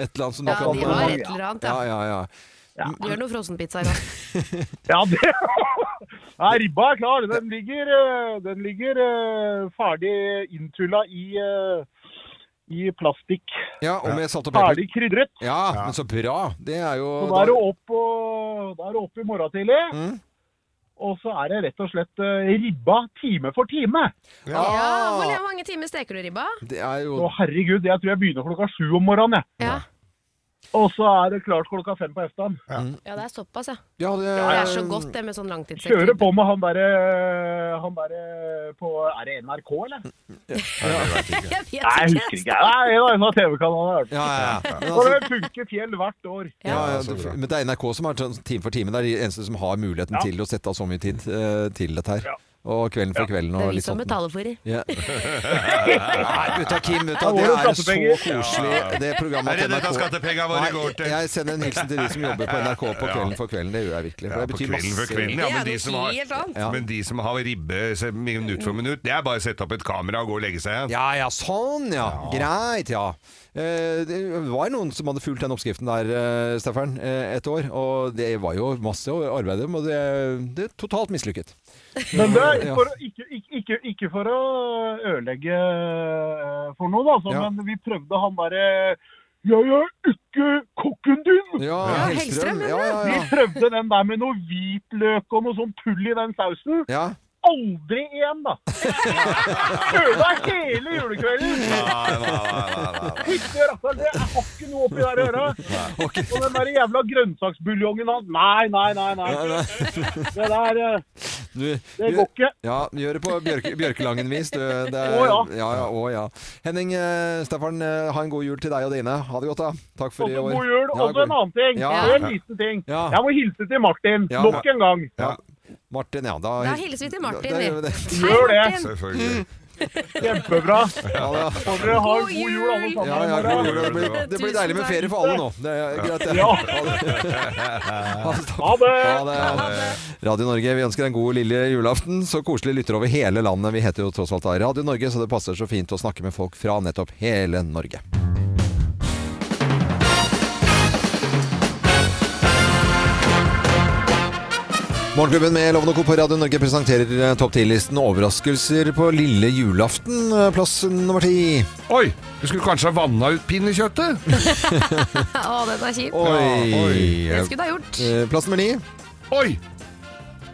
[SPEAKER 1] Et eller annet som
[SPEAKER 16] Ja,
[SPEAKER 1] du kan-
[SPEAKER 16] de har et eller
[SPEAKER 3] annet,
[SPEAKER 1] ja.
[SPEAKER 3] ja.
[SPEAKER 1] ja, ja, Mm,
[SPEAKER 3] Du gjør noe frossenpizza i dag.
[SPEAKER 16] Ja, det Nei, ribba er klar. Den ligger, eh, den ligger eh, ferdig inntulla i, eh, i plastikk.
[SPEAKER 1] Ja, og med salt og pepper.
[SPEAKER 16] Ferdig krydret.
[SPEAKER 1] Ja, men så bra. Det er jo Mm.
[SPEAKER 16] Så da er det opp, og, da er det opp i morgen tidlig. Og så er det rett og slett eh, ribba time for time.
[SPEAKER 3] Ja,
[SPEAKER 16] Ah.
[SPEAKER 3] Hvor mange timer steker du ribba?
[SPEAKER 1] Det er jo...
[SPEAKER 16] Å, herregud, jeg tror jeg begynner klokka sju om morgenen. jeg.
[SPEAKER 3] Ja.
[SPEAKER 16] Og så er det klart klokka fem på eftermiddagen.
[SPEAKER 1] Mm.
[SPEAKER 3] Ja, det er såpass, ja.
[SPEAKER 1] Ja, det,
[SPEAKER 3] det er så godt det med sånn langtidssektor.
[SPEAKER 16] Kjøre på med han derre han derre på Er det NRK, eller?
[SPEAKER 1] Mm,
[SPEAKER 3] Jeg vet
[SPEAKER 16] Nei, jeg husker ikke. Nei, det var en av TV-kanalene. jeg hørte.
[SPEAKER 1] Ja, ja, ja. Men
[SPEAKER 16] For
[SPEAKER 1] altså-
[SPEAKER 16] det funker fjell hvert år.
[SPEAKER 1] Ja, ja, det, men det er NRK som er sånn time for time. Det er de eneste som har muligheten til å sette av så mye tid eh, til dette her. Og Kvelden for kvelden
[SPEAKER 3] Det
[SPEAKER 1] og
[SPEAKER 3] er vi
[SPEAKER 1] litt
[SPEAKER 3] som
[SPEAKER 1] sånt.
[SPEAKER 3] betaler for det.
[SPEAKER 1] Ja. Nei, gutta, Kim, gutta, det er så koselig, det programmet
[SPEAKER 2] Er det
[SPEAKER 1] til
[SPEAKER 2] dette
[SPEAKER 1] NRK.
[SPEAKER 2] skattepenga våre
[SPEAKER 1] Nei,
[SPEAKER 2] går til?
[SPEAKER 1] Jeg sender en hilsen til de som jobber på NRK på
[SPEAKER 2] Ja.
[SPEAKER 1] Kvelden for kvelden. Det gjør jeg virkelig. For
[SPEAKER 2] Ja,
[SPEAKER 1] det
[SPEAKER 2] på
[SPEAKER 1] betyr
[SPEAKER 2] kvelden
[SPEAKER 1] masse.
[SPEAKER 2] for kvelden, ja, men de som har,
[SPEAKER 1] Ja.
[SPEAKER 2] men de som har ribbe se- minutt for minutt, det er bare å sette opp et kamera og gå og legge seg igjen.
[SPEAKER 1] Ja, ja, sånn, ja. Greit, ja. Eh, Det var noen som hadde fulgt den oppskriften der, eh, Steffern, eh, et år. Og det var jo masse arbeid, og det, det er totalt mislykket.
[SPEAKER 16] Men det er
[SPEAKER 1] Ja.
[SPEAKER 16] for, å- ikke, ikke, ikke, ikke for å ødelegge eh, for noe, da, så,
[SPEAKER 1] Ja.
[SPEAKER 16] men vi prøvde han derre Jeg er ikke kokken din!
[SPEAKER 1] Ja, Hellstrøm, Hellstrøm, ja, ja, ja.
[SPEAKER 16] Vi prøvde den der med noe hvitløk og noe sånn tull i den sausen. Aldri igjen, da! Ødela hele julekvelden!
[SPEAKER 2] Nei, nei, nei, nei, nei.
[SPEAKER 16] Fytti rakkeren, det jeg har ikke noe oppi der å gjøre. Og den der jævla grønnsaksbuljongen hans Nei, nei, nei. nei. Det der eh,
[SPEAKER 1] Du,
[SPEAKER 16] Det går ikke.
[SPEAKER 1] Ja, gjør det på bjørke, Bjørkelangen-vis. du. Det er-
[SPEAKER 16] Å, ja.
[SPEAKER 1] Ja, ja, å, ja. Henning, eh, Stefan, eh, ha en god jul til deg og dine. Ha det godt, da. Takk for
[SPEAKER 16] Og
[SPEAKER 1] i
[SPEAKER 16] så
[SPEAKER 1] år.
[SPEAKER 16] god jul.
[SPEAKER 1] Ja,
[SPEAKER 16] Og så en
[SPEAKER 1] god-
[SPEAKER 16] annen ting.
[SPEAKER 1] Ja.
[SPEAKER 16] Og en liten ting.
[SPEAKER 1] Ja.
[SPEAKER 16] Jeg må hilse til Martin
[SPEAKER 1] Ja.
[SPEAKER 16] nok en gang.
[SPEAKER 1] Ja. Martin, ja. Da,
[SPEAKER 3] Da hilser vi til
[SPEAKER 1] Da-
[SPEAKER 3] Martin,
[SPEAKER 1] da
[SPEAKER 3] vi.
[SPEAKER 1] gjør vi det.
[SPEAKER 16] Gjør det.
[SPEAKER 3] Martin.
[SPEAKER 2] Selvfølgelig.
[SPEAKER 16] Kjempebra.
[SPEAKER 1] Ja, da.
[SPEAKER 16] Får dere ha en god jul, alle sammen.
[SPEAKER 1] Ja, ja, god jul. Det blir, det blir
[SPEAKER 16] Tusen
[SPEAKER 1] deilig med
[SPEAKER 16] takk.
[SPEAKER 1] ferie for alle nå. Det er greit, det.
[SPEAKER 16] Ja.
[SPEAKER 1] Ha det.
[SPEAKER 16] Ha det.
[SPEAKER 1] Ha det. Radio Norge, vi ønsker en god lille julaften. Så koselig lytter over hele landet. Vi heter jo tross alt da Radio Norge, så det passer så fint å snakke med folk fra nettopp hele Norge. Morgenklubben med Loven og Co. på Radio Norge presenterer eh, topp 10-listen overraskelser på lille julaften. eh, Plass nummer ti.
[SPEAKER 2] Oi! Du skulle kanskje ha vanna ut pinnekjøttet?
[SPEAKER 3] Å, dette er kjipt. Det skulle du ha gjort.
[SPEAKER 1] Eh, Plass nummer ni.
[SPEAKER 2] Oi!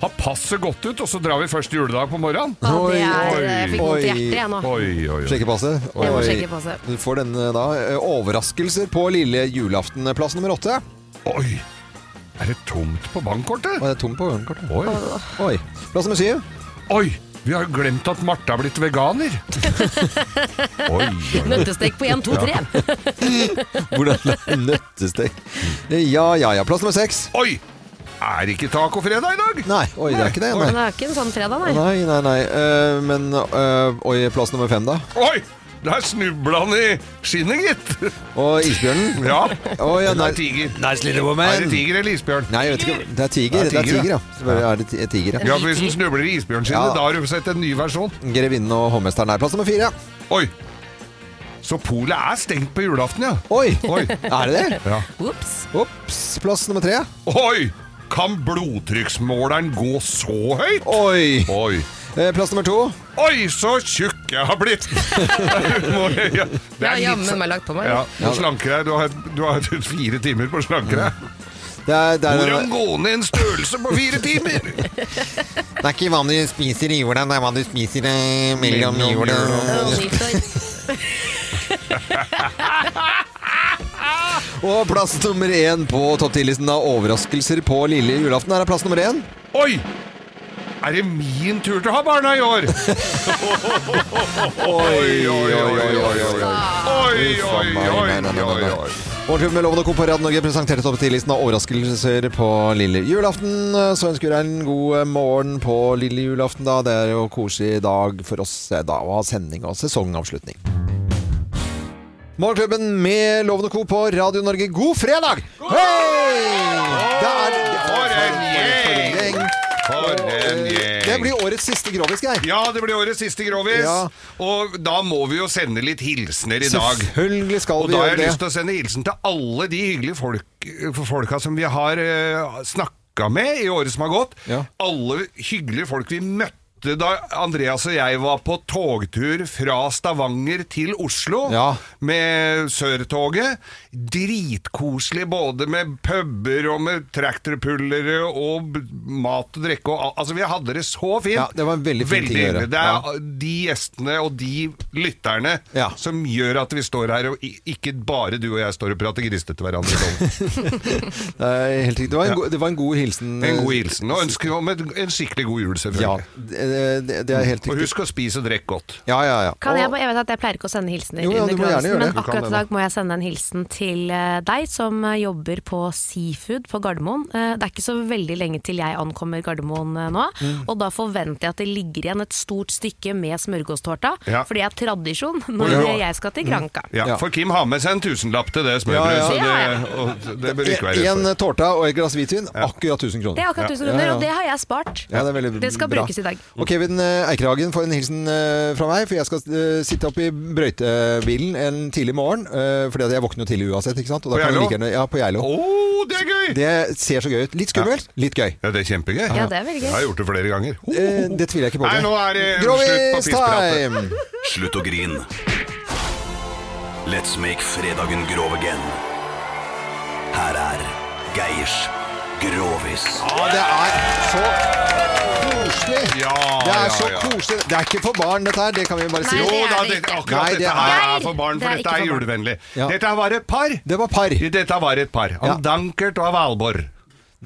[SPEAKER 2] Har passet gått ut, og så drar vi første juledag på morgenen?
[SPEAKER 3] Ja, det er- jeg fikk vondt i hjertet, jeg nå.
[SPEAKER 2] Oi, oi, oi.
[SPEAKER 1] Sjekke passet.
[SPEAKER 3] Jeg må
[SPEAKER 1] Oi.
[SPEAKER 3] sjekke passet.
[SPEAKER 1] Du får denne da. eh, Overraskelser på lille julaften. eh, Plass nummer åtte.
[SPEAKER 2] Oi! Er det tomt på bankkortet?
[SPEAKER 1] Er det tomt på bankkortet?
[SPEAKER 2] Oi.
[SPEAKER 1] Oi. Plass nummer syv.
[SPEAKER 2] Oi! Vi har jo glemt at Marte har blitt veganer. oi, oi.
[SPEAKER 3] Nøttestek på 1, 2, 3.
[SPEAKER 1] Hvordan nøttestek? Eh, Ja, ja, ja. Plass nummer seks.
[SPEAKER 2] Oi! Er ikke tacofredag i dag?
[SPEAKER 1] Nei, oi, det er ikke det.
[SPEAKER 3] Men det
[SPEAKER 1] Nei,
[SPEAKER 3] er ikke en sånn fredag, nei.
[SPEAKER 1] nei, nei. nei. Eh, Men eh, Oi, plass nummer fem, da?
[SPEAKER 2] Oi! Der snubla han i skinnet, gitt.
[SPEAKER 1] Og isbjørnen?
[SPEAKER 2] Ja.
[SPEAKER 1] Å, ja, nei.
[SPEAKER 2] Eller tiger.
[SPEAKER 1] Nice little woman.
[SPEAKER 2] Er det tiger eller isbjørn?
[SPEAKER 1] Nei, jeg vet ikke. Det er tiger.
[SPEAKER 2] Det er
[SPEAKER 1] Det er
[SPEAKER 2] tiger,
[SPEAKER 1] tiger,
[SPEAKER 2] ja.
[SPEAKER 1] ja. Selvfølgelig er det ti- eh, tiger,
[SPEAKER 2] Ja, for Hvis den snubler i isbjørnskinnet,
[SPEAKER 1] Ja.
[SPEAKER 2] da har du sett en ny versjon.
[SPEAKER 1] Grevinnen og hovmesteren er plass nummer fire.
[SPEAKER 2] Oi! Så polet er stengt på julaften, ja.
[SPEAKER 1] Oi!
[SPEAKER 2] Oi.
[SPEAKER 1] Er det det?
[SPEAKER 2] Ja.
[SPEAKER 1] Ops. Plass nummer tre.
[SPEAKER 2] Oi! Kan blodtrykksmåleren gå så høyt?
[SPEAKER 1] Oi! Eh,
[SPEAKER 2] Oi.
[SPEAKER 1] Plass nummer to.
[SPEAKER 2] Oi, så tjukk jeg har blitt! Må jeg- ja,
[SPEAKER 3] Jeg har
[SPEAKER 2] litt
[SPEAKER 3] jammen
[SPEAKER 2] så-
[SPEAKER 3] meg lagt på meg.
[SPEAKER 2] Ja,
[SPEAKER 1] Ja,
[SPEAKER 2] du
[SPEAKER 1] det-
[SPEAKER 2] slanker deg. Du har, du har fire timer på å slanke deg.
[SPEAKER 1] Det er, det er,
[SPEAKER 2] Hvordan gå ned en størrelse på fire timer?
[SPEAKER 1] det er ikke hva du spiser i jorda, det er hva du spiser eh, mellom
[SPEAKER 2] Mellom
[SPEAKER 1] jorda. Og plass nummer én på topp 10-listen av overraskelser på lille julaften. Her er plass nummer én.
[SPEAKER 2] Oi! Er det min tur til å ha barna i år?
[SPEAKER 1] Oi, oi, oi, oi, oi, oi.
[SPEAKER 2] Oi, oi, oi, oi, oi.
[SPEAKER 1] Morgenklubben med Loven og Co. på Radio Norge presenterte topp 10-listen av overraskelser på lille julaften. Så ønsker vi deg en god morgen på lille julaften, da. Det er jo koselig dag for oss eh, da å ha sending og sesongavslutning. Morgenklubben med Loven og Co. på Radio Norge, god fredag! Hei! Det er
[SPEAKER 2] For en gjeng! For en gjeng.
[SPEAKER 1] Det blir årets siste grovis, Geir.
[SPEAKER 2] Ja, det blir årets siste grovis.
[SPEAKER 1] Ja.
[SPEAKER 2] Og da må vi jo sende litt hilsener i dag.
[SPEAKER 1] Selvfølgelig skal
[SPEAKER 2] Og
[SPEAKER 1] vi
[SPEAKER 2] da har jeg
[SPEAKER 1] gjøre det.
[SPEAKER 2] lyst til å sende hilsen til alle de hyggelige folk, eh, folka som vi har uh, snakka med i året som har gått. Alle hyggelige folk vi møtte. Da Andreas og jeg var på togtur fra Stavanger til Oslo med Sørtoget Dritkoselig både med puber og med traktorpullere og b- mat og drikke og al- Altså, vi hadde det så fint.
[SPEAKER 1] Ja, det var en veldig fin ting å gjøre.
[SPEAKER 2] hyggelig. Det er
[SPEAKER 1] Ja.
[SPEAKER 2] de gjestene og de lytterne som gjør at vi står her, og i- ikke bare du og jeg står og prater gristete til hverandre. nå.
[SPEAKER 1] Det er helt riktig. Det var en, go det var en god hilsen. eh,
[SPEAKER 2] en god hilsen, og ønsker om en, en skikkelig god jul, selvfølgelig.
[SPEAKER 1] Ja, eh, det, det er helt
[SPEAKER 2] Og
[SPEAKER 1] riktig.
[SPEAKER 2] husk å spise og drikke godt.
[SPEAKER 1] Ja, ja, ja.
[SPEAKER 3] Kan jeg, bare- jeg vet at jeg pleier ikke å sende hilsener,
[SPEAKER 1] Jo, ja,
[SPEAKER 3] under
[SPEAKER 1] du må gjerne
[SPEAKER 3] konkurransen,
[SPEAKER 1] gjøre det.
[SPEAKER 3] men
[SPEAKER 1] Du kan
[SPEAKER 3] akkurat
[SPEAKER 1] det
[SPEAKER 3] i
[SPEAKER 1] da.
[SPEAKER 3] dag må jeg sende en hilsen til eh, deg som eh, jobber på Seafood på Gardermoen. Eh, Det er ikke så veldig lenge til jeg ankommer Gardermoen eh, nå,
[SPEAKER 8] Mm.
[SPEAKER 3] og da forventer jeg at det ligger igjen et stort stykke med smørgåstårta,
[SPEAKER 2] Ja.
[SPEAKER 3] for det er tradisjon
[SPEAKER 2] Og
[SPEAKER 3] når
[SPEAKER 2] ja.
[SPEAKER 1] Mm.
[SPEAKER 3] eh, jeg skal til Granca.
[SPEAKER 2] Ja, for Kim har med seg en tusenlapp til det smørbrødet,
[SPEAKER 1] Ja,
[SPEAKER 3] ja.
[SPEAKER 2] så det, og det bør ikke være
[SPEAKER 1] e- En eh, tårta og et glass hvitvin, akkurat 1000 kroner.
[SPEAKER 3] Det er akkurat 1000 kroner, og det har jeg spart.
[SPEAKER 1] Ja, det, er veldig
[SPEAKER 3] Det skal
[SPEAKER 1] bra.
[SPEAKER 3] brukes i dag.
[SPEAKER 1] Og Kevin eh, Eikerhagen får en hilsen eh, fra meg, for jeg skal eh, sitte oppe i brøytebilen en tidlig morgen. eh, Fordi at jeg våkner jo tidlig uansett. ikke sant? Og da
[SPEAKER 2] På
[SPEAKER 1] kan jeg
[SPEAKER 2] Geilo?
[SPEAKER 1] like gjerne- Ja, på Geilo.
[SPEAKER 2] det er gøy!
[SPEAKER 1] Det ser så gøy ut. Litt skummelt, litt gøy.
[SPEAKER 2] Ja, det er kjempegøy.
[SPEAKER 1] Ja,
[SPEAKER 3] det er veldig gøy.
[SPEAKER 2] Jeg har gjort det flere ganger.
[SPEAKER 1] Eh, Det tviler jeg ikke på.
[SPEAKER 2] Nei, nå er det
[SPEAKER 1] Grovis
[SPEAKER 2] slutt på pisspratet.
[SPEAKER 1] time!
[SPEAKER 11] Slutt å grine. Let's make fredagen grov again. Her er Geirs Grovis.
[SPEAKER 1] Ja, det er så koselig! det er så koselig. Det er ikke for barn, dette her. Det kan vi bare si.
[SPEAKER 2] Jo da, det, akkurat
[SPEAKER 1] Nei, det
[SPEAKER 2] dette her
[SPEAKER 1] er-
[SPEAKER 2] er for barn, for dette
[SPEAKER 1] Det er ikke
[SPEAKER 2] er
[SPEAKER 1] for barn.
[SPEAKER 2] julevennlig. Dette her var et par.
[SPEAKER 1] Det var par.
[SPEAKER 2] Dette var et par. Av Dankert og av Valborg.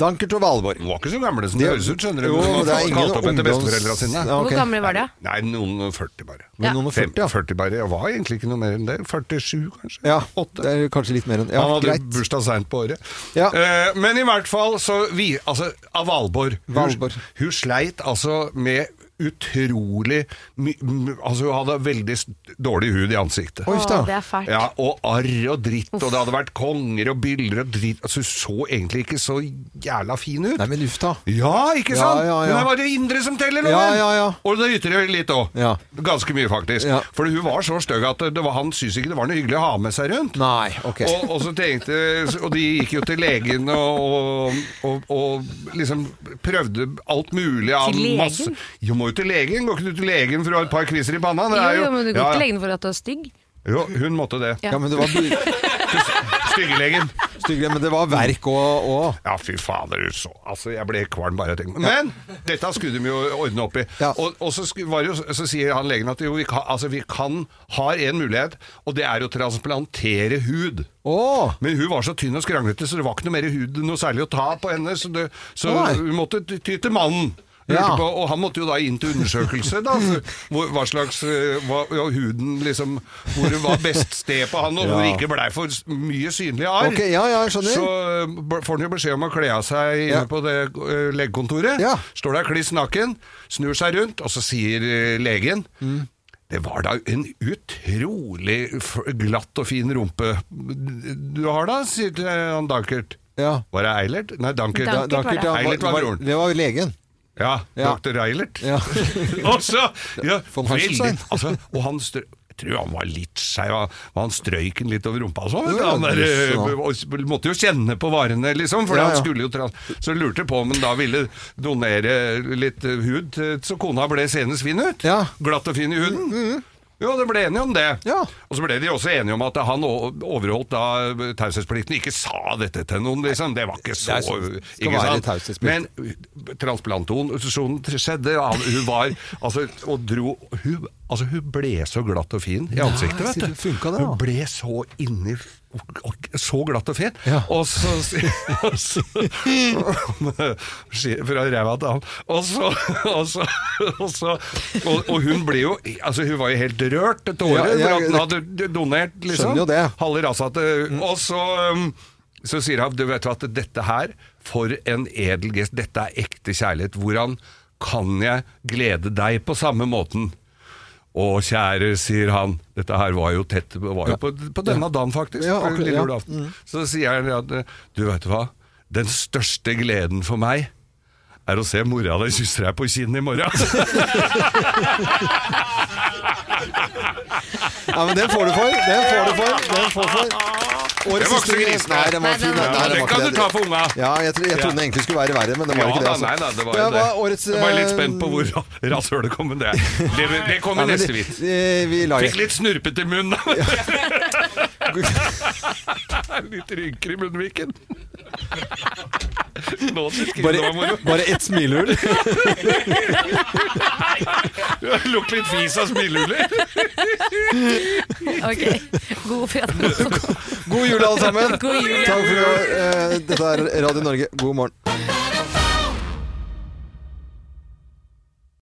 [SPEAKER 1] Dankert og Valborg.
[SPEAKER 2] De var ikke så gamle som
[SPEAKER 1] Det-
[SPEAKER 2] det høres ut, skjønner du.
[SPEAKER 1] Jo,
[SPEAKER 2] De var
[SPEAKER 1] det er ingen
[SPEAKER 2] kalt opp etter
[SPEAKER 1] ungdoms-
[SPEAKER 2] besteforeldrene sine.
[SPEAKER 1] Ja, ok. Hvor gamle
[SPEAKER 3] var de, da?
[SPEAKER 2] Nei, noen og 40 bare.
[SPEAKER 1] Men Ja. noen og 40,
[SPEAKER 2] 45, 40 bare. Jeg var egentlig ikke noe mer enn det. 47, kanskje.
[SPEAKER 1] Ja, det er kanskje litt mer enn ja,
[SPEAKER 2] Han hadde
[SPEAKER 1] greit.
[SPEAKER 2] bursdag seint på året.
[SPEAKER 1] Ja.
[SPEAKER 2] Eh, men i hvert fall så vi, altså, Av Valborg. Hun,
[SPEAKER 1] Valborg.
[SPEAKER 2] hun sleit altså med utrolig my, m- Altså Hun hadde veldig s- dårlig hud i ansiktet.
[SPEAKER 3] Oi, Åh, da. det er fælt.
[SPEAKER 2] Ja, og arr og dritt, og det hadde vært konger og byller og dritt Altså Hun så egentlig ikke så jævla fin ut.
[SPEAKER 1] Nei, men uff da.
[SPEAKER 2] Ja, ikke
[SPEAKER 1] Ja,
[SPEAKER 2] sant?
[SPEAKER 1] ja, ja.
[SPEAKER 2] Men det var det indre som teller, loven!
[SPEAKER 1] Ja, ja,
[SPEAKER 2] Og det ytre litt òg. Ganske mye, faktisk. For hun var så stygg at det var, han syntes ikke det var noe hyggelig å ha med seg rundt.
[SPEAKER 1] Nei, ok.
[SPEAKER 2] og, og, så tenkte, og de gikk jo til legen og, og, og, og liksom prøvde alt mulig av
[SPEAKER 3] Til legen?
[SPEAKER 2] masse Jo, må jo til legen. Går ikke du til legen for å ha et par kviser i panna? Det
[SPEAKER 3] Jo,
[SPEAKER 2] er
[SPEAKER 3] jo, men du går
[SPEAKER 2] Ja,
[SPEAKER 3] ikke
[SPEAKER 2] ja.
[SPEAKER 3] lenge for at du er stygg.
[SPEAKER 2] Jo, hun måtte det.
[SPEAKER 3] Ja. Ja, men det var-
[SPEAKER 2] Styggelegen.
[SPEAKER 1] Styggelegen, men det var verk og,
[SPEAKER 2] Ja, fy fader, du så. Altså, jeg ble kvalm bare jeg tenkte Men dette skulle de jo ordne opp i. Og, og så, sku- var det jo, så sier han legen at jo, vi kan, altså, vi kan har en mulighet, og det er å transplantere hud. Men hun var så tynn og skranglete, så det var ikke noe mer hud noe særlig å ta på henne, så, det, så
[SPEAKER 1] Nei.
[SPEAKER 2] hun måtte ty ty til mannen. Lurte
[SPEAKER 1] Ja.
[SPEAKER 2] På, og han måtte jo da inn til undersøkelse, da. så Hvor, hva slags eh, hva, ja, huden liksom Hvor det var best sted på han, og hvor det
[SPEAKER 1] Ja.
[SPEAKER 2] ikke blei for s- mye synlig arr.
[SPEAKER 1] Ok, ja, ja, jeg skjønner.
[SPEAKER 2] Så eh, b- får han jo beskjed om å kle av seg
[SPEAKER 1] Ja.
[SPEAKER 2] inne på det eh, legekontoret. Står der kliss naken, snur seg rundt, og så sier eh, legen Det var da en utrolig f- glatt og fin rumpe du har da, sier til han Dankert. Var det Eilert? Nei, Dankert.
[SPEAKER 1] Da- Dankert, ja,
[SPEAKER 2] Eilert var
[SPEAKER 1] var-
[SPEAKER 2] broren.
[SPEAKER 1] Det var legen.
[SPEAKER 2] Ja,
[SPEAKER 1] Ja.
[SPEAKER 2] Dr. Eilert.
[SPEAKER 1] Ja.
[SPEAKER 2] og så ja,
[SPEAKER 1] Von Harselstein.
[SPEAKER 2] veldig- altså, Og han strø... Jeg tror han var litt skeiv, han- han strøyk den litt over rumpa og sånn. vet du.
[SPEAKER 1] Ja,
[SPEAKER 2] Han der,
[SPEAKER 1] jøss, ja.
[SPEAKER 2] eh, og måtte jo kjenne på varene, liksom. For
[SPEAKER 1] Ja, ja.
[SPEAKER 2] han skulle jo trans... Så lurte jeg på om han da ville donere litt eh, hud, eh, så kona ble senest fin ut. Glatt og fin i
[SPEAKER 1] Mm,
[SPEAKER 2] huden. Jo, de ble enige om det. Og så ble de også enige om at han o- overholdt da eh, taushetsplikten. Ikke sa dette til noen, liksom. Det var ikke så
[SPEAKER 1] Det er sånn- skal
[SPEAKER 2] ikke
[SPEAKER 1] være
[SPEAKER 2] sant?
[SPEAKER 1] taushetsplikt.
[SPEAKER 2] Men eh, transplantasjonen skjedde, og han- hun var altså, og dro hun, altså, hun ble så glatt og fin i
[SPEAKER 1] Ja,
[SPEAKER 2] ansiktet, vet du.
[SPEAKER 1] det funka det, da.
[SPEAKER 2] hun ble så inni og- og- Så glatt og fin. Og så, og så Skjer Fra ræva til han. Og så Og så, og, så og, og hun ble jo Altså, hun var jo helt rørt til tårer
[SPEAKER 1] Ja, ja,
[SPEAKER 2] for at hun
[SPEAKER 1] det-
[SPEAKER 2] hadde d- donert, liksom.
[SPEAKER 1] Skjønner jo det.
[SPEAKER 2] Halve rasa til Og så, um, så sier han, du vet hva, at dette her, for en edel gest, dette er ekte kjærlighet. Hvordan kan jeg glede deg på samme måten? Å, kjære, sier han. Dette her var jo tett var jo på, på denne dagen, faktisk.
[SPEAKER 1] Ja,
[SPEAKER 2] på
[SPEAKER 1] akkurat,
[SPEAKER 2] lille
[SPEAKER 1] ja.
[SPEAKER 2] julaften.
[SPEAKER 1] Mm.
[SPEAKER 2] Så sier han at du vet hva, den største gleden for meg er å se mora di kysse deg på kinnet i morgen.
[SPEAKER 1] Ja, men den får du for. Den får du for. Den får for. Årets
[SPEAKER 2] Den var ikke så
[SPEAKER 1] siste-
[SPEAKER 2] grisen,
[SPEAKER 1] Nei, den var
[SPEAKER 2] nei, den var
[SPEAKER 1] fin. Nei,
[SPEAKER 2] fin.
[SPEAKER 1] den
[SPEAKER 2] Den
[SPEAKER 1] var
[SPEAKER 2] kan
[SPEAKER 1] ikke
[SPEAKER 2] du
[SPEAKER 1] det.
[SPEAKER 2] ta for unga.
[SPEAKER 1] Ja, jeg, tro- jeg
[SPEAKER 2] Ja.
[SPEAKER 1] trodde egentlig skulle være verre, men det var ikke det.
[SPEAKER 2] da,
[SPEAKER 1] altså.
[SPEAKER 2] Nei, nei, det var,
[SPEAKER 1] Det
[SPEAKER 2] jo det.
[SPEAKER 1] var årets,
[SPEAKER 2] jeg var litt
[SPEAKER 1] eh,
[SPEAKER 2] spent på hvor rasshølet kom, men det, det, det kom
[SPEAKER 1] Ja,
[SPEAKER 2] i
[SPEAKER 1] men
[SPEAKER 2] neste
[SPEAKER 1] det-
[SPEAKER 2] vits.
[SPEAKER 1] eh, vi lar det.
[SPEAKER 2] Fikk litt snurpete munn, da. litt rynker i munnviken. Nå syns jeg det var
[SPEAKER 1] Bare,
[SPEAKER 2] moro.
[SPEAKER 1] bare ett smilehull.
[SPEAKER 2] Lukk litt fis av smilehuller.
[SPEAKER 3] Ok, god fredag.
[SPEAKER 1] God jul, alle sammen.
[SPEAKER 3] God jul.
[SPEAKER 1] Takk for i år. Eh, Dette er Radio Norge. God morgen.